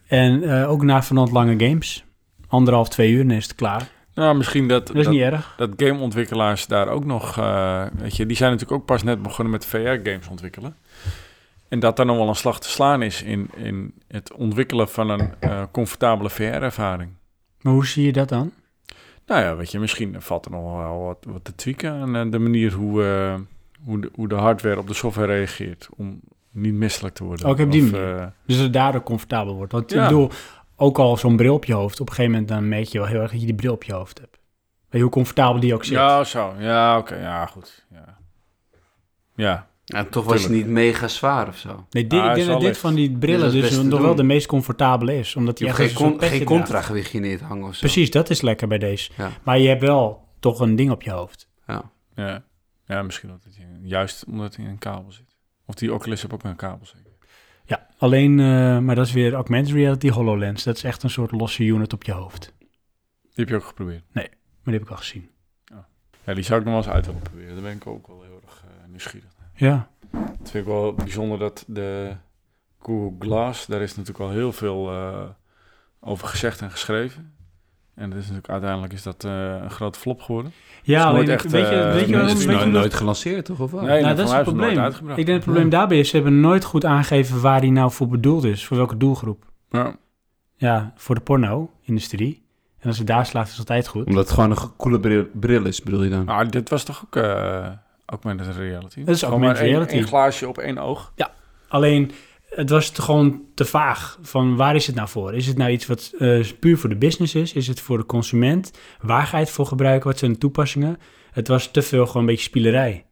[SPEAKER 1] en eh, ook na vanavond lange games. Anderhalf, twee uur en is het klaar.
[SPEAKER 3] Nou, misschien dat...
[SPEAKER 1] Dat is niet erg.
[SPEAKER 3] dat gameontwikkelaars daar ook nog, eh, weet je, die zijn natuurlijk ook pas net begonnen met VR-games ontwikkelen. En dat daar nog wel een slag te slaan is in, in het ontwikkelen van een eh, comfortabele VR-ervaring.
[SPEAKER 1] Maar hoe zie je dat dan?
[SPEAKER 3] Nou ja, weet je, misschien valt er nog wel wat, wat te tweaken aan eh, de manier hoe, eh, hoe, de, hoe de hardware op de software reageert om niet misselijk te worden. eh,
[SPEAKER 1] Oh, oké,
[SPEAKER 3] Ook
[SPEAKER 1] op die manier.
[SPEAKER 3] manier.
[SPEAKER 1] Dus dat het daardoor comfortabel wordt. Want ik
[SPEAKER 3] Ja.
[SPEAKER 1] bedoel, ook al zo'n bril op je hoofd, op een gegeven moment dan merk je wel heel erg dat je die bril op je hoofd hebt. Weet je hoe comfortabel die ook zit?
[SPEAKER 3] ja, zo. Ja, oké. ja, goed. Ja. ja.
[SPEAKER 2] Ja, toch was het niet mega zwaar of zo.
[SPEAKER 1] Nee, dit,
[SPEAKER 3] Ah,
[SPEAKER 1] ik
[SPEAKER 3] is
[SPEAKER 1] denk dat
[SPEAKER 3] wel
[SPEAKER 1] dit
[SPEAKER 3] licht.
[SPEAKER 1] van die brillen
[SPEAKER 2] is het
[SPEAKER 1] dus
[SPEAKER 2] beste
[SPEAKER 1] nog
[SPEAKER 2] te
[SPEAKER 1] wel
[SPEAKER 2] doen.
[SPEAKER 1] de meest comfortabele is. Omdat
[SPEAKER 2] Je
[SPEAKER 1] die
[SPEAKER 2] hebt
[SPEAKER 1] echt
[SPEAKER 2] geen,
[SPEAKER 1] als een
[SPEAKER 2] con-
[SPEAKER 1] soort petje
[SPEAKER 2] geen
[SPEAKER 1] draagt.
[SPEAKER 2] contragewichtje neer te hangen of zo.
[SPEAKER 1] Precies, dat is lekker bij deze.
[SPEAKER 2] Ja.
[SPEAKER 1] Maar je hebt wel toch een ding op je hoofd.
[SPEAKER 2] Ja.
[SPEAKER 3] Ja, ja misschien omdat het in- juist omdat hij in een kabel zit. Of die Oculus heeft ook een kabel zeker.
[SPEAKER 1] Ja, alleen, eh, maar dat is weer augmented reality HoloLens. Dat is echt een soort losse unit op je hoofd.
[SPEAKER 3] Die heb je ook geprobeerd.
[SPEAKER 1] Maar die heb ik al gezien.
[SPEAKER 3] Ja, die zou ik nog wel eens uit willen proberen. Daar ben ik ook wel heel erg eh, nieuwsgierig naar.
[SPEAKER 1] Ja,
[SPEAKER 3] Het vind ik wel bijzonder dat de Google Glass, daar is natuurlijk al heel veel eh, over gezegd en geschreven. En dat is natuurlijk, uiteindelijk is dat eh, een grote flop geworden.
[SPEAKER 1] ja
[SPEAKER 3] nooit
[SPEAKER 1] alleen,
[SPEAKER 3] echt,
[SPEAKER 1] weet je,
[SPEAKER 3] eh,
[SPEAKER 1] weet je
[SPEAKER 3] dat
[SPEAKER 2] Dat
[SPEAKER 3] is
[SPEAKER 1] waarom?
[SPEAKER 2] is
[SPEAKER 1] Weet
[SPEAKER 3] nooit-
[SPEAKER 1] je
[SPEAKER 2] nooit,
[SPEAKER 1] waarom-
[SPEAKER 2] nooit gelanceerd, toch? Of wel?
[SPEAKER 3] Nee,
[SPEAKER 1] nou, dat is
[SPEAKER 3] voor mij
[SPEAKER 1] het
[SPEAKER 3] is het nooit
[SPEAKER 1] probleem.
[SPEAKER 3] uitgebracht.
[SPEAKER 1] Ik denk het probleem daarbij is, ze hebben nooit goed aangegeven waar die nou voor bedoeld is. Voor welke doelgroep.
[SPEAKER 3] Ja.
[SPEAKER 1] Ja, voor de porno-industrie. En als het daar slaat, is het altijd goed.
[SPEAKER 2] Omdat het gewoon een ge- coole bril, bril is, bedoel je dan?
[SPEAKER 3] Nou, dit was Ah, toch ook eh, Ook met reality.
[SPEAKER 1] Dat is ook
[SPEAKER 3] Gewoon maar
[SPEAKER 1] augmented
[SPEAKER 3] één-
[SPEAKER 1] reality.
[SPEAKER 3] één glaasje op één oog.
[SPEAKER 1] Alleen, het was te- gewoon te vaag van waar is het nou voor? Is het nou iets wat eh, puur voor de business is? Is het voor de consument? Waar ga je het voor gebruiken? Wat zijn de toepassingen? Het was te veel gewoon een beetje spielerij.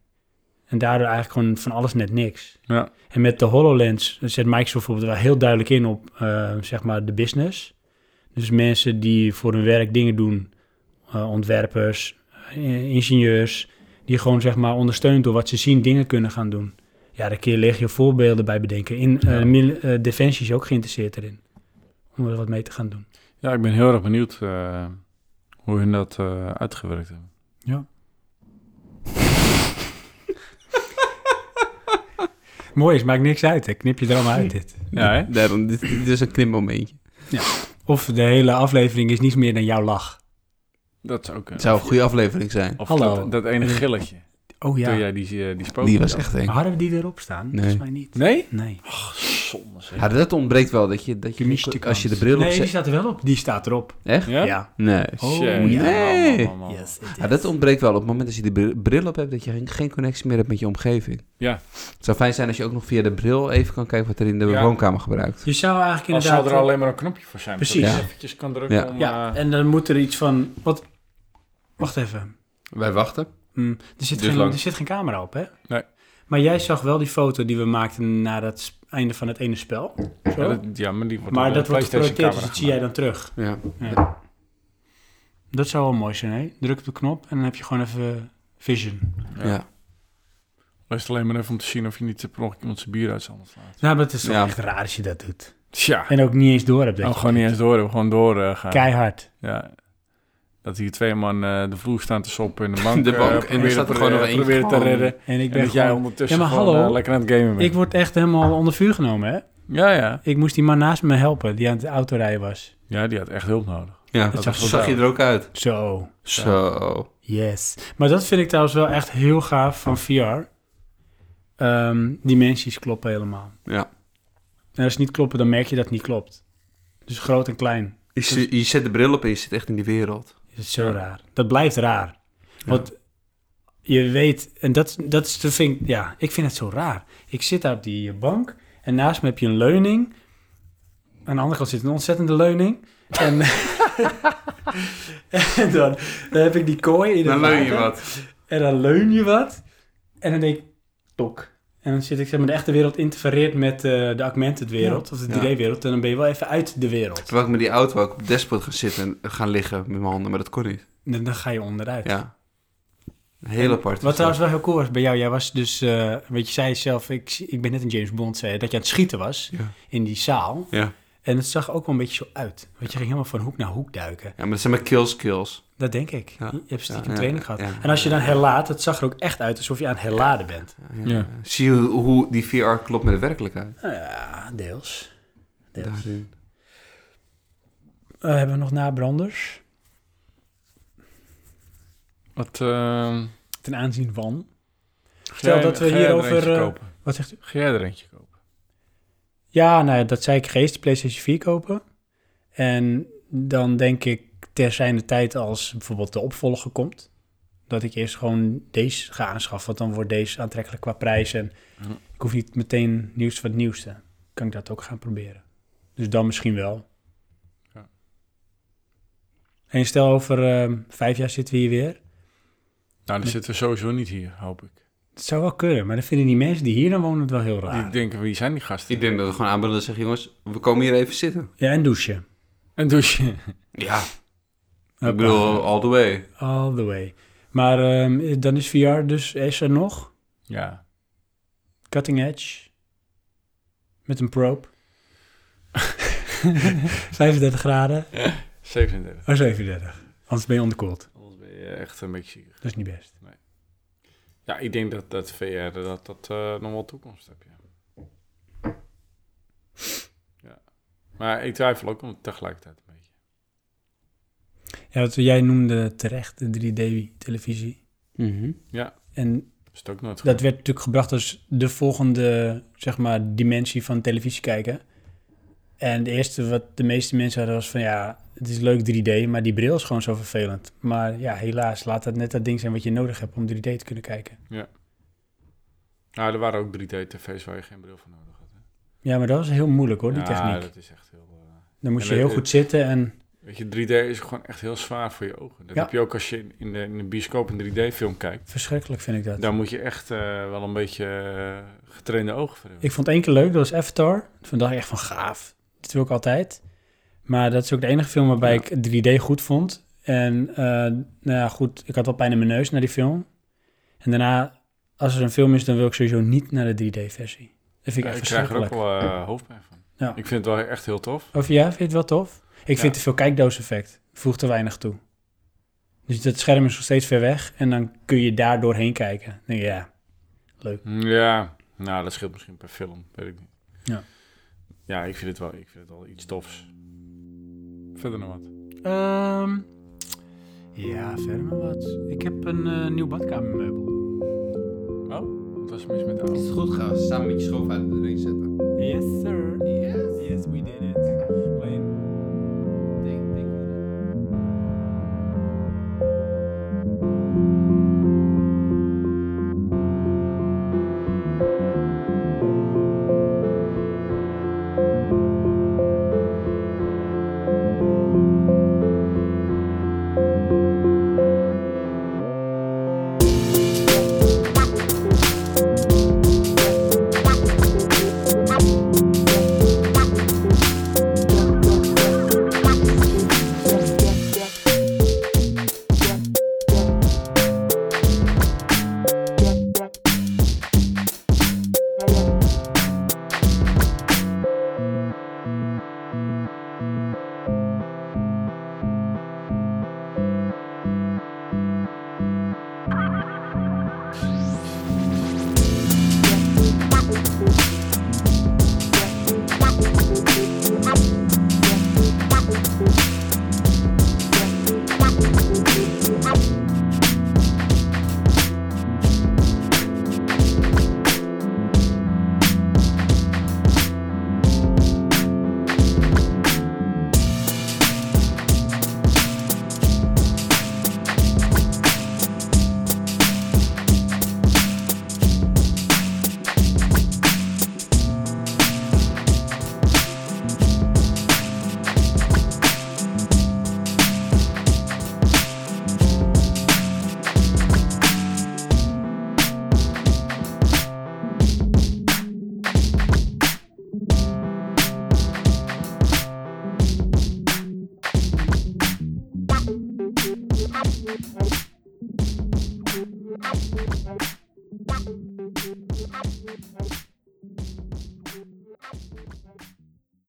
[SPEAKER 1] En daardoor eigenlijk gewoon van alles net niks.
[SPEAKER 3] Ja.
[SPEAKER 1] En met de HoloLens zet Microsoft bijvoorbeeld wel heel duidelijk in op, eh, zeg maar, de business. Dus mensen die voor hun werk dingen doen, eh, ontwerpers, eh, ingenieurs, die gewoon, zeg maar, ondersteund door wat ze zien, dingen kunnen gaan doen. Ja, daar kun je legio voorbeelden bij bedenken. In eh, mil- eh, Defensie is ook geïnteresseerd erin, om er wat mee te gaan doen.
[SPEAKER 3] Ja, ik ben heel erg benieuwd eh, hoe hun dat eh, uitgewerkt hebben.
[SPEAKER 1] Mooi is, maakt niks uit, hè. knip je er allemaal uit dit.
[SPEAKER 3] Ja, hè?
[SPEAKER 2] Daarom, dit, dit is een knipmomentje.
[SPEAKER 1] Of de hele aflevering is niets meer dan jouw lach.
[SPEAKER 3] Dat zou ook eh,
[SPEAKER 2] Het zou een goede aflevering zijn.
[SPEAKER 3] Of
[SPEAKER 1] Hallo.
[SPEAKER 3] Dat, dat ene gilletje.
[SPEAKER 1] Oh ja,
[SPEAKER 3] Toen jij die, eh, die spook.
[SPEAKER 2] Die was echt eng.
[SPEAKER 1] hadden we die erop staan?
[SPEAKER 2] Nee.
[SPEAKER 1] Volgens mij niet.
[SPEAKER 3] Nee?
[SPEAKER 1] Nee.
[SPEAKER 3] Zonde zeg.
[SPEAKER 2] Ja, Ah, dat ontbreekt wel, dat je, dat je
[SPEAKER 1] Mysticons.
[SPEAKER 2] als je de bril op
[SPEAKER 1] Nee, die
[SPEAKER 2] zet...
[SPEAKER 1] staat er wel op. Die staat erop.
[SPEAKER 2] Echt?
[SPEAKER 3] Ja?
[SPEAKER 2] Nee.
[SPEAKER 1] Oh,
[SPEAKER 3] Shit.
[SPEAKER 1] ja.
[SPEAKER 2] Nee.
[SPEAKER 3] Man, man, man, man.
[SPEAKER 2] Ja, dat ontbreekt wel. Op het moment dat je de bril- bril op hebt, dat je geen- geen connectie meer hebt met je omgeving.
[SPEAKER 3] Ja.
[SPEAKER 2] Het zou fijn zijn als je ook nog via de bril even kan kijken wat er in de
[SPEAKER 3] Ja.
[SPEAKER 2] woonkamer gebruikt.
[SPEAKER 1] Je zou eigenlijk
[SPEAKER 3] Als
[SPEAKER 1] inderdaad...
[SPEAKER 3] zou er alleen maar een knopje voor zijn.
[SPEAKER 1] Precies.
[SPEAKER 3] Dat je eventjes kan drukken
[SPEAKER 2] Ja.
[SPEAKER 3] om...
[SPEAKER 1] Ja,
[SPEAKER 3] eh,
[SPEAKER 1] en dan moet er iets van... Wat? Wacht even.
[SPEAKER 2] Wij wachten.
[SPEAKER 1] Hm, er, zit
[SPEAKER 2] Dus
[SPEAKER 1] geen,
[SPEAKER 2] lang.
[SPEAKER 1] er zit geen camera op, hè?
[SPEAKER 3] Nee.
[SPEAKER 1] Maar jij zag wel die foto die we maakten na het sp- einde van het ene spel. Zo?
[SPEAKER 3] ja, dat, ja, maar die wordt
[SPEAKER 1] maar
[SPEAKER 3] op de
[SPEAKER 1] dat wordt
[SPEAKER 3] PlayStation
[SPEAKER 1] geprojecteerd, dus
[SPEAKER 3] camera
[SPEAKER 1] dat zie jij dan terug.
[SPEAKER 2] Ja.
[SPEAKER 1] Ja. Dat zou wel mooi zijn, hè? Druk op de knop en dan heb je gewoon even vision.
[SPEAKER 2] Ja. ja.
[SPEAKER 3] gemaakt. Luister alleen maar even om te zien of je niet eh, per ongeluk iemand zijn bier uit zijn hand slaat.
[SPEAKER 1] Nou, maar het is toch
[SPEAKER 2] Ja.
[SPEAKER 1] echt raar als je dat doet.
[SPEAKER 3] Tja.
[SPEAKER 1] En ook niet eens door hebt, denk
[SPEAKER 3] Nou,
[SPEAKER 1] je.
[SPEAKER 3] gewoon niet eens door, eh, gewoon doorgaan.
[SPEAKER 1] Keihard.
[SPEAKER 3] Ja. Dat hier twee man eh, de vloer staan te soppen in de bank.
[SPEAKER 2] De
[SPEAKER 3] eh,
[SPEAKER 2] bank, en er
[SPEAKER 3] proberen-
[SPEAKER 2] staat er gewoon nog
[SPEAKER 3] proberen-
[SPEAKER 2] eentje
[SPEAKER 3] proberen te
[SPEAKER 2] gewoon.
[SPEAKER 3] redden.
[SPEAKER 1] En ik
[SPEAKER 3] En
[SPEAKER 1] ben
[SPEAKER 3] dat jij
[SPEAKER 1] gewoon-
[SPEAKER 3] ondertussen
[SPEAKER 1] Ja, maar
[SPEAKER 3] gewoon
[SPEAKER 1] hallo.
[SPEAKER 3] eh, lekker aan het gamen bent.
[SPEAKER 1] Ik word echt helemaal onder vuur genomen, hè?
[SPEAKER 3] Ja, ja.
[SPEAKER 1] Ik moest die man naast me helpen, die aan het autorijden was.
[SPEAKER 3] Ja, die had echt hulp nodig.
[SPEAKER 2] dat
[SPEAKER 1] zag
[SPEAKER 2] zag,
[SPEAKER 1] je
[SPEAKER 2] je er ook uit.
[SPEAKER 1] Zo.
[SPEAKER 2] Zo.
[SPEAKER 1] Yes. Maar dat vind ik trouwens wel echt heel gaaf van VR. Ehm, dimensies kloppen helemaal.
[SPEAKER 2] Ja.
[SPEAKER 1] En als ze niet kloppen, dan merk je dat het niet klopt. Dus groot en klein.
[SPEAKER 2] Je, z- je zet de bril op en je zit echt in die wereld.
[SPEAKER 1] Is het zo raar. Dat blijft raar. Want je weet, en dat, dat is de vind ik- ja, ik vind het zo raar. Ik zit daar op die eh, bank en naast me heb je een leuning. Aan de andere kant zit een ontzettende leuning. En, en dan, dan heb ik die kooi in de water.
[SPEAKER 2] wat.
[SPEAKER 1] En dan leun je wat. En dan denk ik, tok. En dan zit ik zeg maar, de echte wereld interfereert met eh, de augmented wereld. Of de
[SPEAKER 2] Ja.
[SPEAKER 1] 3D-wereld. En dan ben je wel even uit de wereld.
[SPEAKER 2] Terwijl ik met die auto ook op het dashboard gaan zitten en gaan liggen met mijn handen, maar dat kon niet.
[SPEAKER 1] En dan ga je onderuit.
[SPEAKER 2] Ja. Heel apart.
[SPEAKER 1] Wat trouwens wel heel cool was bij jou. Jij was dus, eh weet je, zei zelf, ik, zie- ik ben net een James Bond, zei je, dat je aan het schieten was
[SPEAKER 2] Ja.
[SPEAKER 1] in die zaal.
[SPEAKER 2] Ja.
[SPEAKER 1] En het zag ook wel een beetje zo uit. Want je ging helemaal van hoek naar hoek duiken.
[SPEAKER 2] Ja, maar dat zijn maar kill skills.
[SPEAKER 1] Dat denk ik.
[SPEAKER 2] Ja.
[SPEAKER 1] Je hebt stiekem
[SPEAKER 2] Ja, ja,
[SPEAKER 1] training
[SPEAKER 2] ja,
[SPEAKER 1] gehad.
[SPEAKER 2] ja.
[SPEAKER 1] en als je dan herlaat, het zag er ook echt uit alsof je aan het herladen bent.
[SPEAKER 3] Ja.
[SPEAKER 2] Zie je hoe- hoe die VR klopt met de werkelijkheid?
[SPEAKER 1] Nou ja, deels. deels.
[SPEAKER 2] Daarin.
[SPEAKER 1] Eh, hebben we nog nabranders?
[SPEAKER 3] Wat, ehm,
[SPEAKER 1] Ten aanzien van.
[SPEAKER 3] ga
[SPEAKER 1] Stel
[SPEAKER 3] jij-
[SPEAKER 1] dat we
[SPEAKER 3] ga jij er
[SPEAKER 1] hierover,
[SPEAKER 3] eentje
[SPEAKER 1] eh,
[SPEAKER 3] kopen?
[SPEAKER 1] Wat zegt u?
[SPEAKER 3] Ga jij er eentje kopen?
[SPEAKER 1] Ja, nou, ja, dat zei ik geest, de PlayStation 4 kopen. En dan denk ik, ter zijn de tijd als bijvoorbeeld de opvolger komt, dat ik eerst gewoon deze ga aanschaffen. Want dan wordt deze aantrekkelijk qua prijs. En
[SPEAKER 3] Ja.
[SPEAKER 1] ik hoef niet meteen nieuws van het nieuwste. Kan ik dat ook gaan proberen? Dus dan misschien wel.
[SPEAKER 3] Ja.
[SPEAKER 1] En stel over ehm, vijf jaar zitten we hier weer.
[SPEAKER 3] Nou, dan zitten we sowieso niet hier, hoop ik.
[SPEAKER 1] Het zou wel kunnen, maar dan vinden die mensen die hier dan wonen het wel heel raar.
[SPEAKER 3] Ik denk, wie zijn die gasten?
[SPEAKER 2] Ik denk dat we gewoon aanbellen en zeggen, jongens, we komen hier even zitten.
[SPEAKER 1] Ja, en douchen.
[SPEAKER 3] Een douche.
[SPEAKER 2] Ja. Ik bedoel, all the way.
[SPEAKER 1] All the way. Maar ehm, dan is VR dus, is er nog?
[SPEAKER 3] ja.
[SPEAKER 1] Cutting edge. Met een probe. 35 graden.
[SPEAKER 3] 37.
[SPEAKER 1] Oh, 37. Anders ben je onderkoeld.
[SPEAKER 3] Anders ben je echt een beetje ziek.
[SPEAKER 1] Dat is niet best.
[SPEAKER 3] Ja, ik denk dat, dat VR dat, dat eh, nog wel toekomst heb, ja. ja. Maar ik twijfel ook om tegelijkertijd een beetje.
[SPEAKER 1] Ja, wat jij noemde terecht de 3D-televisie. En
[SPEAKER 3] Dat is het ook nooit goed.
[SPEAKER 1] dat werd natuurlijk gebracht als de volgende, zeg maar, dimensie van televisie kijken. En het eerste wat de meeste mensen hadden was van, ja, het is leuk 3D, maar die bril is gewoon zo vervelend. Maar ja, helaas, laat dat net dat ding zijn wat je nodig hebt om 3D te kunnen kijken.
[SPEAKER 3] Ja. Nou, er waren ook 3D-tv's waar je geen bril voor nodig had. Hè?
[SPEAKER 1] Ja, maar dat was heel moeilijk hoor, die
[SPEAKER 3] Ja,
[SPEAKER 1] techniek.
[SPEAKER 3] dat is echt heel... eh,
[SPEAKER 1] Dan moest
[SPEAKER 3] en
[SPEAKER 1] je
[SPEAKER 3] het-
[SPEAKER 1] heel goed zitten en...
[SPEAKER 3] Weet je, 3D is gewoon echt heel zwaar voor je ogen. Dat
[SPEAKER 1] Ja.
[SPEAKER 3] heb je ook als je in de, in de bioscoop een 3D-film kijkt.
[SPEAKER 1] Verschrikkelijk vind ik dat.
[SPEAKER 3] Daar moet je echt eh, wel een beetje eh, getrainde ogen voor hebben.
[SPEAKER 1] Ik vond één keer leuk, dat was Avatar. Toen dacht ik echt van gaaf. Dat wil ik altijd. Maar dat is ook de enige film waarbij ik 3D goed vond. En eh, nou ja, goed, ik had wel pijn in mijn neus naar die film. En daarna, als er een film is, dan wil ik sowieso niet naar de 3D-versie. Dat vind ik
[SPEAKER 3] Ja,
[SPEAKER 1] echt
[SPEAKER 3] ik krijg er ook
[SPEAKER 1] verschrikkelijk.
[SPEAKER 3] wel eh, hoofdpijn van.
[SPEAKER 1] Ja.
[SPEAKER 3] Ik vind het wel echt heel tof.
[SPEAKER 1] Of ja, vind je het wel tof? Ik
[SPEAKER 3] Ja.
[SPEAKER 1] vind te veel kijkdoos-effect. Voegt te weinig toe. Dus dat scherm is nog steeds ver weg. En dan kun je daar doorheen kijken. Dan denk je, ja,
[SPEAKER 3] Ja, nou, dat scheelt misschien per film, weet ik niet.
[SPEAKER 1] Ja.
[SPEAKER 3] Ja, ik vind het wel, ik vind het wel iets tofs. Verder nog wat.
[SPEAKER 1] Ehm ja, verder maar wat. Ik heb een eh, nieuw badkamermeubel.
[SPEAKER 3] Oh, wat was er mis met de auto?
[SPEAKER 2] Is goed, gaan samen met je schoof uit de ring zetten.
[SPEAKER 1] Yes, sir. Yes. Yes, we did it. Alleen-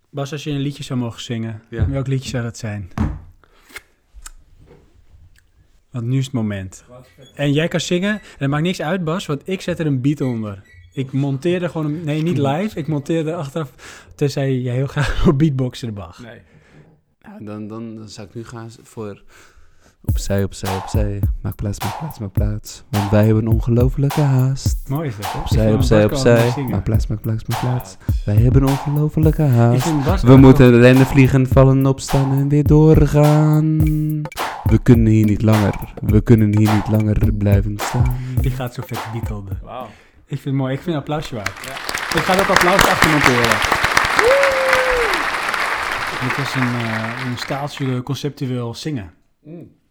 [SPEAKER 1] Bas, als je een liedje zou mogen zingen,
[SPEAKER 2] Ja.
[SPEAKER 1] welk liedje zou dat zijn? Want nu is het moment. En jij kan zingen, en het maakt niks uit, Bas, want ik zet er een beat onder. Ik monteerde gewoon een... Nee, niet live. Ik monteerde achteraf... Tenzij jij heel graag wil beatboxen, Bach.
[SPEAKER 3] Nee.
[SPEAKER 2] dan, dan, dan zou ik nu gaan voor... Opzij, opzij, opzij. Maak plaats, maak plaats, maak plaats. Want wij hebben een ongelofelijke haast.
[SPEAKER 1] Mooi is dat, hè? Ik
[SPEAKER 2] Opzij,
[SPEAKER 1] vind
[SPEAKER 2] opzij,
[SPEAKER 1] Bas kan wel mooi
[SPEAKER 2] opzij.
[SPEAKER 1] zingen.
[SPEAKER 2] Maak plaats, maak plaats, maak plaats. Wij hebben een ongelofelijke
[SPEAKER 1] Ik
[SPEAKER 2] haast.
[SPEAKER 1] vind Bas
[SPEAKER 2] We
[SPEAKER 1] kan
[SPEAKER 2] moeten rennen, vliegen, vallen, opstaan en weer doorgaan. We kunnen hier niet langer, we kunnen hier niet langer blijven staan.
[SPEAKER 1] Die gaat zo vet beatelde.
[SPEAKER 3] Wauw.
[SPEAKER 1] Ik vind het mooi. Ik vind een applausje waard. Ik ga dat applaus achter monteren. Dit was een, eh, een staaltje conceptueel zingen.
[SPEAKER 9] Mm.